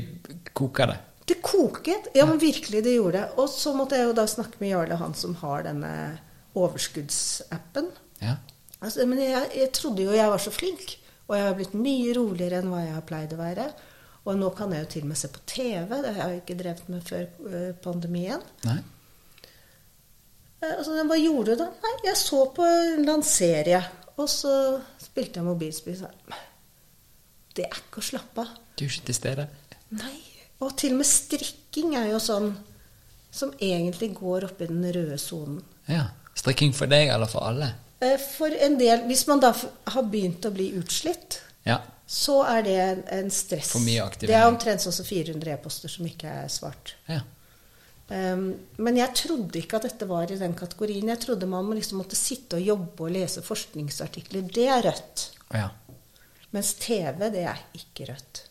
koker det. Det koket. Ja, men virkelig, det gjorde det. Og så måtte jeg jo da snakke med Jarle, han som har denne overskuddsappen. Ja. Altså, men jeg, jeg trodde jo jeg var så flink, og jeg har blitt mye roligere enn hva jeg har pleid å være. Og nå kan jeg jo til og med se på TV, det har jeg ikke drevet med før øh, pandemien. Nei. Eh, Altså, hva gjorde du da? Nei, jeg så på en eller annen serie, og så spilte jeg mobilspill. Så jeg, det er ikke å slappe av. Du er ikke til stede. Nei. Og til og med strikking er jo sånn som egentlig går opp i den røde sonen. Ja. Strikking for deg eller for alle? Eh, For en del, hvis man da f- har begynt å bli utslitt, Ja. så er det en, en stress. For mye aktivering. Det er omtrent sånn som 400 e-poster som ikke er svart. Ja. Um, men jeg trodde ikke at dette var i den kategorien. Jeg trodde man må liksom måtte sitte og jobbe og lese forskningsartikler. Det er rødt. ja. Mens TV, det er ikke rødt.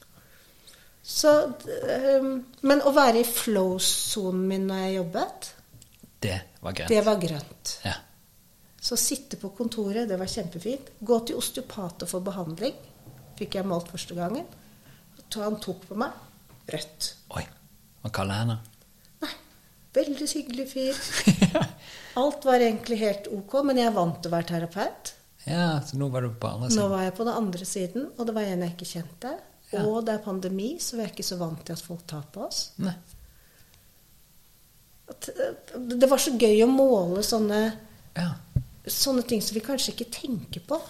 Så, d- um, men å være i flow-sonen min når jeg jobbet, Det var greit. det var grønt. Ja. Så sitte på kontoret, det var kjempefint. Gå til osteopat og få behandling, fikk jeg målt første gangen. Så Han tok på meg. Rødt. Oi. Hva kaller henne? Nei, veldig hyggelig fyr. Alt var egentlig helt ok, men jeg er vant til å være terapeut. ja, så nå var du på andre Nå siden. var jeg på den andre siden, og det var en jeg ikke kjente. Ja. Og det er pandemi, så vi er ikke så vant til at folk tar på oss. Nei. At, eh, Det var så gøy å måle sånne Ja. sånne ting som vi kanskje ikke tenker på.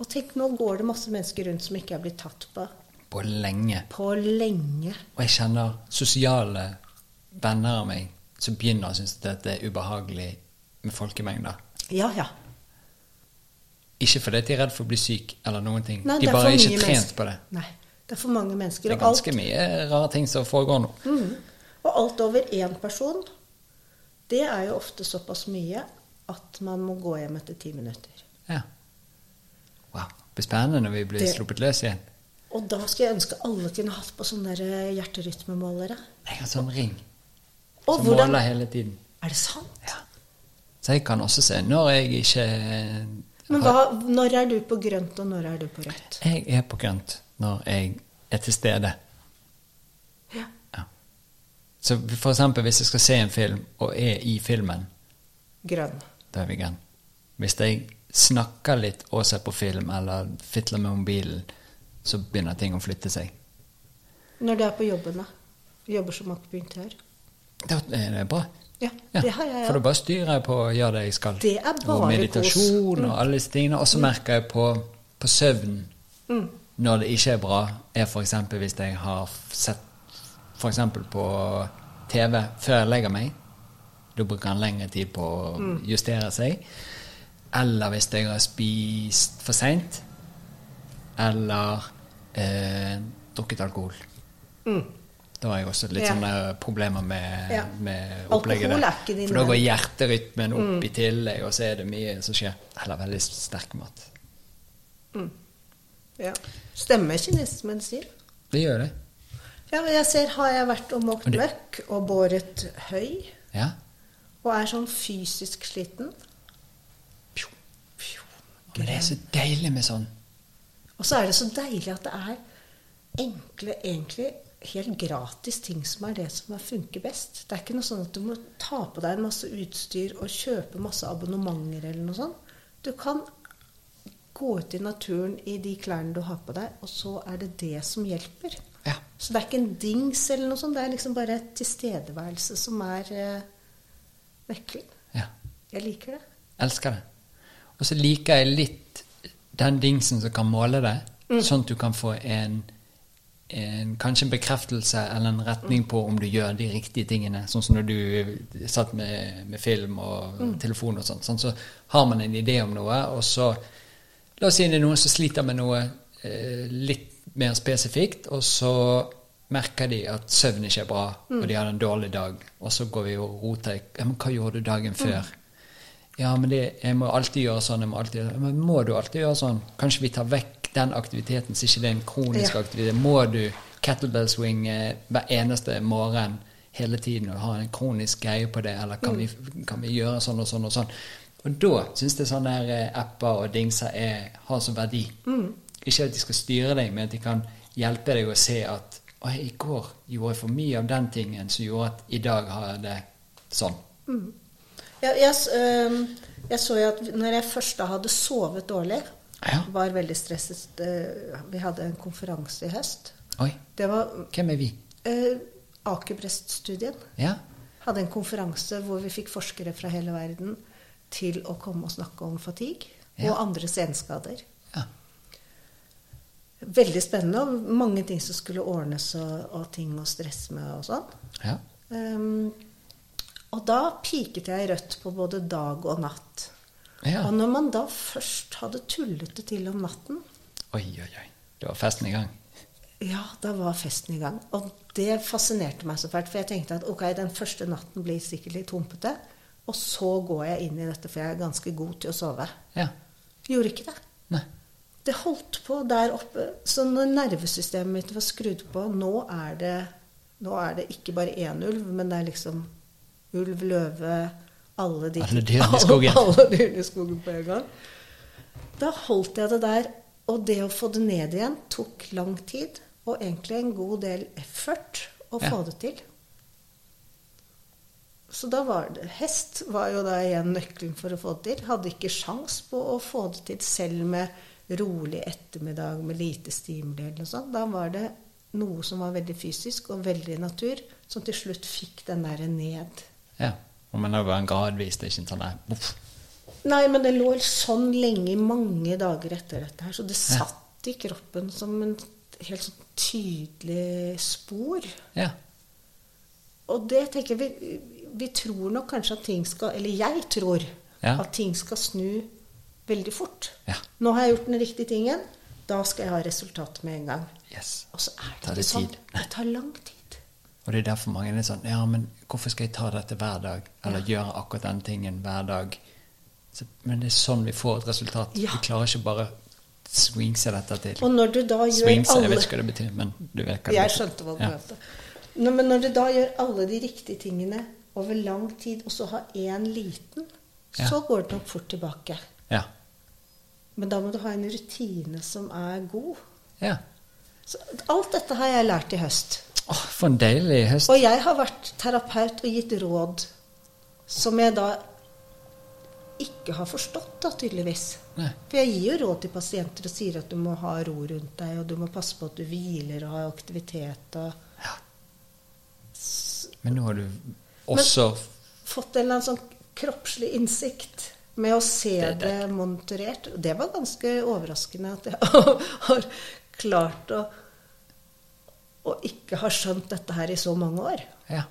Og tenk, nå går det masse mennesker rundt som ikke er blitt tatt på På lenge. på lenge. Og jeg kjenner sosiale venner av meg som begynner å synes at dette er ubehagelig med folkemengder. Ja, ja. Ikke fordi de er redd for å bli syk eller noen ting. Nei, de det er bare for er ikke mye trent mennesker. på det. Nei. Det er for mange mennesker. Det er og alt- ganske mye rare ting som foregår nå. Mm. Og alt over én person, det er jo ofte såpass mye at man må gå hjem etter ti minutter. Ja. Wow. Det blir spennende når vi blir Det- sluppet løs igjen. Og da skulle jeg ønske alle kunne hatt på sånne der eh, hjerterytmemålere. Jeg har sånn ring Og som hvordan måler hele tiden. Er det sant? Ja. Så jeg kan også se når jeg ikke Men hva, når er du på grønt, og når er du på rødt? Jeg er på grønt når jeg er til stede. Ja. Ja. Så for eksempel hvis jeg skal se en film, og er i filmen, Grønn. da er vi grønn. Hvis jeg snakker litt og ser på film, eller fitler med mobilen, så begynner ting å flytte seg. Når du er på jobben, da? Jobber som akupunktør? Da er det bra. Ja, Ja, det har jeg. For da Ja. bare styrer jeg på å gjøre det jeg skal. Det er og bare Mm. kos. meditasjon og alle disse tingene. Og så merker jeg på, på søvnen Mm. når det ikke er bra, er f.eks. hvis jeg har f- sett for eksempel på TV før jeg legger meg. Da bruker han lengre tid på å Mm. justere seg. Eller hvis jeg har spist for seint. Eller eh, drukket alkohol. Da har jeg også litt Mm. Ja. sånne problemer med, Ja. med Alkohol opplegget. er der. ikke din eh, Mm. For da går venn. hjerterytmen opp i tillegg, og så er det mye som skjer. Eller veldig sterk mat. Ja. Stemmer kinesismen sier? Det gjør det. Ja, men jeg ser har jeg vært og måkt Men det- møkk og båret høy Ja. og er sånn fysisk sliten. Pjo. Men det er så deilig med sånn. Og så er det så deilig at det er enkle, egentlig helt gratis ting som er det som er- funker best. Det er ikke noe sånn at du må ta på deg en masse utstyr og kjøpe masse abonnementer eller noe sånt. Du kan gå ut i naturen i de klærne du har på deg, og så er det det som hjelper. Ja. Så det er ikke en dings eller noe sånt, det er liksom bare tilstedeværelse som er eh, vekkelig. ja. Jeg liker det. Elsker det. Og så liker jeg litt den dingsen som kan måle det, sånn at du kan få en, en Kanskje en bekreftelse eller en retning på om du gjør de riktige tingene. Sånn som når du satt med, med film og telefon og sånn. Sånn, så har man en idé om noe, og så La oss si det er noen som sliter med noe eh, litt mer spesifikt, og så merker de at søvn ikke er bra, og de har en dårlig dag, og så går vi og roter i ja, men 'Hva gjorde du dagen før?' Ja, men det, jeg må alltid gjøre sånn. Jeg må alltid gjøre, men må du alltid gjøre sånn? Kanskje vi tar vekk den aktiviteten, så ikke det er en kronisk Ja. aktivitet. Må du kettlebell swing eh, hver eneste morgen hele tiden og ha en kronisk greie på det, eller kan, vi, kan vi gjøre sånn og sånn og sånn? Og da syns jeg sånne her eh, apper og dingser er, har sånn verdi. Ikke at de skal styre deg, men at de kan hjelpe deg å se at Oi, i går gjorde jeg for mye av den tingen som gjorde at i dag har jeg det sånn. Ja, jeg, s- øhm, jeg så jo at når jeg først da hadde sovet dårlig, Ja. var veldig stresset øh, Vi hadde en konferanse i høst. Oi, Det var hvem er vi? øh, Akerbrest-studien. Ja. Hadde en konferanse hvor vi fikk forskere fra hele verden til å komme og snakke om fatigue Ja. og andre senskader. ja. Veldig spennende, og mange ting som skulle ordnes, og, og ting å stresse med og sånn. ja. Ehm, og da piket jeg rødt på både dag og natt. Ja. Og når man da først hadde tullet det til om natten, Oi, oi, oi. Det var festen i gang. ja, da var festen i gang. Og det fascinerte meg så fælt, for jeg tenkte at ok, den første natten blir sikkert litt humpete, og så går jeg inn i dette, for jeg er ganske god til å sove. Ja. Gjorde ikke det. Nei. Det holdt på der oppe. Så når nervesystemet mitt var skrudd på Nå er det, nå er det ikke bare én ulv, men det er liksom ulv, løve Alle, de, Alle dyrene i skogen. Alle, alle dyrene i skogen på en gang. Da holdt jeg det der. Og det å få det ned igjen tok lang tid, og egentlig en god del effort å Ja. få det til. Så da var det Hest var jo da igjen nøkkelen for å få det til. Hadde ikke sjans på å få det til selv med rolig ettermiddag med lite stimuli eller noe sånt. Da var det noe som var veldig fysisk og veldig natur, som til slutt fikk den derre ned. Ja. Og Men det var en gradvis, det er ikke en sånn der boff. Nei, men det lå sånn lenge i mange dager etter dette her, så det satt i kroppen som en helt sånn tydelig spor. Ja. Og det tenker jeg vi, vi tror nok kanskje at ting skal Eller jeg tror Ja. at ting skal snu veldig fort. Ja. Nå har jeg gjort den riktige tingen. Da skal jeg ha resultat med en gang. Yes. Og så er det, Tar ikke det sånn. tid? Det tar lang tid. Og det er derfor mange er sånn Ja, men hvorfor skal jeg ta dette hver dag? Eller gjøre akkurat den tingen hver dag? Så, men det er sånn vi får et resultat. Ja. Vi klarer ikke bare swingse dette til. Og når du da gjør Swingse, alle jeg vet ikke hva det betyr, men du vet hva det Jeg betyr. skjønte hva du ja. mente. Nå, men når du da gjør alle de riktige tingene over lang tid, og så har én liten, Ja. så går det nok fort tilbake. Ja. Men da må du ha en rutine som er god. ja. Så alt dette har jeg lært i høst. Åh, for en deilig høst. Og jeg har vært terapeut og gitt råd som jeg da ikke har forstått, da, tydeligvis. Nei. For jeg gir jo råd til pasienter og sier at du må ha ro rundt deg, og du må passe på at du hviler og har aktivitet og Men nå har du også fått en eller annen sånn kroppslig innsikt med å se det, Det er monitorert. Det var ganske overraskende at jeg har klart å, å ikke ha skjønt dette her i så mange år. Ja.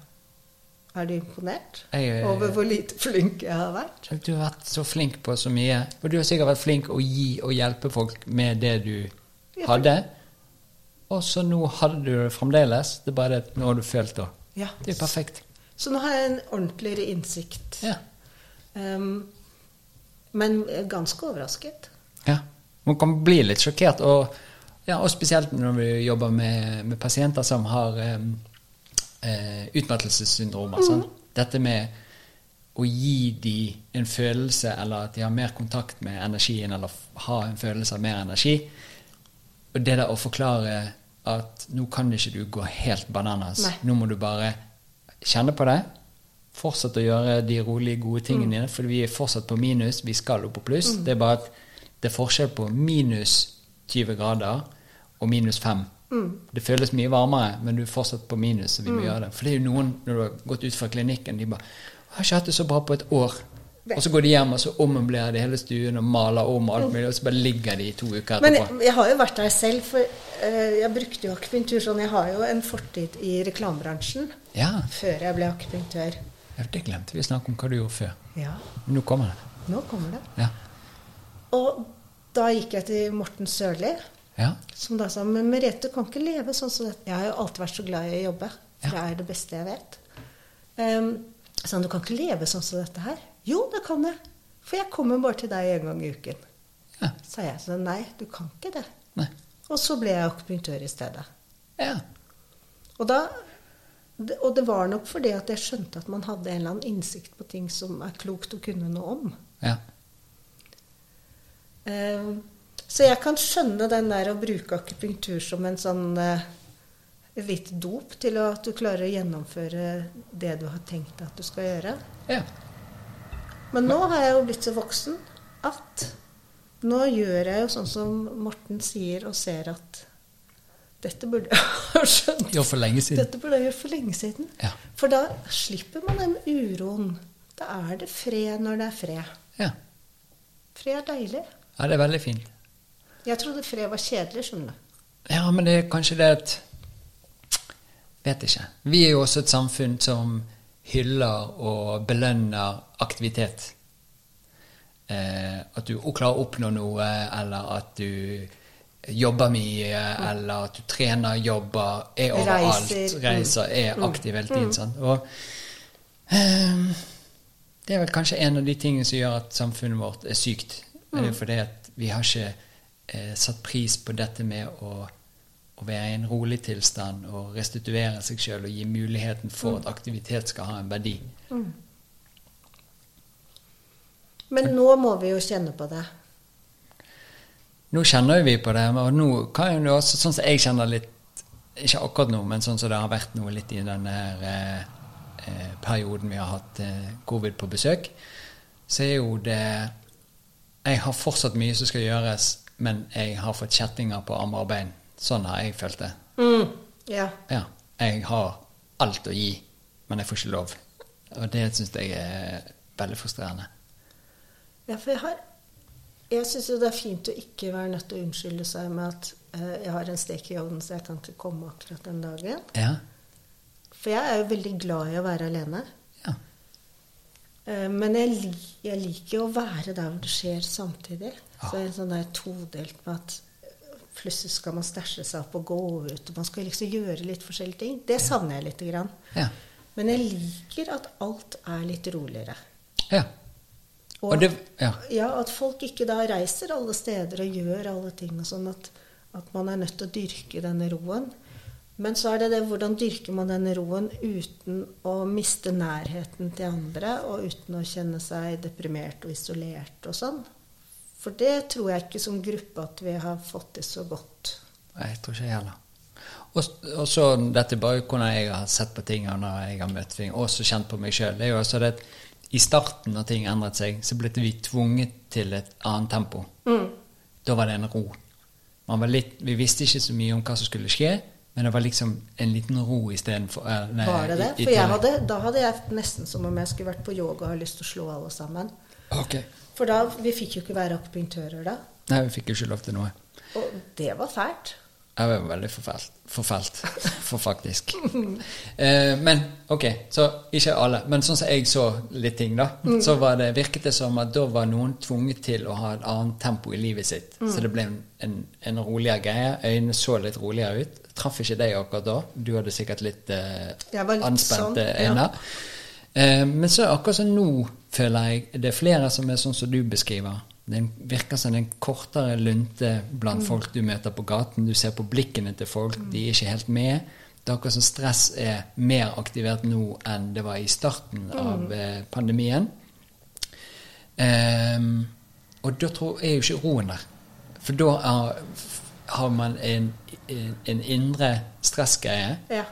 Er du imponert Jeg- over hvor lite flink jeg har vært? Du har vært så flink på så mye. Og du har sikkert vært flink å gi og hjelpe folk med det du Ja. hadde. Og så nå hadde du det fremdeles. Det er bare det at nå har du følt det. Ja. Det er jo perfekt. Så nå har jeg en ordentligere innsikt. Ja. Ehm, men ganske overrasket. ja. Man kan bli litt sjokkert, og, ja, og spesielt når vi jobber med, med pasienter som har eh, eh, utmattelsessyndromer. sant? Dette med å gi dem en følelse, eller at de har mer kontakt med energien, eller f- ha en følelse av mer energi. Og det der å forklare at nå kan ikke du gå helt bananas. Nei. Nå må du bare kjenne på det. Fortsette å gjøre de rolige, gode Mm. tingene dine, for vi er fortsatt på minus. Vi skal opp på pluss. Det er bare at det er forskjell på minus 20 grader og minus 5. Mm. Det føles mye varmere, men du er fortsatt på minus, så vi må gjøre det. For det er jo noen, når du har gått ut fra klinikken, de bare 'Jeg har ikke hatt det så bra på et år.' Og så går de hjem og så ommøblerer de hele stuen og maler om og alt mulig, og så bare ligger de i to uker etterpå. Mm. Men jeg, jeg har jo vært der selv, for eh, jeg brukte jo akupunktur sånn. Jeg har jo en fortid i reklamebransjen Ja, før jeg ble akupunktør. ja, det glemte vi å snakke om hva du gjorde før. Ja, Nå kommer det. nå kommer det. Ja. Og da gikk jeg til Morten Sørli, ja. som da sa Men Merete, du kan ikke leve sånn som dette. Jeg har jo alltid vært så glad i å jobbe. Ja. For det er det beste jeg vet. Um, sa han, du kan ikke leve sånn som dette her. Jo, det kan jeg. For jeg kommer bare til deg en gang i uken. Ja. Sa jeg. Så nei, du kan ikke det. Nei. Og så ble jeg akupunktør i stedet. Ja. Og, da, det- og det var nok fordi at jeg skjønte at man hadde en eller annen innsikt på ting som er klokt å kunne noe om. Ja. Eh, Så jeg kan skjønne den der å bruke akupunktur som en sånn eh, et lite dop til å- at du klarer å gjennomføre det du har tenkt deg at du skal gjøre. ja. Men nå har jeg jo blitt så voksen at nå gjør jeg jo sånn som Morten sier og ser at dette burde jeg ha skjønt. Jo, for lenge siden. Dette burde jeg gjort for lenge siden. Ja. For da slipper man den uroen. Da er det fred når det er fred. Ja. Fred er deilig. ja, det er veldig fint. Jeg trodde fred var kjedelig, skjønner du. Ja, men det er kanskje det at Vet ikke. Vi er jo også et samfunn som hyller og belønner aktivitet. Eh, at du o- klarer å oppnå noe, eller at du jobber mye, eller at du trener, jobber, er overalt, Reiser. reiser, Mm. er aktiv hele tiden. sant? Og ehm, det er vel kanskje en av de tingene som gjør at samfunnet vårt er sykt. Det er jo fordi at vi har ikke eh, satt pris på dette med å, å være i en rolig tilstand og restituere seg sjøl og gi muligheten for at aktivitet skal ha en verdi. Men nå må vi jo kjenne på det. Nå kjenner jo vi på det, og nå kan jo det også, sånn som jeg kjenner litt Ikke akkurat nå, men sånn som det har vært nå litt i den her eh, eh, perioden vi har hatt eh, covid på besøk, så er jo det Jeg har fortsatt mye som skal gjøres, men jeg har fått kjettinger på armer og bein. Sånn har jeg følt det. Ja. Ja. Jeg har alt å gi, men jeg får ikke lov. Og det syns jeg er veldig frustrerende. ja, for jeg har Jeg syns jo det er fint å ikke være nødt til å unnskylde seg med at eh, jeg har en stek i ovnen, så jeg kan ikke komme akkurat den dagen. Ja. For jeg er jo veldig glad i å være alene. ja. Eh, Men jeg, li- jeg liker jo å være der hvor det skjer samtidig. Så jeg er sånn der todelt med at eh, plutselig skal man stæsje seg opp og gå ut. Og man skal liksom gjøre litt forskjellige ting. Det savner jeg lite grann. ja. Men jeg liker at alt er litt roligere. Ja. Og det Ja. ja, at folk ikke da reiser alle steder og gjør alle ting og sånn. At, at man er nødt til å dyrke denne roen. Men så er det det hvordan dyrker man denne roen uten å miste nærheten til andre, og uten å kjenne seg deprimert og isolert og sånn. For det tror jeg ikke som gruppe at vi har fått til så godt. Nei, Jeg tror ikke jeg heller. Og, og så dette er bare hvordan jeg har sett på ting, og når jeg har møtt ting, og også kjent på meg sjøl. Det er jo også det at i starten, når ting endret seg, så ble vi tvunget til et annet tempo. Mm. Da var det en ro. Man var litt, vi visste ikke så mye om hva som skulle skje, Men det var liksom en liten ro istedenfor eh, nei, Var det det? i- i For jeg tillegg. hadde, da hadde jeg nesten som om jeg skulle vært på yoga og har lyst til å slå alle sammen. Ok. For da, vi fikk jo ikke være akupunktører da. Nei, vi fikk jo ikke lov til noe. Og det var fælt. Jeg var veldig forfelt. Forfelt, for faktisk. Eh, men ok, så ikke alle. Men sånn som jeg så litt ting, da, Mm. så var det, virket det som at da var noen tvunget til å ha et annet tempo i livet sitt. Mm. Så det ble en, en, en roligere greie. Øynene så litt roligere ut. Traff ikke deg akkurat da. Du hadde sikkert litt, eh, Jeg var litt anspente sånn, ja. øyne. Eh, men så akkurat som nå føler jeg det er flere som er sånn som du beskriver. Det virker som en kortere lunte blant folk du møter på gaten. Du ser på blikkene til folk, de er ikke helt med. Det er akkurat som stress er mer aktivert nå enn det var i starten av eh, pandemien. Ehm, og da tror, er jo ikke roen der. For da er, har man en, en, en indre stressgreie. Ja.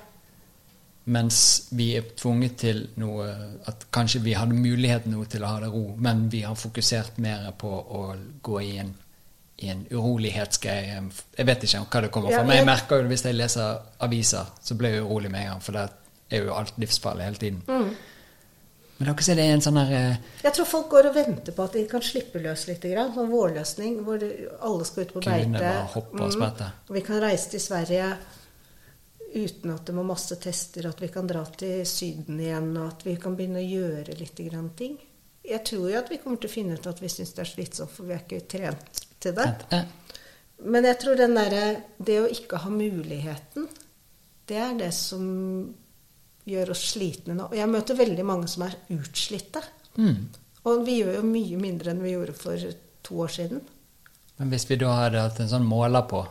Mens vi er tvunget til noe At kanskje vi hadde mulighet nå til å ha det ro, men vi har fokusert mer på å gå i en, i en urolighetsgreie. Jeg vet ikke hva det kommer Ja, fra, men jeg jeg- merker jo det hvis jeg leser aviser, så blir jeg urolig med en gang, for det er jo alt livsfarlig hele tiden. Men dere ser det er en sånn her eh, Jeg tror folk går og venter på at de kan slippe løs litt. Grann. Sånn vårløsning hvor det- alle skal ut på beite. Kuene bare hopper og spretter. Og vi kan reise til Sverige uten at det må masse tester, og at vi kan dra til Syden igjen, og at vi kan begynne å gjøre litt grann ting. Jeg tror jo at vi kommer til å finne ut at vi syns det er slitsomt, for vi er ikke trent til det. at, eh, Men jeg tror den derre Det å ikke ha muligheten, det er det som gjør oss slitne nå. Og jeg møter veldig mange som er utslitte. mm. Og vi gjør jo mye mindre enn vi gjorde for to år siden. Men hvis vi da hadde hatt en sånn måler på,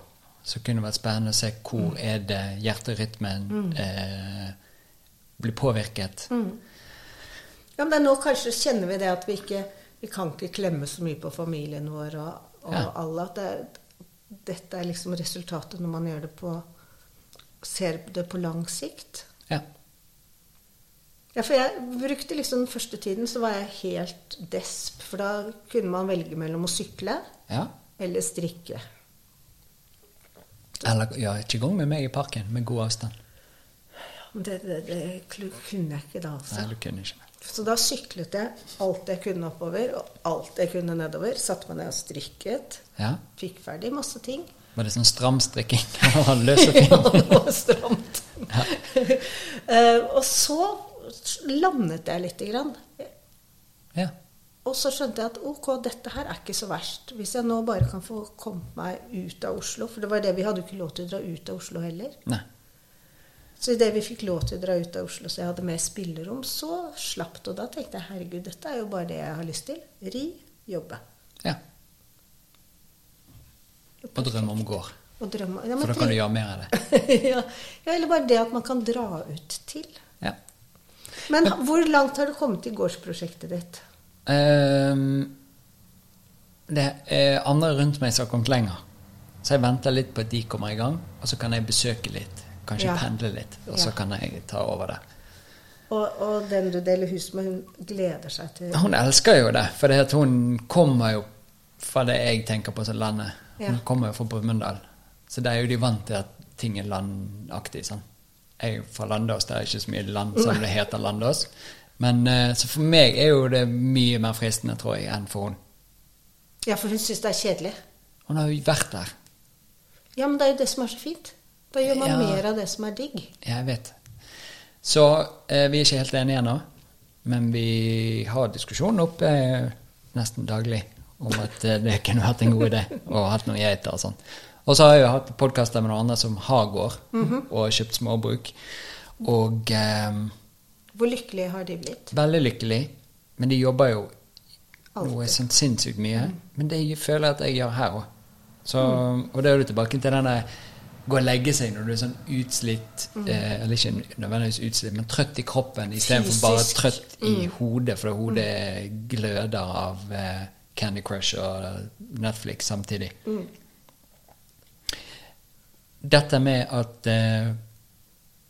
så kunne det vært spennende å se hvor er det hjerterytmen eh, blir påvirket. Ja, men det er nå kanskje kjenner vi det at vi ikke vi kan ikke klemme så mye på familien vår og, og Ja. alle. At det, er- dette er liksom resultatet når man gjør det på ser det på lang sikt. Ja. Ja, for jeg brukte liksom den første tiden, så var jeg helt desp. For da kunne man velge mellom å sykle ja. eller strikke. Eller ja, ikke gå med meg i parken, med god avstand. Men det, det, det klu- kunne jeg ikke da, altså. Nei, du kunne ikke. Så da syklet jeg alt jeg kunne oppover, og alt jeg kunne nedover. Satte meg ned og strikket. Ja. Fikk ferdig masse ting. Var det sånn stram strikking? Han løser fint. Ja, det var stramt. Eh, og så landet jeg lite grann. Ja. Og så skjønte jeg at ok, dette her er ikke så verst. Hvis jeg nå bare kan få kommet meg ut av Oslo, for det var det vi hadde jo ikke lov til å dra ut av Oslo heller. Nei. Så idet vi fikk lov til å dra ut av Oslo, så jeg hadde mer spillerom, så slapp det. Og da tenkte jeg herregud, dette er jo bare det jeg har lyst til. Ri, jobbe. Ja. Og drømme om gård. Og drømme. Ja, For da kan du gjøre mer av det. ja. ja, eller bare det at man kan dra ut til. Ja. Men ha- hvor langt har du kommet i gårdsprosjektet ditt? Ehm, det er andre rundt meg som har kommet lenger. Så jeg venter litt på at de kommer i gang, og så kan jeg besøke litt. Kanskje Ja. pendle litt, og så Ja. kan jeg ta over der. Og, og den du deler hus med, hun gleder seg til Hun elsker jo det, for det at hun kommer jo fra det jeg tenker på som landet. Hun Ja. kommer jo fra Brumunddal. Så der er jo de vant til at ting er landaktig. Sånn. Jeg er jo fra Landås, det er ikke så mye land som det heter Landås. Men, eh, så for meg er jo det mye mer fristende, tror jeg, enn for hun. Ja, for hun syns det er kjedelig. Hun har jo vært der. Ja, men det er jo det som er så fint. Da gjør man Ja. mer av det som er digg. Jeg vet. Så eh, vi er ikke helt enige ennå, men vi har diskusjonen oppe eh, nesten daglig om at eh, det kunne vært en god idé å ha hatt noen geiter og sånn. Og så har jeg jo hatt podkaster med noen andre som har gård, og kjøpt småbruk. Og eh, Hvor lykkelige har de blitt? Veldig lykkelig, men de jobber jo noe Alltid. Mm. sånn sinnssykt mye. Men det jeg føler jeg at jeg gjør her òg. Og da er du tilbake til den der gå og legge seg når du er sånn utslitt Mm. eh, Eller ikke nødvendigvis utslitt, men trøtt i kroppen istedenfor bare Fysisk. Mm. trøtt i hodet, for hodet gløder av eh, Candy Crush og Netflix samtidig. Mm. Dette med at eh,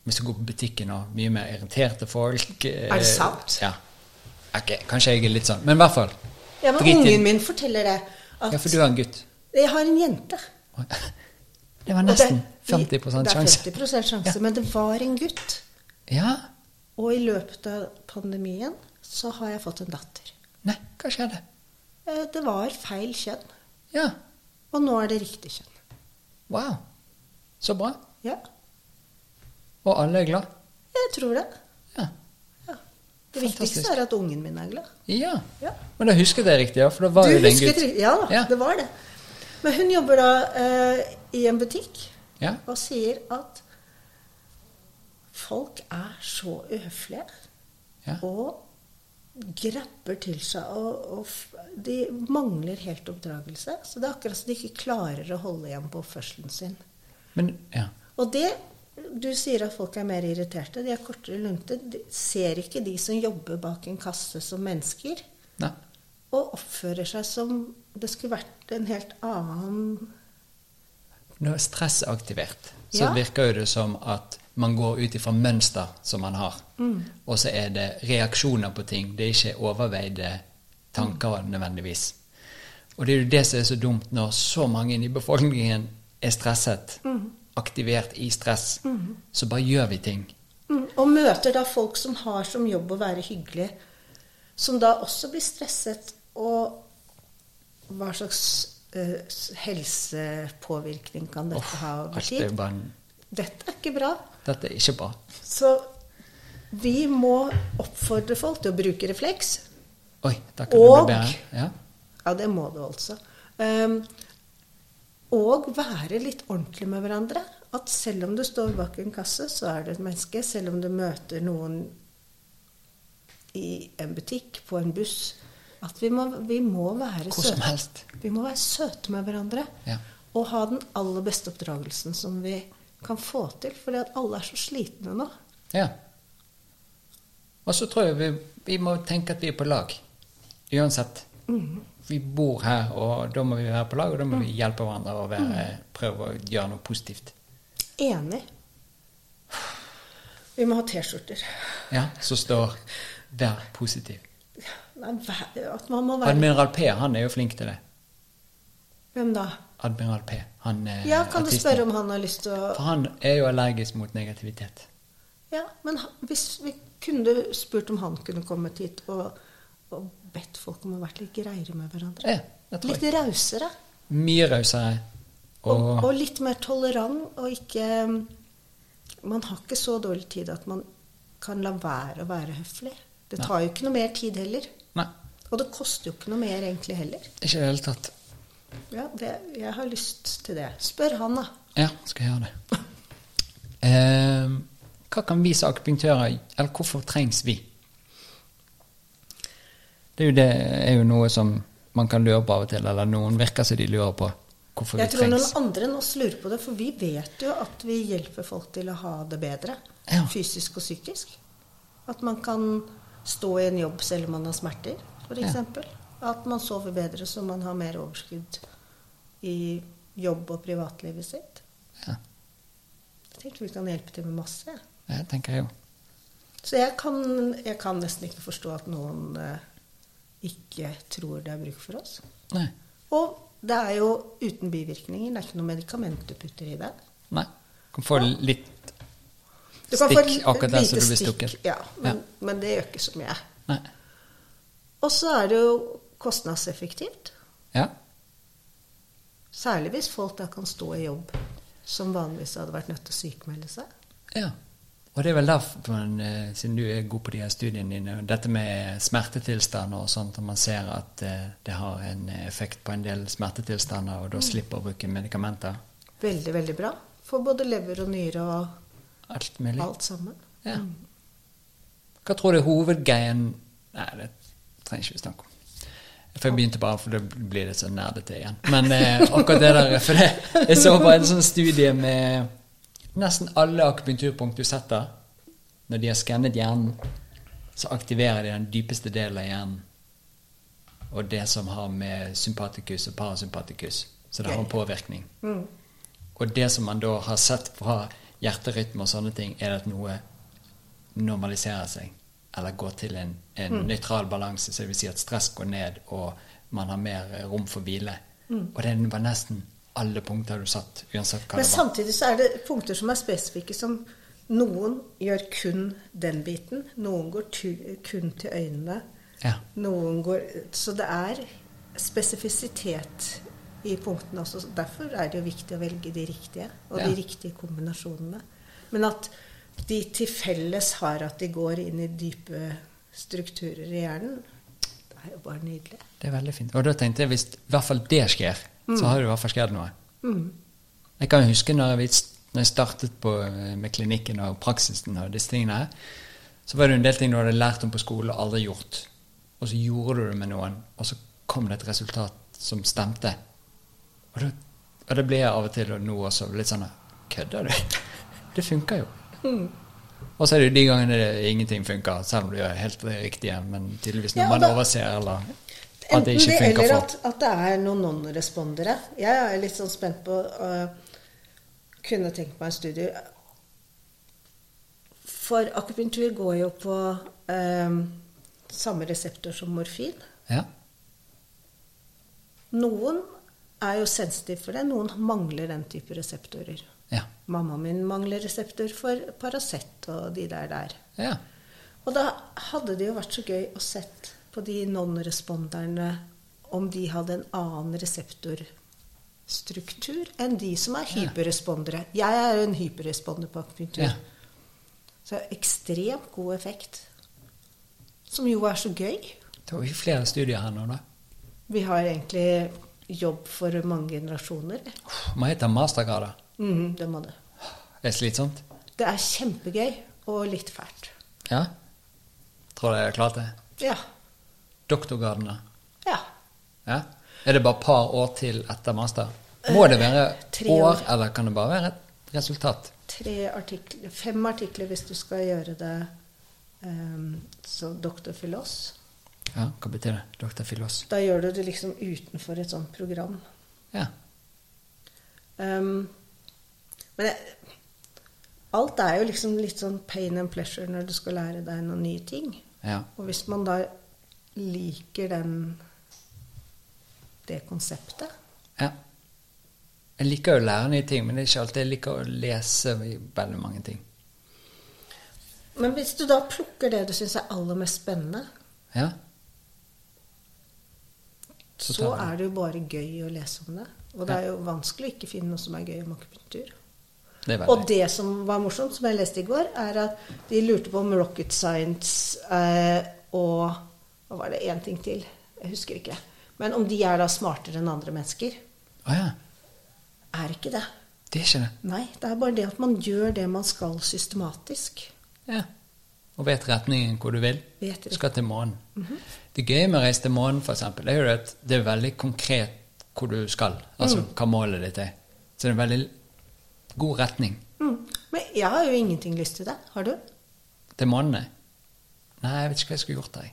hvis du går på butikken og mye mer irriterte folk eh, Er det sant? Ja. Ok, kanskje jeg er litt sånn, men i hvert fall. Ja, men drit i- ungen min forteller det. At Ja, for du er en gutt. Jeg har en jente. Det var Og det- nesten 50 sjanse. Det er 50 sjanse, men det var en gutt. Ja. Og i løpet av pandemien så har jeg fått en datter. Nei, hva skjedde? Eh, Det var feil kjønn. Ja. Og nå er det riktig kjønn. Wow. Så bra. Ja, Og alle er glad. jeg tror det. Ja. Ja. Det Fantastisk. viktigste er at ungen min er glad. ja. Ja. Men da husket jeg riktig, ja. For da var Du jo det en husket gutt. ri- Ja da, Ja. det var det. Men hun jobber da eh, i en butikk Ja. og sier at folk er så uhøflige Ja. og grabber til seg og, og f- De mangler helt oppdragelse. Så det er akkurat som de ikke klarer å holde igjen på oppførselen sin. Men ja. Og det Du sier at folk er mer irriterte. De har kortere lunte. De ser ikke de som jobber bak en kasse, som mennesker. Nei. Og oppfører seg som det skulle vært en helt annen Når stress er aktivert, så Ja. virker jo det som at man går ut ifra mønster som man har. Mm. Og så er det reaksjoner på ting. Det er ikke overveide tanker nødvendigvis. Og det er jo det som er så dumt når så mange i befolkningen er stresset, Mm. aktivert i stress, så bare gjør vi ting. Mm, Og møter da folk som har som jobb å være hyggelig, som da også blir stresset, og hva slags eh, s- helsepåvirkning kan dette Uff, ha alt over er tid? bare en- Dette er ikke bra. Dette er ikke bra. Så vi må oppfordre folk til å bruke refleks. Oi, da kan det Og- bli bedre. Ja. Ja, det må du altså. Ehm, og være litt ordentlig med hverandre. At selv om du står bak en kasse, så er du et menneske. Selv om du møter noen i en butikk, på en buss. At vi må, vi må være Hvor som søte. helst. Vi må være søte med hverandre. Ja. Og ha den aller beste oppdragelsen som vi kan få til. Fordi at alle er så slitne nå. Ja. Og så tror jeg vi, vi må tenke at vi er på lag. Uansett. Mhm. Vi bor her, og da må vi være på lag, og da må vi hjelpe hverandre og være, Mhm. prøve å gjøre noe positivt. Enig. Vi må ha T-skjorter. Ja, Så står 'vær positiv'. Nei, vær- At man må være Admiral P han er jo flink til det. Hvem da? Admiral P. Han er Ja, kan du spørre om han har lyst til For å han er jo allergisk mot negativitet. Ja, men han- hvis vi kunne spurt om han kunne kommet hit og, og bedt folk om å være litt greiere med hverandre. Ja, det tror Litt jeg. rausere. Mye rausere. Og, Og, og litt mer tolerant og ikke mm, Man har ikke så dårlig tid at man kan la være å være høflig. Det tar jo ikke noe mer tid heller. Nei, Og det koster jo ikke noe mer egentlig heller. ikke i det hele tatt. Ja, det, jeg har lyst til det. Spør han, da. Ja, skal jeg gjøre det. Eh, hva kan vi som akupunktører Eller hvorfor trengs vi? Det er jo, det, er jo noe som man kan lure på av og til, eller noen virker som de lurer på hvorfor Jeg vi tror trengs. noen andre enn oss lurer på det, for vi vet jo at vi hjelper folk til å ha det bedre. Ja. Fysisk og psykisk. At man kan stå i en jobb selv om man har smerter, f.eks. Ja. eksempel. At man sover bedre så man har mer overskudd i jobb og privatlivet sitt. Ja, Jeg tenker vi kan hjelpe til med masse. jeg. det tenker jeg jo. Så jeg kan, jeg kan nesten ikke forstå at noen eh, ikke tror det er bruk for oss. Nei. Og det er jo uten bivirkninger. Det er ikke noe medikament du putter i det. Nei. Kan få litt Du kan få stikk et akkurat der lite som du blir stikk, stukket. Ja, men, men det gjør ikke så mye. Nei. Og så er det jo kostnadseffektivt. Ja. Særlig hvis folk da kan stå i jobb som vanligvis hadde vært nødt til å sykmelde seg. Ja. Og det er vel derfor, man, eh, siden du er god på de her studiene dine, og dette med smertetilstander og sånt, og man ser at eh, det har en effekt på en del smertetilstander, og da slipper å bruke medikamenter. Veldig, veldig bra. For både lever og nyre og Alt mulig. alt sammen. Ja. Hva tror du er hovedgreien Nei, det trenger ikke vi snakke om. For jeg begynte bare, for da blir det så nerdete igjen. Men eh, akkurat det der For det, jeg så bare en sånn studie med nesten alle akupunkturpunkt du setter. Når de har skannet hjernen, så aktiverer de den dypeste delen av hjernen. Og det som har med sympatikus og parasympatikus. Så det har en påvirkning. Og det som man da har sett fra hjerterytme og sånne ting, er at noe normaliserer seg. Eller går til en, en nøytral balanse, så det vil si at stress går ned, og man har mer eh, rom for hvile. Og det var nesten alle punkter du satt, uansett hva Men det var. samtidig så er det punkter som er spesifikke, som noen gjør kun den biten. Noen går tu, kun til øynene. Ja. Noen går Så det er spesifisitet i punktene også. så Derfor er det jo viktig å velge de riktige, og Ja. de riktige kombinasjonene. Men at de til felles har at de går inn i dype strukturer i hjernen, det er jo bare nydelig. Det er veldig fint. Og da tenkte jeg hvis i hvert fall det skjer, Mm. så har det i hvert fall skjedd noe. Jeg kan jo huske når jeg, vis- når jeg startet på, eh, med klinikken og praksisen og disse tingene her, så var det jo en del ting du hadde lært om på skolen og aldri gjort. Og så gjorde du det med noen, og så kom det et resultat som stemte. Og, da, og det ble jeg av og til og nå også litt sånn Kødder du? Det funker jo. Mm. Og så er det jo de gangene det ingenting funker, selv om du gjør helt det riktige, men tydeligvis noe Ja, og man da- overser, eller at det Enten ikke det, funker eller for at, at det er noen non-respondere. Jeg er litt sånn spent på å kunne tenkt meg en studie. For akupunktur går jo på eh, samme reseptor som morfin. Ja. Noen er jo sensitive for det, noen mangler den type reseptorer. Ja. Mammaen min mangler reseptor for Paracet og de der der. ja. Og da hadde det jo vært så gøy å sett på de non-responderne om de hadde en annen reseptorstruktur enn de som er hyperrespondere. Jeg er jo en hyperresponder på akupunktur. Ja. Så ekstremt god effekt. Som jo er så gøy. Det var jo flere studier her nå, da. Vi har egentlig jobb for mange generasjoner. Uff, Må jeg ta mastergrad, da? Mhm, det må det. Er det slitsomt? Det er kjempegøy og litt fælt. Ja? Tror dere jeg har klart det? Ja. Doktorgraden, da? Ja. Ja? Er det bare par år til etter master? Må det være Eh, Tre år, år. eller kan det bare være et resultat? tre artikler, fem artikler hvis du skal gjøre det um, som doktor Filos. Ja, hva betyr det? Doktor Filos. Da gjør du det liksom utenfor et sånt program. Ja. Ehm, men jeg, alt er jo liksom litt sånn pain and pleasure når du skal lære deg noen nye ting. ja. Og hvis man da liker den det konseptet Ja. Jeg liker jo å lære nye ting, men det er ikke alltid jeg liker å lese i veldig mange ting. Men hvis du da plukker det du syns er aller mest spennende, Ja? så, Så tar vi det. er det jo bare gøy å lese om det. Og det er jo vanskelig å ikke finne noe som er gøy om akupunktur. Det er Og veldig det som var morsomt, som jeg leste i går, er at de lurte på om rocket science eh, og Hva var det? Én ting til. Jeg husker ikke. Men om de er da smartere enn andre mennesker? Å ja. Er ikke det. Det er ikke det. Nei. Det er bare det at man gjør det man skal, systematisk. Ja. Og vet retningen hvor du vil. Vet det. Mhm. Du skal til månen. Det gøye med å reise til månen, for eksempel, er jo at det er veldig konkret hvor du skal. Altså Mm. hva målet ditt er. Så det er en veldig god retning Mm. Men jeg har jo ingenting lyst til det. Har du? til månen. nei. Nei, jeg vet ikke hva jeg skulle gjort der. jeg.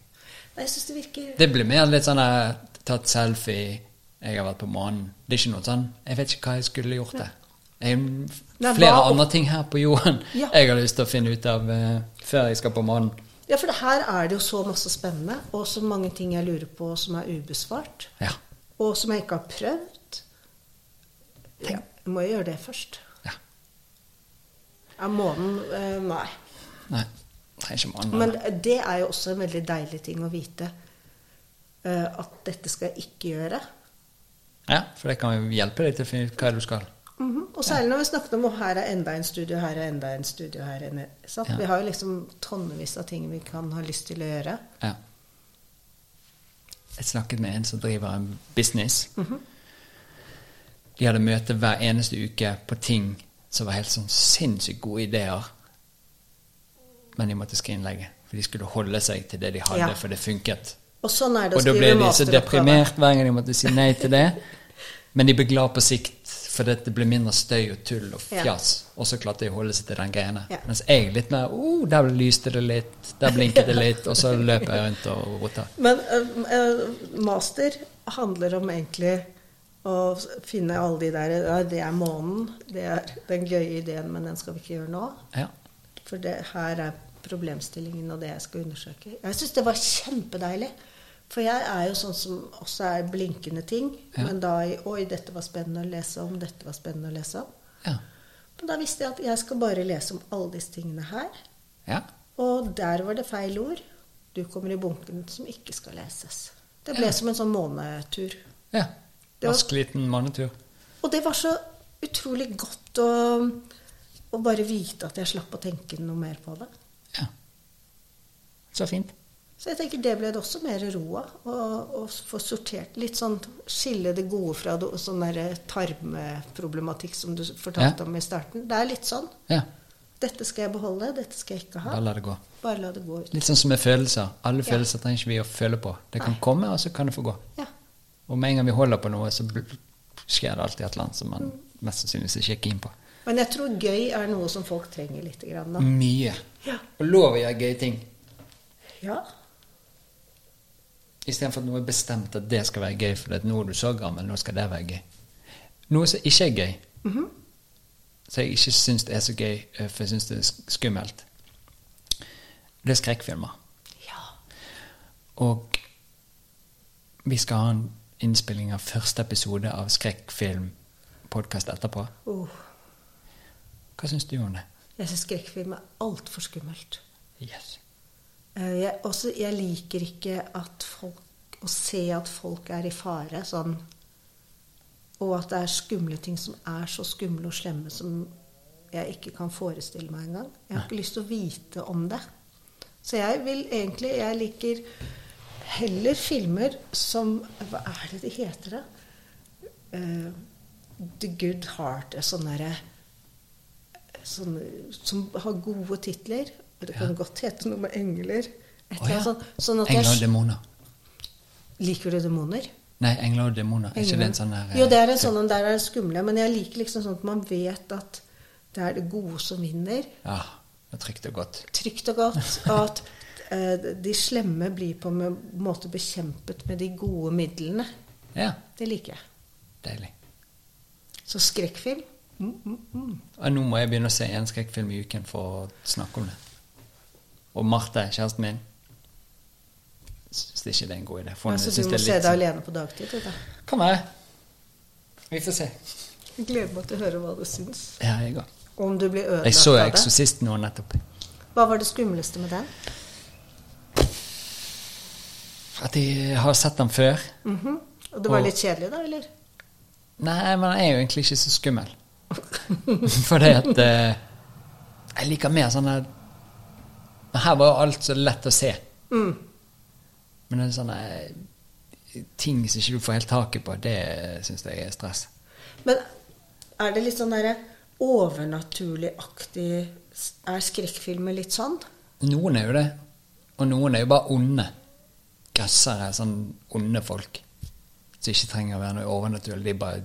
Nei, jeg syns det virker Det blir mer litt sånn eh, tatt selfie, jeg har vært på månen. Det er ikke noe sånn Jeg vet ikke hva jeg skulle gjort der. Jeg, Nei, flere hva- andre ting her på jorden Ja. jeg har lyst til å finne ut av eh, før jeg skal på månen. Ja, for det her er det jo så masse spennende, og så mange ting jeg lurer på som er ubesvart, Ja. og som jeg ikke har prøvd. Tenk. Jeg må jo gjøre det først. ja. Ja, månen eh, Nei. Nei. Det er ikke månen. Men det er jo også en veldig deilig ting å vite. eh, At dette skal jeg ikke gjøre. Ja, for det kan jo hjelpe deg til å finne ut hva du skal. Mhm. Og særlig når vi snakket om at her er enda en studio, her er enda en studio her er en, sant? Ja. Vi har jo liksom tonnevis av ting vi kan ha lyst til å gjøre. Ja. Jeg snakket med en som driver en business. De hadde møte hver eneste uke på ting som var helt sånn sinnssykt gode ideer. Men de måtte skrinlegge, for de skulle holde seg til det de hadde, Ja. for det funket. Og sånn er det å Og da skrive ble de så masteroppgave. deprimert hver gang de måtte si nei til det. Men de ble glad på sikt, for det ble mindre støy og tull og Ja. fjas. Og så klarte de å holde seg til den greiene. Ja. Mens jeg litt mer oh, Der lyste det litt, der blinket det litt, og så løp jeg rundt og rota. Men eh, eh, master handler om egentlig å finne alle de der ja, Det er månen. Det er den gøye ideen, men den skal vi ikke gjøre nå. Ja. For det her er problemstillingen og det jeg skal undersøke. Jeg syns det var kjempedeilig. For jeg er jo sånn som også er blinkende ting. Ja. Men da i Oi, dette var spennende å lese om. Dette var spennende å lese om. Ja. Men da visste jeg at jeg skal bare lese om alle disse tingene her. ja. Og der var det feil ord. Du kommer i bunken som ikke skal leses. Det ble Ja. som en sånn månetur. ja. Det var- Rask liten mannetur. Og det var så utrolig godt å, å bare vite at jeg slapp å tenke noe mer på det. Ja. Så fint. Så jeg tenker det ble det også mer ro av. å- Å få sortert litt sånn Skille det gode fra det, og sånn der tarmproblematikk som du fortalte Ja. om i starten. Det er litt sånn. Ja. Dette skal jeg beholde, dette skal jeg ikke ha. Bare la det gå. Bare la det gå ut. Litt sånn som med følelser. Alle Ja. følelser trenger ikke vi å føle på. Det kan Nei. komme, og så kan det få gå. Ja. Og med en gang vi holder på noe, så bl- skjer det alltid et eller annet som man mest sannsynligvis ikke er keen på. Men jeg tror gøy er noe som folk trenger lite grann Mm. nå. Mye. Ja. Og lov å gjøre gøye ting Ja. istedenfor at noe er bestemt at det skal være gøy, for at nå er du så gammel, nå skal det være gøy. Noe som ikke er gøy, som jeg ikke syns det er så gøy, eh, for jeg syns det er sk- skummelt, det er skrekkfilmer. ja. Og vi skal ha en innspilling av første episode av skrekkfilmpodkast etterpå. Oh. Hva syns du om det? Jeg syns skrekkfilm er altfor skummelt. Yes. Eh, Jeg, også, jeg liker ikke at folk, å se at folk er i fare, sånn, og at det er skumle ting som er så skumle og slemme som jeg ikke kan forestille meg engang. Jeg har ikke lyst til å vite om det. Så jeg vil egentlig Jeg liker heller filmer som Hva er det de heter, da? Eh, The Good Heart. Sånn derre sånn, som har gode titler. Og det kan godt hete noe med engler. Et Å eller annet ja. sånt. Sånn at jeg Engler og demoner. Liker du demoner? Nei, engler og demoner. Er ikke det en Engler. sånn der eh, Jo, det er en sånn en der er det skumle. Men jeg liker liksom sånn at man vet at det er det gode som vinner. Ja. Det er trygt og godt. Trygt og godt. Og at eh, de slemme blir på en måte bekjempet med de gode midlene. Ja. Det liker jeg. Deilig. Så skrekkfilm mm, mm, mm. Ja, nå må jeg begynne å se en skrekkfilm i uken for å snakke om det. Og Marte, kjæresten min, syns ikke det er en god idé. for hun Altså, synes det du må er se litt deg alene på dagtid. du, da. sånn- Kan være. Vi får se. Jeg gleder meg til å høre hva du syns. Ja, jeg òg. Og Om du blir Jeg så ødelagt av det. 'Eksorsisten' nå nettopp. Hva var det skumleste med den? At jeg har sett den før. Mhm. Og det var Og- litt kjedelig, da, eller? Nei, men den er jo egentlig ikke så skummel. Fordi at eh, Jeg liker mer sånn der Men Her var jo alt så lett å se. Mm. Men det er sånne eh, ting som ikke du får helt taket på, det syns jeg er stress. Men er det litt sånn derre overnaturlig-aktig Er skrekkfilmer litt sånn? Noen er jo det, og noen er jo bare onde. Grøssere, sånn onde folk. Som ikke trenger å være noe overnaturlig. De er bare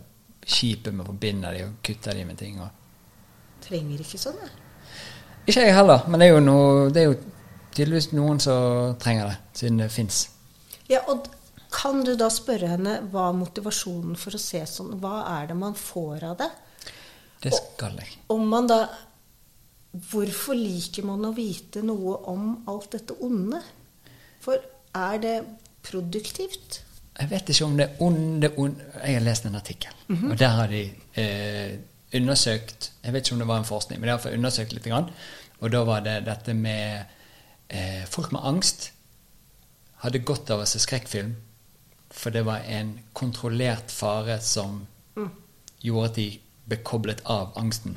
kjipe med å forbinde de og kutte de med ting. Og... Trenger ikke sånn, jeg. Ikke jeg heller, men det er jo, noe, det er jo tydeligvis noen som trenger det, siden det fins. Ja, og d- kan du da spørre henne hva er motivasjonen for å se sånn Hva er det man får av det? Det skal jeg. Om man da Hvorfor liker man å vite noe om alt dette onde? For er det produktivt? Jeg vet ikke om det er ond, det er ond. Jeg har lest en artikkel, og der har de eh, undersøkt Jeg vet ikke om det var en forskning, men de har fått undersøkt litt. Grann, og da var det dette med eh, Folk med angst hadde godt av å se skrekkfilm, for det var en kontrollert fare som gjorde at de ble koblet av angsten,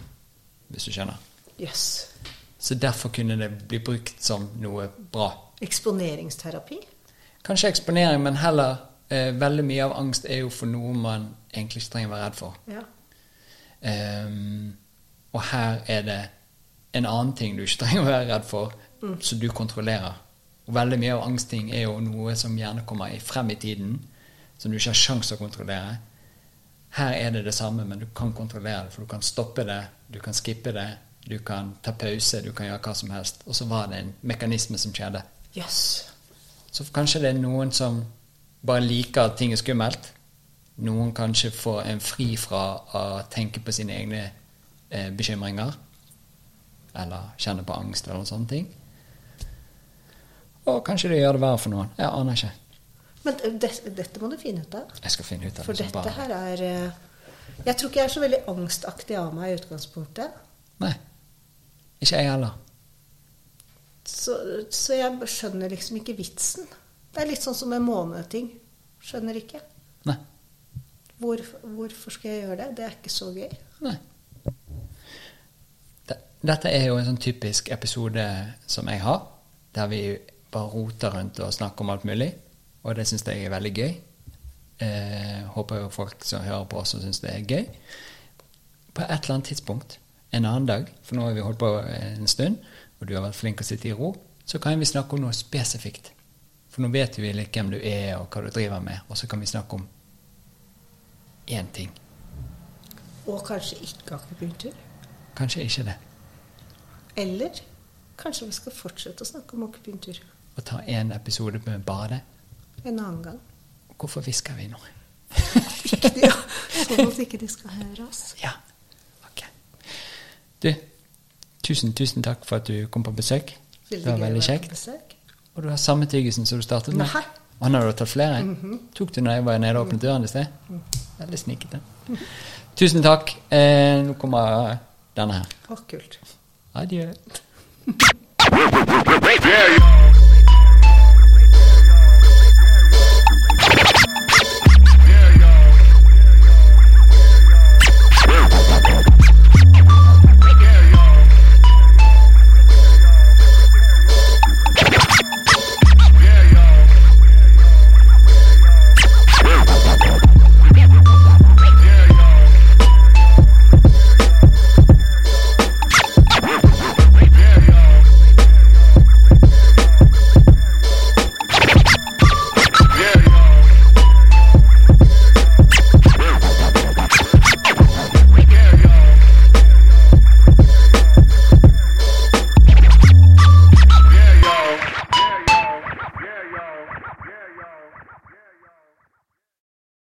hvis du skjønner. Jøss. Yes. Så derfor kunne det bli brukt som noe bra. Eksponeringsterapi? Kanskje eksponering, men heller eh, veldig mye av angst er jo for noe man egentlig ikke trenger å være redd for. Ja. Ehm, og her er det en annen ting du ikke trenger å være redd for, som du kontrollerer. Og veldig mye av angstting er jo noe som gjerne kommer i- frem i tiden, som du ikke har sjanse å kontrollere. Her er det det samme, men du kan kontrollere det, for du kan stoppe det, du kan skippe det, du kan ta pause, du kan gjøre hva som helst. Og så var det en mekanisme som skjedde. Jøss. Så kanskje det er noen som bare liker at ting er skummelt. Noen kanskje får en fri fra å tenke på sine egne eh, bekymringer. Eller kjenne på angst eller sånne ting. Og kanskje det gjør det verre for noen. Jeg aner ikke. Men eh, det, dette må du finne ut av. Jeg skal finne ut av For det. som dette liksom, bare- her er eh, Jeg tror ikke jeg er så veldig angstaktig av meg i utgangspunktet. Nei. Ikke jeg heller. Så, så jeg skjønner liksom ikke vitsen. Det er litt sånn som med måneting. Skjønner ikke. Nei. Hvorfor, hvorfor skal jeg gjøre det? Det er ikke så gøy. Nei. De- Dette er jo en sånn typisk episode som jeg har, der vi bare roter rundt og snakker om alt mulig. Og det syns jeg er veldig gøy. Eh, håper jo folk som hører på også syns det er gøy. På et eller annet tidspunkt, en annen dag, for nå har vi holdt på en stund, og du har vært flink å sitte i ro, så kan vi snakke om noe spesifikt. For nå vet vi litt hvem du er, og hva du driver med, og så kan vi snakke om én ting. Og kanskje ikke akupunktur. Kanskje ikke det. Eller kanskje vi skal fortsette å snakke om akupunktur og ta en episode med bare det. en annen gang. Hvorfor hvisker vi nå? Ikke de, sånn at ikke de skal høre oss. Ja. Ok. Du, tusen, tusen takk for at du kom på besøk. Det var gøy å veldig være på kjekt. besøk. Og du har samme tyggelsen som du startet med. Nei. Mhm. Å, nå har du tatt flere? Tok du når jeg var nede og åpnet døren i sted? Veldig snikete. Tusen takk. Eh, nå kommer denne her. Å, kult. Adjø. Yeah,